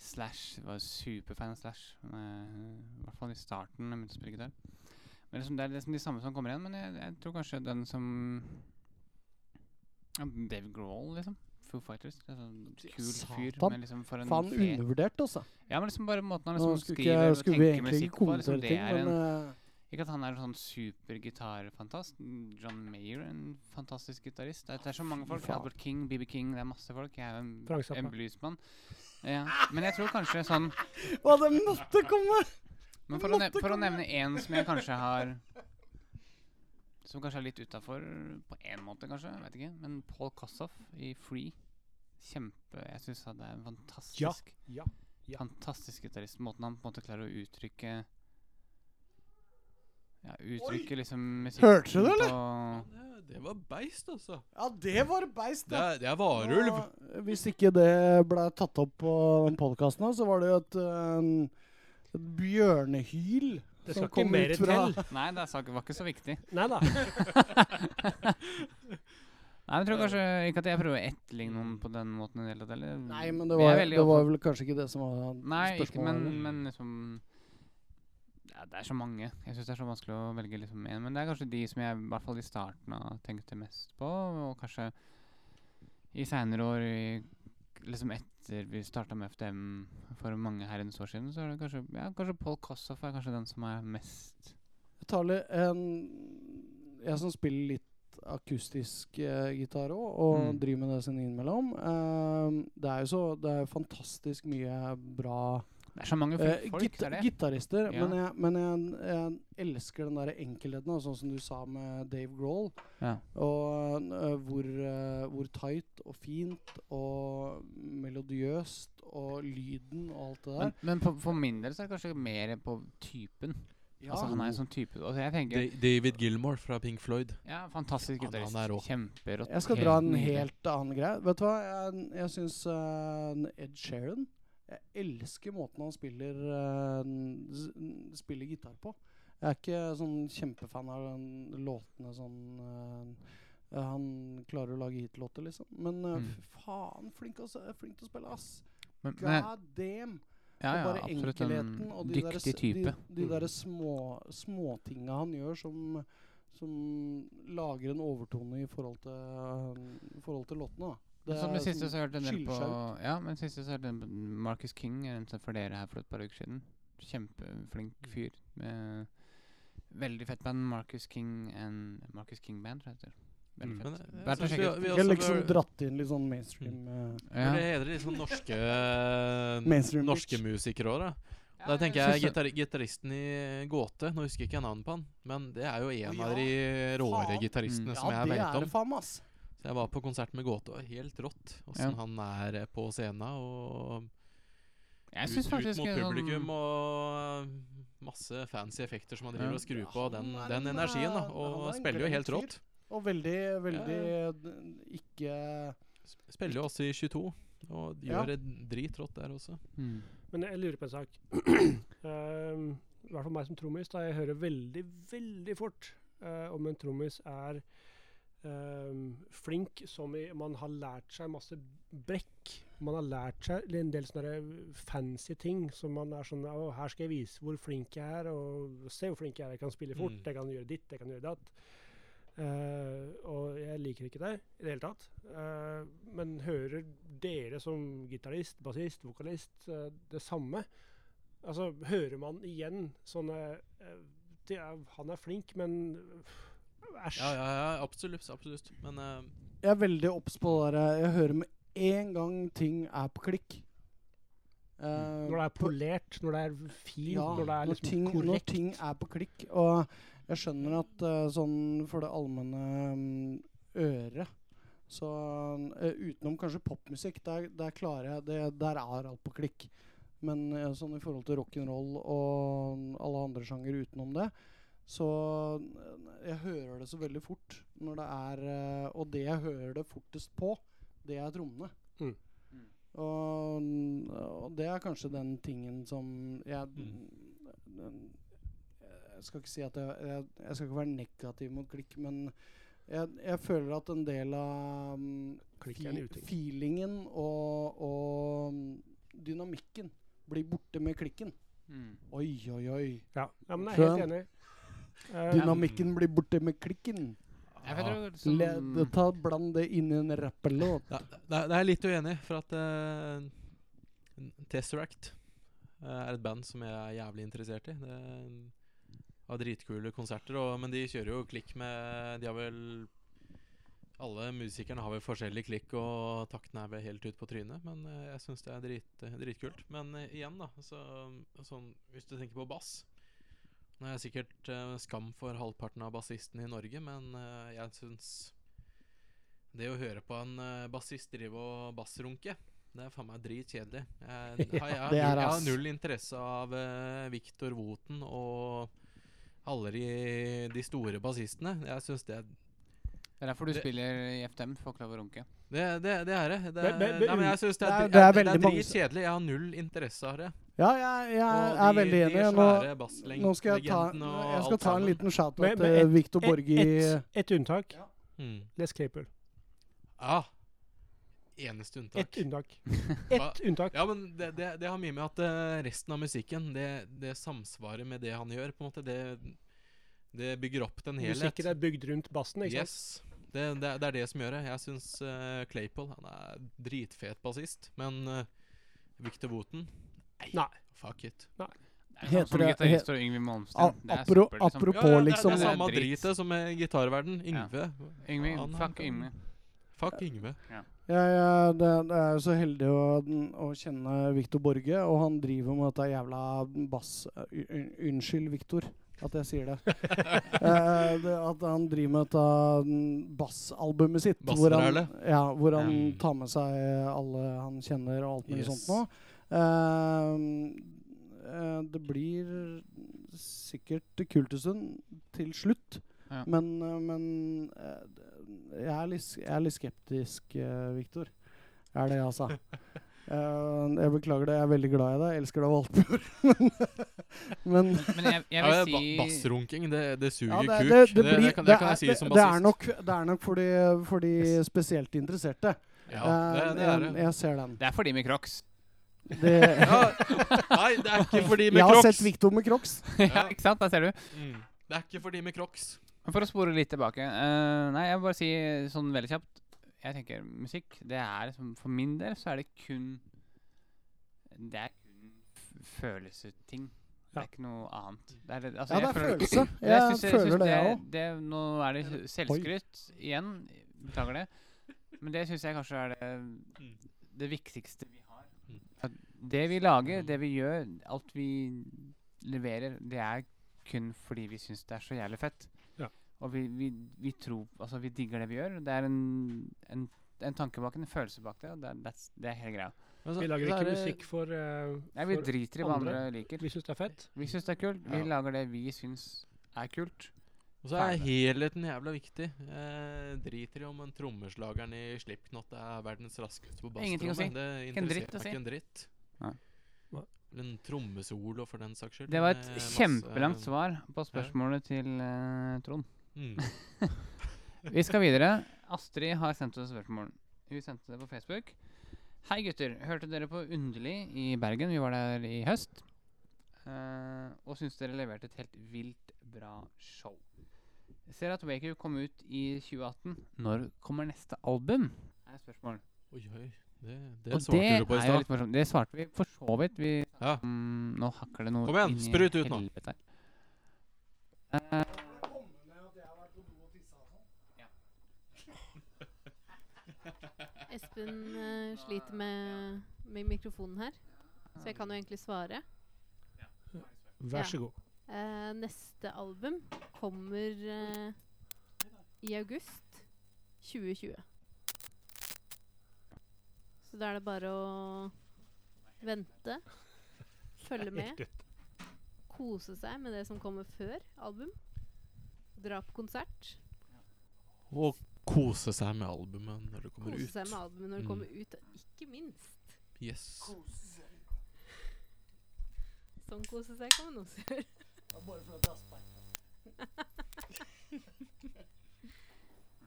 S3: Slash var superfan av Slash. men, eh, I hvert fall i starten da jeg begynte å spille gitar. Men liksom, Det er liksom de samme som kommer igjen, men jeg, jeg tror kanskje den som ja, Dave Grohl, liksom. Foo Fighters. Det er sånn kul fyr.
S2: Satan.
S3: Men liksom for en
S2: Faen,
S3: fet-
S2: undervurdert, altså.
S3: Ja, men liksom bare måten han
S2: Nå
S3: liksom
S2: skulle,
S3: skriver
S2: ikke,
S3: og
S2: skulle vi
S3: tenker
S2: egentlig
S3: musikk
S2: ikke
S3: på.
S2: kommentere
S3: Liksom, det
S2: ting,
S3: er en
S2: men eh,
S3: ikke at han er en sånn supergitarfantast. Mm, John Mayer er en fantastisk gitarist. Det, er- det er så mange folk.
S2: faen.
S3: Albert King, BB King, det er masse folk. Jeg er jo
S6: Frank
S3: en,
S6: Zappa.
S3: en bluesmann. Ja. Men jeg tror kanskje sånn
S2: Å, det måtte komme!
S3: Men for å, nev for å nevne én som jeg kanskje har Som kanskje er litt utafor på én måte, kanskje. Jeg vet ikke. Men Paul Kossoff i Free. Kjempe Jeg syns han er en fantastisk
S6: Ja. Ja.
S3: Fantastisk gitarist. Måten han på en måte klarer å uttrykke Ja, uttrykke liksom musikken
S2: Hørte du det,
S3: på-
S4: Det, var beist, altså.
S2: Ja, det var beist,
S4: Det
S2: da.
S4: er, det er varulv.
S2: Og Hvis ikke det ble tatt opp på den podkasten, så var det jo et, eh, et bjørnehyl
S6: Det skal ikke mer til.
S3: Nei, det er sak- var ikke så viktig.
S6: Nei da.
S3: Nei, men jeg tror kanskje ikke at jeg prøver å etterligne noen på den måten i det hele tatt. eller?
S2: Nei, men det
S3: Vi er
S2: var,
S3: veldig
S2: det var
S3: opptatt-
S2: vel kanskje ikke det som var
S3: Nei, ikke, men,
S2: spørsmålet.
S3: men liksom ja, Det er så mange. Jeg syns det er så vanskelig å velge liksom én. Men det er kanskje de som jeg i hvert fall i starten av tenkte mest på, og kanskje i seinere år i, Liksom etter vi starta med FDM for mange herrens år siden, så er det kanskje Ja, kanskje Paul Kossoff er kanskje den som er mest
S2: Jeg tar litt en Jeg som spiller litt akustisk eh, gitar òg, og
S3: Mm.
S2: driver med det sin innimellom. eh, det er jo så Det er fantastisk mye bra
S3: Det er så
S2: eh,
S3: mange flinke folk, det
S2: gita-
S3: er det.
S2: gitarister.
S3: Ja.
S2: Men, jeg, men jeg, jeg elsker den der enkelheten, og sånn som du sa med Dave Grohl.
S3: Ja.
S2: Og eh, hvor, eh, hvor tight og fint og melodiøst og lyden og alt det der.
S3: Men, men på, for min del så er det kanskje mer på typen. Altså Han er en sånn type altså, Jeg tenker
S4: Da- David Gilmore fra Pink Floyd.
S3: Ja, fantastisk
S4: Han-
S3: gitarist.
S4: han er rå.
S3: Kjemperått.
S2: Jeg skal dra en
S3: sånn nydelig.
S2: helt annen greie. Vet du hva, jeg, jeg syns Ed Sheeran Jeg elsker måten han spiller eh, n- s- n- spiller gitar på. Jeg er ikke sånn kjempefan av den låtene sånn eh, eh, Han klarer å lage hitlåter, liksom. Men eh,
S3: Mm.
S2: fy faen, flink, å s- flink til å spille, ass!
S3: Men, men, jeg-
S2: God damn!
S3: ja,
S2: Og
S3: ja,
S2: bare
S3: absolutt en
S2: enkelheten og de der
S3: dyktig
S2: s-
S3: type.
S2: De, de derre små, småtinga han gjør som, som lager en overtone i forhold til, i forhold til låtene. da. Det
S3: Som
S2: er
S3: det siste
S2: sånn-
S3: så hørte jeg en del
S2: skiller
S3: på
S2: seg
S3: Ja, men siste så hørte jeg på Marcus King jeg nevnte for dere her for et par uker siden.
S4: Mm.
S3: Kjempeflink fyr. Med veldig fett band. Marcus King and Marcus King Band, tror jeg det heter. Veldig
S4: Mm. Men eh,
S3: fett.
S4: jeg- jeg
S3: Verdt å
S4: synes
S3: sjekke ut.
S4: vi, vi
S2: Ikke
S4: også
S2: liksom
S4: bør,
S2: dratt inn litt sånn mainstream eh,
S4: bør
S3: Ja.
S4: hedre litt sånn norske eh,
S2: Mainstream
S4: Norske
S2: bitch.
S4: musikere òg, da. Da tenker jeg gitar gitaristen i eh, Gåte. Nå husker jeg ikke navnet på han, men det er jo en
S2: Å,
S4: av de råere
S2: Faen.
S4: gitaristene
S3: Mm.
S4: som jeg
S2: det
S4: vet
S2: er
S4: om.
S2: det faen meg, ass.
S4: Så jeg var på konsert med Gåte, og helt rått åssen
S3: Ja.
S4: han er eh, på scenen og
S3: Jeg
S4: ut,
S3: syns
S4: ut
S3: faktisk
S4: mot
S3: en sånn-
S4: publikum og eh, masse fancy effekter som han driver
S3: Ja.
S4: og skrur på.
S2: Ja,
S4: Den,
S2: han er
S4: den
S2: en,
S4: energien, da.
S2: eh, han
S4: Og
S2: er en
S4: spiller jo
S2: gløgg
S4: helt
S2: fyr.
S4: rått.
S2: Og veldig, veldig d- ikke
S4: Sp- Spiller jo også i 22, og
S2: Ja.
S4: gjør det dritrått der også.
S3: Mm.
S6: Men jeg lurer på en sak. um, I hvert fall meg som trommis, da jeg hører veldig, veldig fort eh, om en trommis er ehm, flink som i man har lært seg masse brekk. Man har lært seg en del sånne der fancy ting som man er sånn Å, her skal jeg vise hvor flink jeg er, og se hvor flink jeg er. Jeg kan spille fort,
S4: Mm.
S6: jeg kan gjøre ditt, jeg kan gjøre datt. Eh, og jeg liker ikke det i det hele tatt. Eh, men hører dere som gitarist, bassist, vokalist eh, det samme? Altså, hører man igjen sånne eh, det er, Han er flink, men øh, Æsj.
S4: Ja, ja, ja, absolutt. absolutt. Men eh,
S2: Jeg er veldig obs på det der. eh, Jeg hører med en gang ting er på klikk. Eh,
S6: Når det er polert, når det er fint,
S2: ja,
S6: når det er liksom
S2: ting,
S6: korrekt.
S2: når ting er på klikk. Og jeg skjønner at eh, sånn for det allmenne mm, øret så eh, Utenom kanskje popmusikk, der, der klarer jeg det, Der er alt på klikk. Men eh, sånn i forhold til rock'n'roll og alle andre sjanger utenom det, så eh, Jeg hører det så veldig fort når det er eh, Og det jeg hører det fortest på, det er trommene.
S6: Mm.
S3: Mm.
S2: Og, og det er kanskje den tingen som jeg
S4: Mm.
S2: den, Jeg skal ikke si at jeg, jeg Jeg skal ikke være negativ mot klikk, men jeg, jeg føler at en del av mm,
S6: Klikk er en
S2: fe-
S6: uting.
S2: feelingen og, og mm, dynamikken blir borte med klikken.
S3: Mm.
S2: Oi, oi, oi.
S6: Ja. ja, men jeg er helt
S2: Skjønn.
S6: enig. Eh,
S2: Dynamikken blir borte med klikken.
S3: Jeg vet
S4: ja.
S3: ikke, liksom,
S2: Le,
S4: Mm.
S2: det, ta, bland det inn i en rappelåt.
S4: Ja, det, det er jeg litt uenig i, for at eh, Tesseract eh, er et band som jeg er jævlig interessert i. Det har dritkule konserter, og, men de kjører jo klikk med De har vel Alle musikerne har vel forskjellig klikk, og takten er vel helt ut på trynet. Men eh, jeg syns det er drit, dritkult. Men eh, igjen, da, så, sånn, hvis du tenker på bass Nå er jeg sikkert eh, skam for halvparten av bassistene i Norge, men eh, jeg syns det å høre på en eh, bassist drive og bassrunke, det er faen meg dritkjedelig. Jeg, jeg, jeg, har
S2: det er
S4: null- jeg har
S2: ass.
S4: null interesse av eh, Victor Woten og alle de, de store bassistene. Jeg syns det,
S3: Det er derfor du
S4: Det-
S3: spiller i FDM, får ikke lov å runke.
S4: det Det, det er det. det
S6: Men- men- men
S4: nei, men jeg synes det, er,
S2: det er-
S4: dri-
S2: det er
S4: det
S2: veldig
S4: er
S2: mange som-
S4: dritkjedelig. Jeg har null interesse av det.
S2: Ja, jeg, jeg
S4: Og
S2: er
S4: de-
S2: veldig
S4: de
S2: enig. Nå,
S4: svære bassleng-
S2: nå skal jeg ta,
S4: legendene og
S2: jeg skal
S4: alt
S2: ta en
S4: sammen.
S2: liten
S6: Men-
S2: shout-out
S6: men
S2: til Victor
S6: Et,
S2: Borge i
S6: et, et unntak.
S4: Mm.
S6: Les Claypool.
S4: Ja. Eneste unntak.
S6: Et unntak. Et unntak.
S4: Ja, men det, det, det har mye med at eh, resten av musikken, det, det samsvarer med det han gjør, på en måte. Det, det bygger opp den helhet.
S6: Musikken er bygd rundt bassen, ikke sant?
S4: Yes. Det, det, det er det som gjør det. Jeg syns Claypool han er dritfet bassist, men eh, Victor Wooten
S6: Nei.
S4: Fuck it.
S3: Det er det samme som
S2: Heter det-
S3: gitarist og Yngve Malmsten. Det er
S2: apro-
S3: søppel, liksom.
S2: apropos-
S4: det, er-
S2: liksom-
S4: det er samme
S3: Det er drit.
S4: dritet som i gitarverden. Yngve.
S3: Yngve,
S4: Han- han
S3: fuck
S4: kan-
S3: Yngve.
S4: Fuck Yngve.
S2: Jeg er- det, det er jo så heldig å, å kjenne Victor Borge, og han driver med dette jævla bass... u- u- Unnskyld, Victor, at jeg sier det. Eh, det at han driver med dette mm, bassalbumet sitt. Hvor han,
S4: Bassbraulet.
S2: ja, hvor han
S4: Mm.
S2: tar med seg alle han kjenner, og alt mulig
S4: Yes.
S2: sånt nå. Eh, eh, det blir sikkert kult en stund, til slutt.
S3: Ja.
S2: Men, eh, men eh, d- jeg, er litt, jeg er litt skeptisk, eh, Victor. Jeg er det, altså. Eh, jeg beklager det. Jeg er veldig glad i deg. Jeg elsker deg av alt mulig. men, men
S3: Men jeg, jeg
S4: Ja,
S3: vil
S4: ba
S3: si
S4: bassrunking, det, det suger
S2: ja, det,
S4: kuk.
S2: det, det,
S4: det,
S2: blir,
S4: kan,
S2: det
S4: det kan
S2: er-
S4: jeg si
S2: det-
S4: som
S2: det er
S4: bassist.
S2: nok, det er nok for de, for de spesielt interesserte.
S4: Ja,
S2: eh,
S4: det, det er
S2: jeg,
S4: det.
S2: jeg ser den.
S3: Det er for de med crocs.
S2: Det,
S4: Ja. Nei, det er ikke for de
S2: jeg
S4: med
S2: har
S4: crocs.
S2: sett Victor med crocs.
S3: ja, ikke sant? Der ser du.
S4: Mm. Det er ikke for de med crocs.
S3: Men For å spore litt tilbake eh, Nei, jeg vil bare si sånn veldig kjapt jeg tenker musikk, det er liksom For min del så er det kun Det er kun f- følelseting. Det
S6: Ja.
S3: er ikke noe annet. Det er, det- altså,
S8: Ja, det
S3: jeg
S8: er
S3: føler-
S8: følelse.
S3: Men
S8: Jeg
S3: synes- synes
S8: føler det, jeg
S3: det-
S8: òg.
S3: det- Nå er det s- selvskryt igjen. Beklager det. Men det syns jeg kanskje er det, det viktigste vi har.
S4: Mm.
S3: At det vi lager, det vi gjør, alt vi leverer, det er kun fordi vi syns det er så jævlig fett.
S6: Ja.
S3: Og vi, vi, vi tror Altså, vi digger det vi gjør. Det er en, en, en tanke bak, en følelse bak det, og det, er- that's, det er hele greia.
S4: Men så-
S6: Vi lager
S4: så er
S6: ikke
S4: det-
S6: musikk for, eh,
S3: Nei, vi
S6: for
S3: driter i hva
S6: andre.
S3: andre liker.
S6: Vi syns det er fett.
S3: Vi syns det er kult. Vi
S4: Ja.
S3: lager det vi syns er kult.
S4: Og så er
S3: Ferdig.
S4: helheten jævla viktig. Jeg driter i om en trommeslageren i Slipknot er verdens raskeste på bassrommet.
S3: Ingenting å si.
S4: Det
S3: Ikke en dritt
S4: interesserer
S3: å si.
S4: meg ikke en dritt.
S3: Nei.
S6: Nei.
S4: Eller en trommesolo, for den saks skyld.
S3: Det var
S4: med
S3: et
S4: eh, masse-
S3: kjempelangt svar på spørsmålet til eh, Trond.
S4: Mm.
S3: Vi skal videre. Astrid har sendt oss spørsmål. Hun sendte det på Facebook. Hei, gutter. Hørte dere på Underlig i Bergen? Vi var der i høst. Eh, og syns dere leverte et helt vilt bra show. Jeg ser at Waker kom ut i 2018. Når kommer neste album? er spørsmål.
S4: Oi, oi. Det, det
S3: og
S4: svarte
S3: det
S4: du på i
S3: er jo
S4: stad.
S3: litt morsomt. Det svarte vi for så vidt. Vi,
S4: Ja.
S3: Mm, nå hakker det noe
S4: Kom igjen,
S3: inn i
S4: sprut ut nå.
S3: helvete.
S5: Espen eh, sliter med, med mikrofonen her, så jeg kan jo egentlig svare.
S6: Vær
S5: Ja.
S6: så god.
S5: Eh, neste album kommer eh, i august 2020. Så da er det bare å vente, følge med, kose seg med det som kommer før album. Dra på konsert.
S4: Og kose seg med albumet når det kommer
S5: Kose
S4: ut.
S5: seg med albumet når
S4: Mm.
S5: det kommer ut, og ikke minst
S4: Yes.
S5: sånn kose seg kan man også gjøre.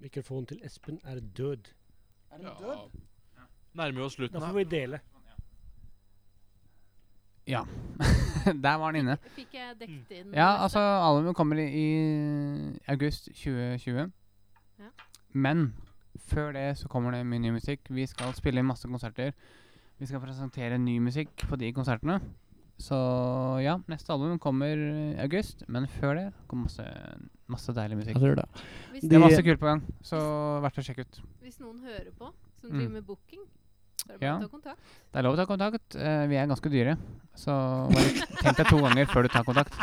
S6: Mikrofonen til Espen er død.
S4: Ja. Nærmer vi oss
S6: Da
S4: slutten,
S6: får
S4: da.
S6: vi dele.
S3: Ja. Der var den inne.
S5: Fikk
S4: Mm.
S5: jeg dekket inn
S3: Ja,
S5: det
S3: altså
S5: meste?
S3: albumet kommer i, i august 2020.
S5: Ja.
S3: Men før det så kommer det mye ny musikk. Vi skal spille masse konserter. Vi skal presentere ny musikk på de konsertene. Så ja, neste album kommer i august, men før det kommer masse, masse deilig musikk.
S8: Jeg tror det.
S5: Hvis
S3: Det er
S8: de-
S3: masse kult på gang, så verdt å sjekke ut.
S5: Hvis noen hører på, som
S3: Mm.
S5: driver med booking, så er det bare
S3: Ja.
S5: å ta kontakt.
S3: Det er lov å ta kontakt. Eh, vi er ganske dyre, så bare tenk deg to ganger før du tar kontakt.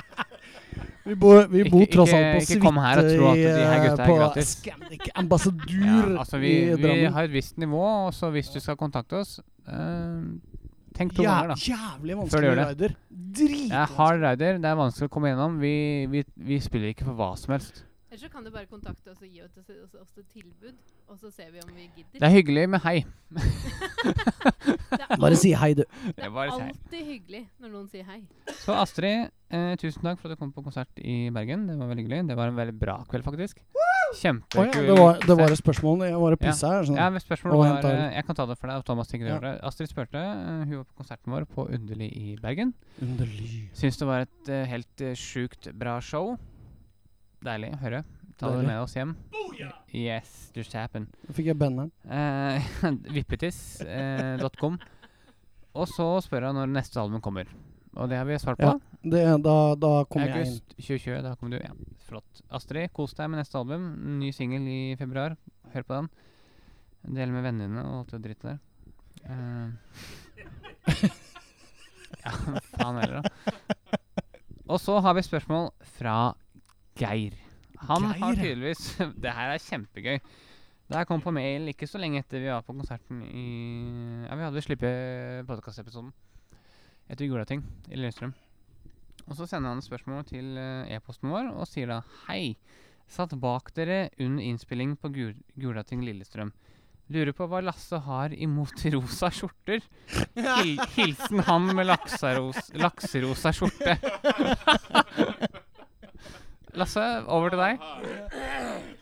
S8: Vi bor, vi
S3: Ikke-
S8: bor tross
S3: ikke-
S8: alt på
S3: ikke kom her og tro at
S8: i,
S3: de her
S8: eh,
S3: gutta er
S8: på
S3: gratis.
S8: Scandic Ambassadør
S3: Ja, altså vi,
S8: i
S3: vi
S8: Drammen.
S3: har et visst nivå, og så hvis du skal kontakte oss eh, Tenk to
S8: Jæ-
S3: ganger, da.
S8: Jævlig
S3: Før du
S8: vanskelig
S3: gjør det.
S8: rider.
S3: Det er
S8: Dritvanskelig.
S3: hard rider, det er vanskelig å komme gjennom. Vi, vi, vi spiller ikke for hva som helst.
S5: Eller så kan du bare kontakte oss og gi oss, oss, oss et tilbud, og så ser vi om vi gidder.
S3: Det er hyggelig med hei.
S5: Det er,
S8: Bare si hei, du.
S5: det
S3: Det
S5: er
S3: var et hei.
S5: alltid hyggelig når noen sier hei.
S3: Så Astrid, eh, tusen takk for at du kom på konsert i Bergen. Det var veldig hyggelig. Det var en veldig bra kveld, faktisk.
S8: Å
S3: Kjempekul.
S8: ja, det, var, det var et spørsmål. Jeg var og
S3: Ja.
S8: pissa her. Sånn.
S3: Ja, men spørsmålet
S8: Og
S3: var
S8: hent
S3: eh,
S8: Arild.
S3: Jeg kan ta det for deg. og Thomas tenker å
S8: Ja.
S3: gjøre det. Astrid spurte. eh, Hun var på konserten vår på Underlig i Bergen.
S8: Underlig.
S3: Syns det var et eh, helt eh, sjukt bra show. Deilig å høre. Ta
S8: Deilig.
S3: det med oss hjem. Yes, just happened.
S8: Da fikk jeg benneren.
S3: Eh, Vippetiss.com. og så spør hun når neste album kommer. Og det har vi svart på.
S8: Ja, Det, da, da kom jeg inn.
S3: August 2020. Da kommer du. Ja, flott. Astrid, kos deg med neste album. Ny singel i februar. Hør på den. Del med vennene dine og alt det drittet der. Eh. ja, faen heller, da. Og så har vi spørsmål fra Geir. Han har
S8: Geir?
S3: tydeligvis Det her er kjempegøy. Det her kom på mail ikke så lenge etter vi var på konserten i Ja, vi hadde sluppet podkastepisoden etter Gulating i Lillestrøm. Og så sender han et spørsmål til eh, e-posten vår og sier da Hei. Satt bak dere under innspilling på Gul Gulating Lillestrøm. Lurer på hva Lasse har imot rosa skjorter. Hil hilsen han med lakseros lakserosa skjorte. Lasse, over til deg.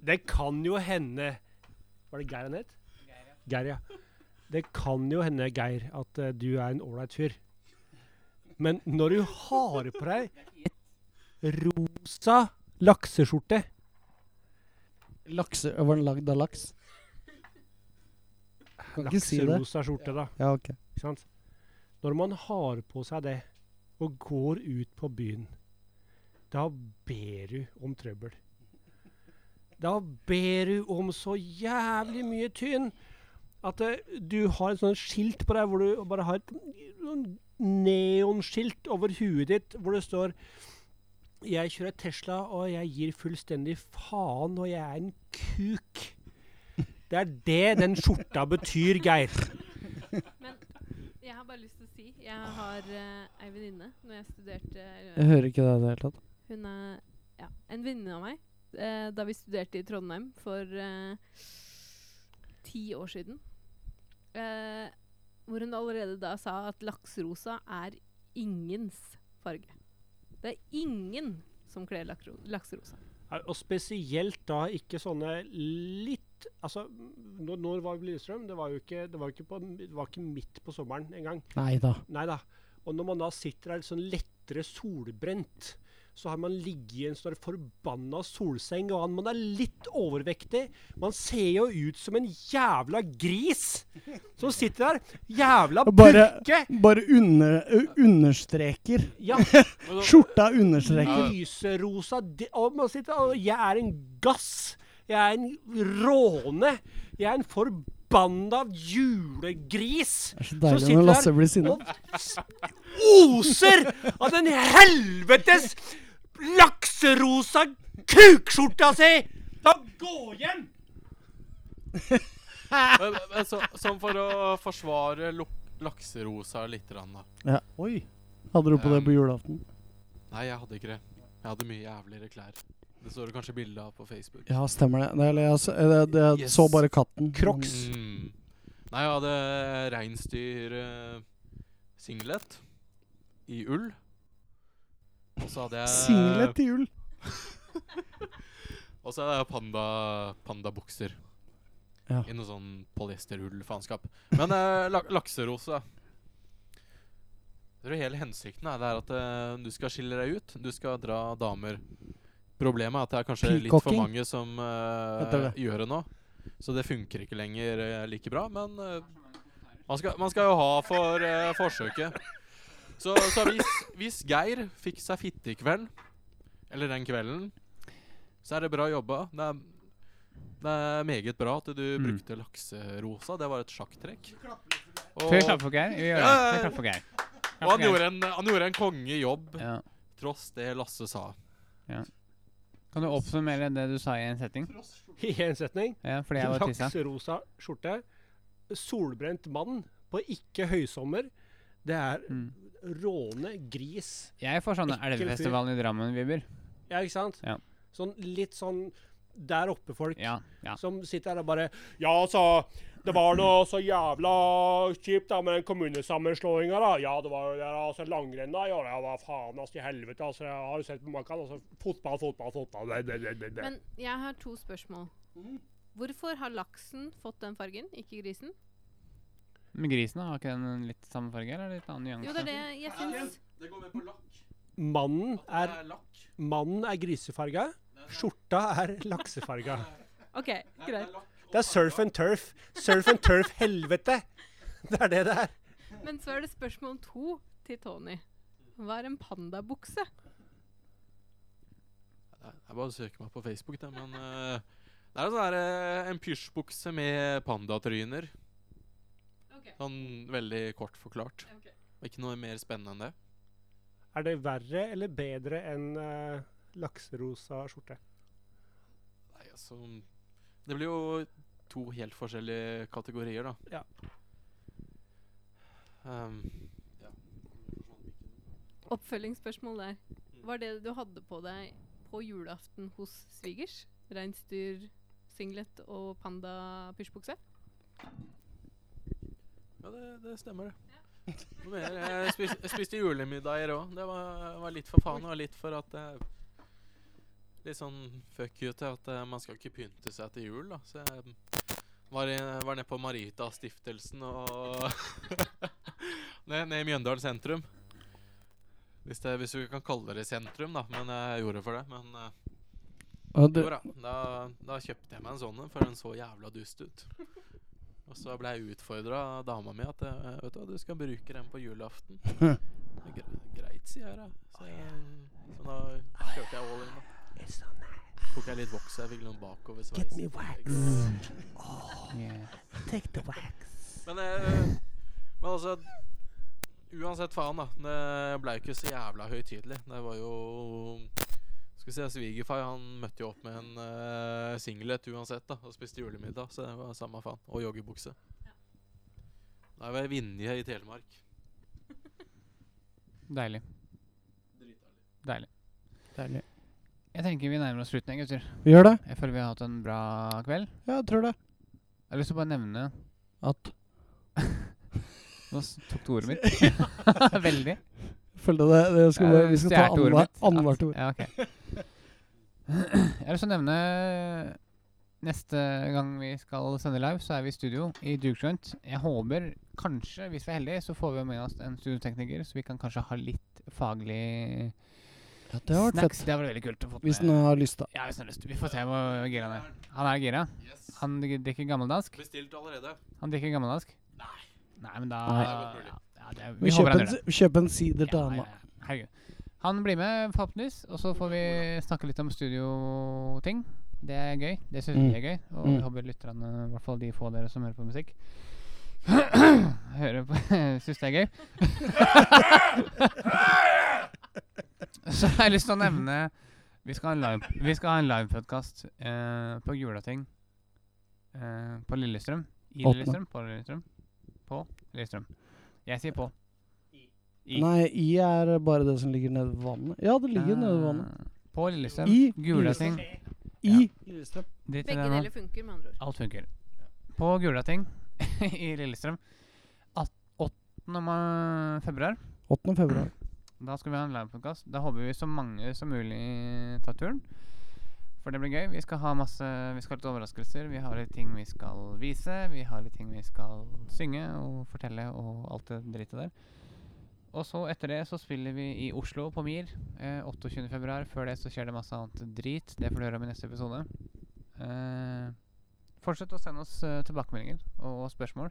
S6: Det kan jo hende Var det Geir han het? Geir, ja. Det kan jo hende, Geir, at eh, du er en ålreit fyr. Men når du har på deg rosa lakseskjorte
S8: Lakse, var den lagd av laks? Kan ikke si det.
S6: Lakserosa skjorte, da.
S8: Ja, ok.
S6: Ikke sant? Når man har på seg det, og går ut på byen, da ber du om trøbbel. Da ber du om så jævlig mye tynn at eh, du har et sånt skilt på deg hvor du bare har et sånn neonskilt over huet ditt hvor det står jeg kjører Tesla, og jeg gir fullstendig faen, og jeg er en kuk. Det er det den skjorta betyr, Geir.
S5: Jeg har bare lyst til å si Jeg har eh, ei venninne Når jeg studerte
S8: Jeg hører ikke det i det hele tatt.
S5: Hun er ja, en venninne av meg. Eh, da vi studerte i Trondheim for eh, ti år siden. Eh, hvor hun allerede da sa at lakserosa er ingens farge. Det er ingen som kler lakro- lakserosa.
S6: Ja, Og spesielt da ikke sånne litt Altså, når, når var vi på Lillestrøm? Det var jo ikke, det var jo ikke, på, det var ikke midt på sommeren engang.
S8: Nei da.
S6: Nei da. Og når man da sitter der litt sånn lettere solbrent, så har man ligget i en sånn forbanna solseng, og han- man er litt overvektig. Man ser jo ut som en jævla gris som sitter der. Jævla
S8: Og bare-
S6: purke!
S8: Bare under, ø- understreker.
S6: Ja,
S8: Skjorta understreker.
S6: Lyserosa di- og man sitter, og Jeg er en gass. Jeg er en råne. Jeg er en forbanna julegris
S8: Det er så
S6: Så
S8: deilig
S6: sitter
S8: når
S6: du
S8: Lasse
S6: her
S8: blir sinna.
S6: og s- oser av den helvetes lakserosa kukskjorta si! Da gå hjem!
S4: Men, men så, sånn for å forsvare luk lakserosa litt, grann, da.
S8: Ja. Oi. Hadde du på det
S4: Um,
S8: på julaften?
S4: Nei, jeg hadde ikke det. Jeg hadde mye jævligere klær. Det står det kanskje bilde av på Facebook.
S8: Ja, stemmer det. Nei, eller jeg, s- eller jeg, jeg
S4: Yes.
S8: så bare katten.
S6: Crocs.
S4: Mm. Nei, jeg hadde reinsdyr-singlet i ull. Og så hadde jeg
S8: Singlet til jul.
S4: Og så er det panda pandabukser.
S8: Ja.
S4: I noe sånn polyesterhull-faenskap. Men eh, lak lakserose Jeg tror hele hensikten er, det er at eh, du skal skille deg ut. Du skal dra damer. Problemet er at det er kanskje litt for
S8: Peacocking?
S4: mange som eh,
S8: Heter det.
S4: gjør det nå. Så det funker ikke lenger eh, like bra. Men eh, man, skal, man skal jo ha for eh, forsøket. Så, så hvis, hvis Geir fikk seg fitte i kveld, eller den kvelden, så er det bra jobba. Det er, det er meget bra at du
S3: Mm.
S4: brukte lakserosa. Det var et sjakktrekk. Og,
S3: Skal vi klappe for Geir? Vi gjør det. Vi klapper for Geir.
S4: og han, gjorde en, han gjorde en kongejobb,
S3: Ja.
S4: tross det Lasse sa.
S3: Kan du oppsummere det du sa i en setting?
S6: Mm. I en setning.
S3: Ja, fordi jeg var tissa.
S6: Lakserosa skjorte. Solbrent mann på ikke høysommer. Det er
S3: Mm.
S6: råne gris.
S3: Jeg får sånne
S6: Ekkel fyr.
S3: elvefestivalen i Drammen-vibber.
S6: Ja, ikke sant?
S3: Ja.
S6: Sånn litt sånn der oppe-folk
S3: Ja, ja.
S6: som sitter her og bare Ja, altså, det var noe så jævla kjipt da med den kommunesammenslåinga, da. Ja, det var jo det, da, altså langrenn, da. Ja, ja, hva faen, altså, i helvete, altså. Jeg har jo sett på Makan, altså. Fotball, fotball, fotball. Det, det, det, det, det.
S5: Men jeg har to spørsmål. Hvorfor har laksen fått den fargen, ikke grisen?
S3: Men grisen, da, har ikke den en litt samme farge? Eller litt annen nyanse?
S5: Jo, det er det jeg syns.
S4: Det går med på lakk.
S6: Mannen er,
S4: lakk.
S6: mannen er grisefarga. Skjorta er laksefarga.
S5: OK, greit.
S6: Det er surf and turf. Surf and turf-helvete. Det er det det er.
S5: Men så er det spørsmål to til Tony. Hva er en pandabukse?
S4: Jeg bare søker meg på Facebook, det, men eh, Det er en sånn her, eh, en pysjbukse med pandatryner.
S5: Ok.
S4: Sånn veldig kort forklart. Ikke noe mer spennende enn det.
S6: Er det verre eller bedre enn eh, lakserosa skjorte?
S4: Nei, altså Det blir jo to helt forskjellige kategorier, da.
S6: Ja.
S4: Ehm,
S5: Oppfølgingsspørsmål der. Var det du hadde på deg på julaften hos svigers? Reinsdyr, singlet og panda pysjbukse?
S4: ja, det, det stemmer, det. Noe mer. Jeg, spis, jeg spiste julemiddager òg. Det var, var litt for faen og litt for at jeg, Litt sånn fuck you til at eh, man skal ikke pynte seg til jul, da. Så jeg var, i, var nede på Maritastiftelsen og ned, ned i Mjøndalen sentrum. Hvis, det, hvis vi kan kalle det sentrum, da. Men jeg gjorde for det. Men eh,
S8: Ja,
S4: det
S8: det,
S4: går bra. Da, da kjøpte jeg meg en sånn en, for den så jævla dust ut. Og så ble jeg utfordra av dama mi at eh, vet du hva, du skal bruke den på julaften. Det er gre- Greit, sier jeg da. Så, jeg, så da kjørte jeg all in, da. Tok jeg litt voks, jeg fikk noen bakoversveis. Get me wax.
S3: Yeah.
S4: Men, eh, men altså Uansett faen, da. Det ble jo ikke så jævla høytidelig. Det var jo Skal vi si Svigerfar han møtte jo opp med en eh, singlet uansett, da. Og spiste julemiddag, så det var samme faen. Og joggebukse. Da var jeg i Vinje i Telemark.
S3: Deilig. Deilig. Jeg tenker vi nærmer oss slutten, jeg, gutter.
S8: vi gjør det.
S3: Jeg føler vi har hatt en bra kveld.
S8: Ja, jeg tror det.
S3: Jeg har lyst til å bare nevne
S8: At
S3: Nå s- tok du ordet mitt. Veldig.
S8: Følte det, det skal,
S3: Jeg
S8: bare- vi skal ta
S3: stjal ordet
S8: annenhver-
S3: mitt.
S8: annethvert ord.
S3: Ja, ok. Jeg har lyst til å nevne Neste gang vi skal sende live, så er vi i studio i Dukejoint. Jeg håper, kanskje, hvis vi er heldige, så får vi med oss en studiotekniker, så vi kan kanskje ha litt faglig
S8: Ja, det har vært
S3: snacks.
S8: fett.
S3: Det hadde vært veldig kult å få
S8: Hvis den har lyst, da.
S3: Ja, hvis han har lyst. Vi får se hvor gira han er. Han er gira.
S4: Yes.
S3: Han drikker gammeldansk.
S4: Bestilt allerede.
S3: Han drikker gammeldansk. Nei. Nei, men da
S8: Nei.
S3: Ja, ja, det,
S8: Vi
S3: vi håper
S8: kjøper
S3: han
S8: en,
S3: gjør det.
S8: kjøp en sider til
S3: Ja,
S8: Anna.
S3: ja, ja. Herregud. Han blir med, forhåpentligvis. Og så får vi snakke litt om studioting. Det er gøy. Det syns vi
S8: Mm.
S3: er gøy. Og
S8: Mm.
S3: vi håper lytterne, i hvert fall de få dere som hører på musikk, hører på syns det er gøy. så har jeg lyst til å nevne Vi skal ha en live Vi skal ha en livepodkast eh, på Gulating eh, på Lillestrøm. I
S8: Åpne.
S3: Lillestrøm. På Lillestrøm. På Lillestrøm. Jeg sier på. I.
S8: Nei, i er bare det som ligger nede ved vannet. Ja, det ligger nede ved vannet.
S3: Eh, På Lillestrøm.
S8: I
S3: Gulating.
S8: I
S3: Drit i
S5: Begge
S3: det nå.
S5: deler funker, med andre ord.
S3: Alt funker. På Gulating i Lillestrøm at- 8. ma- februar
S8: 8. februar.
S3: Da skal vi ha en livepodkast. Da håper vi så mange som mulig tar turen. For det blir gøy. Vi skal ha masse Vi skal ha litt overraskelser. Vi har litt ting vi skal vise. Vi har litt ting vi skal synge og fortelle og alt det drittet der. Og så etter det så spiller vi i Oslo på Mir eh, 28. februar Før det så skjer det masse annet drit. Det får du høre om i neste episode. Eh, fortsett å sende oss eh, tilbakemeldinger og, og spørsmål.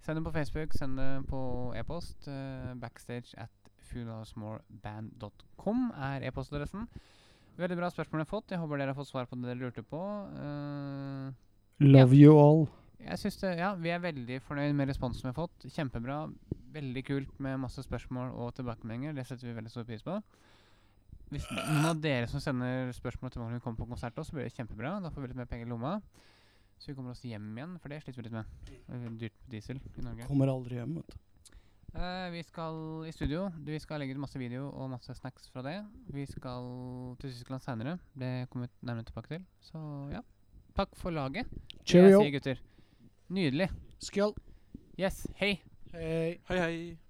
S3: Send det på Facebook, send det på e-post. Eh, backstage at foodhousemoreband.com er e-postadressen. Veldig bra spørsmål jeg har fått. Jeg håper dere har fått svar på det dere lurte på. Eh,
S8: Love you all.
S3: jeg synes det, ja, Vi er veldig fornøyd med responsen vi har fått. Kjempebra. Veldig kult med masse spørsmål og tilbakemeldinger. Det setter vi veldig stor pris på. Hvis noen av dere som sender spørsmål til vi kommer på konsert, også, så blir det kjempebra. Da får vi litt mer penger i lomma. Så vi kommer oss hjem igjen, for det sliter vi litt med. Det er Dyrt med diesel i Norge.
S8: Kommer aldri hjem, vet du.
S3: Eh, vi skal i studio. Du, Vi skal legge ut masse video og masse snacks fra det. Vi skal til Tyskland seinere. Det kommer vi nærmere tilbake til. Så ja. Takk for laget. vil Jeg
S8: Cheerio.
S3: si, gutter. Nydelig.
S8: Skål.
S3: Yes. Hei.
S8: Hei.
S4: Hei, hei.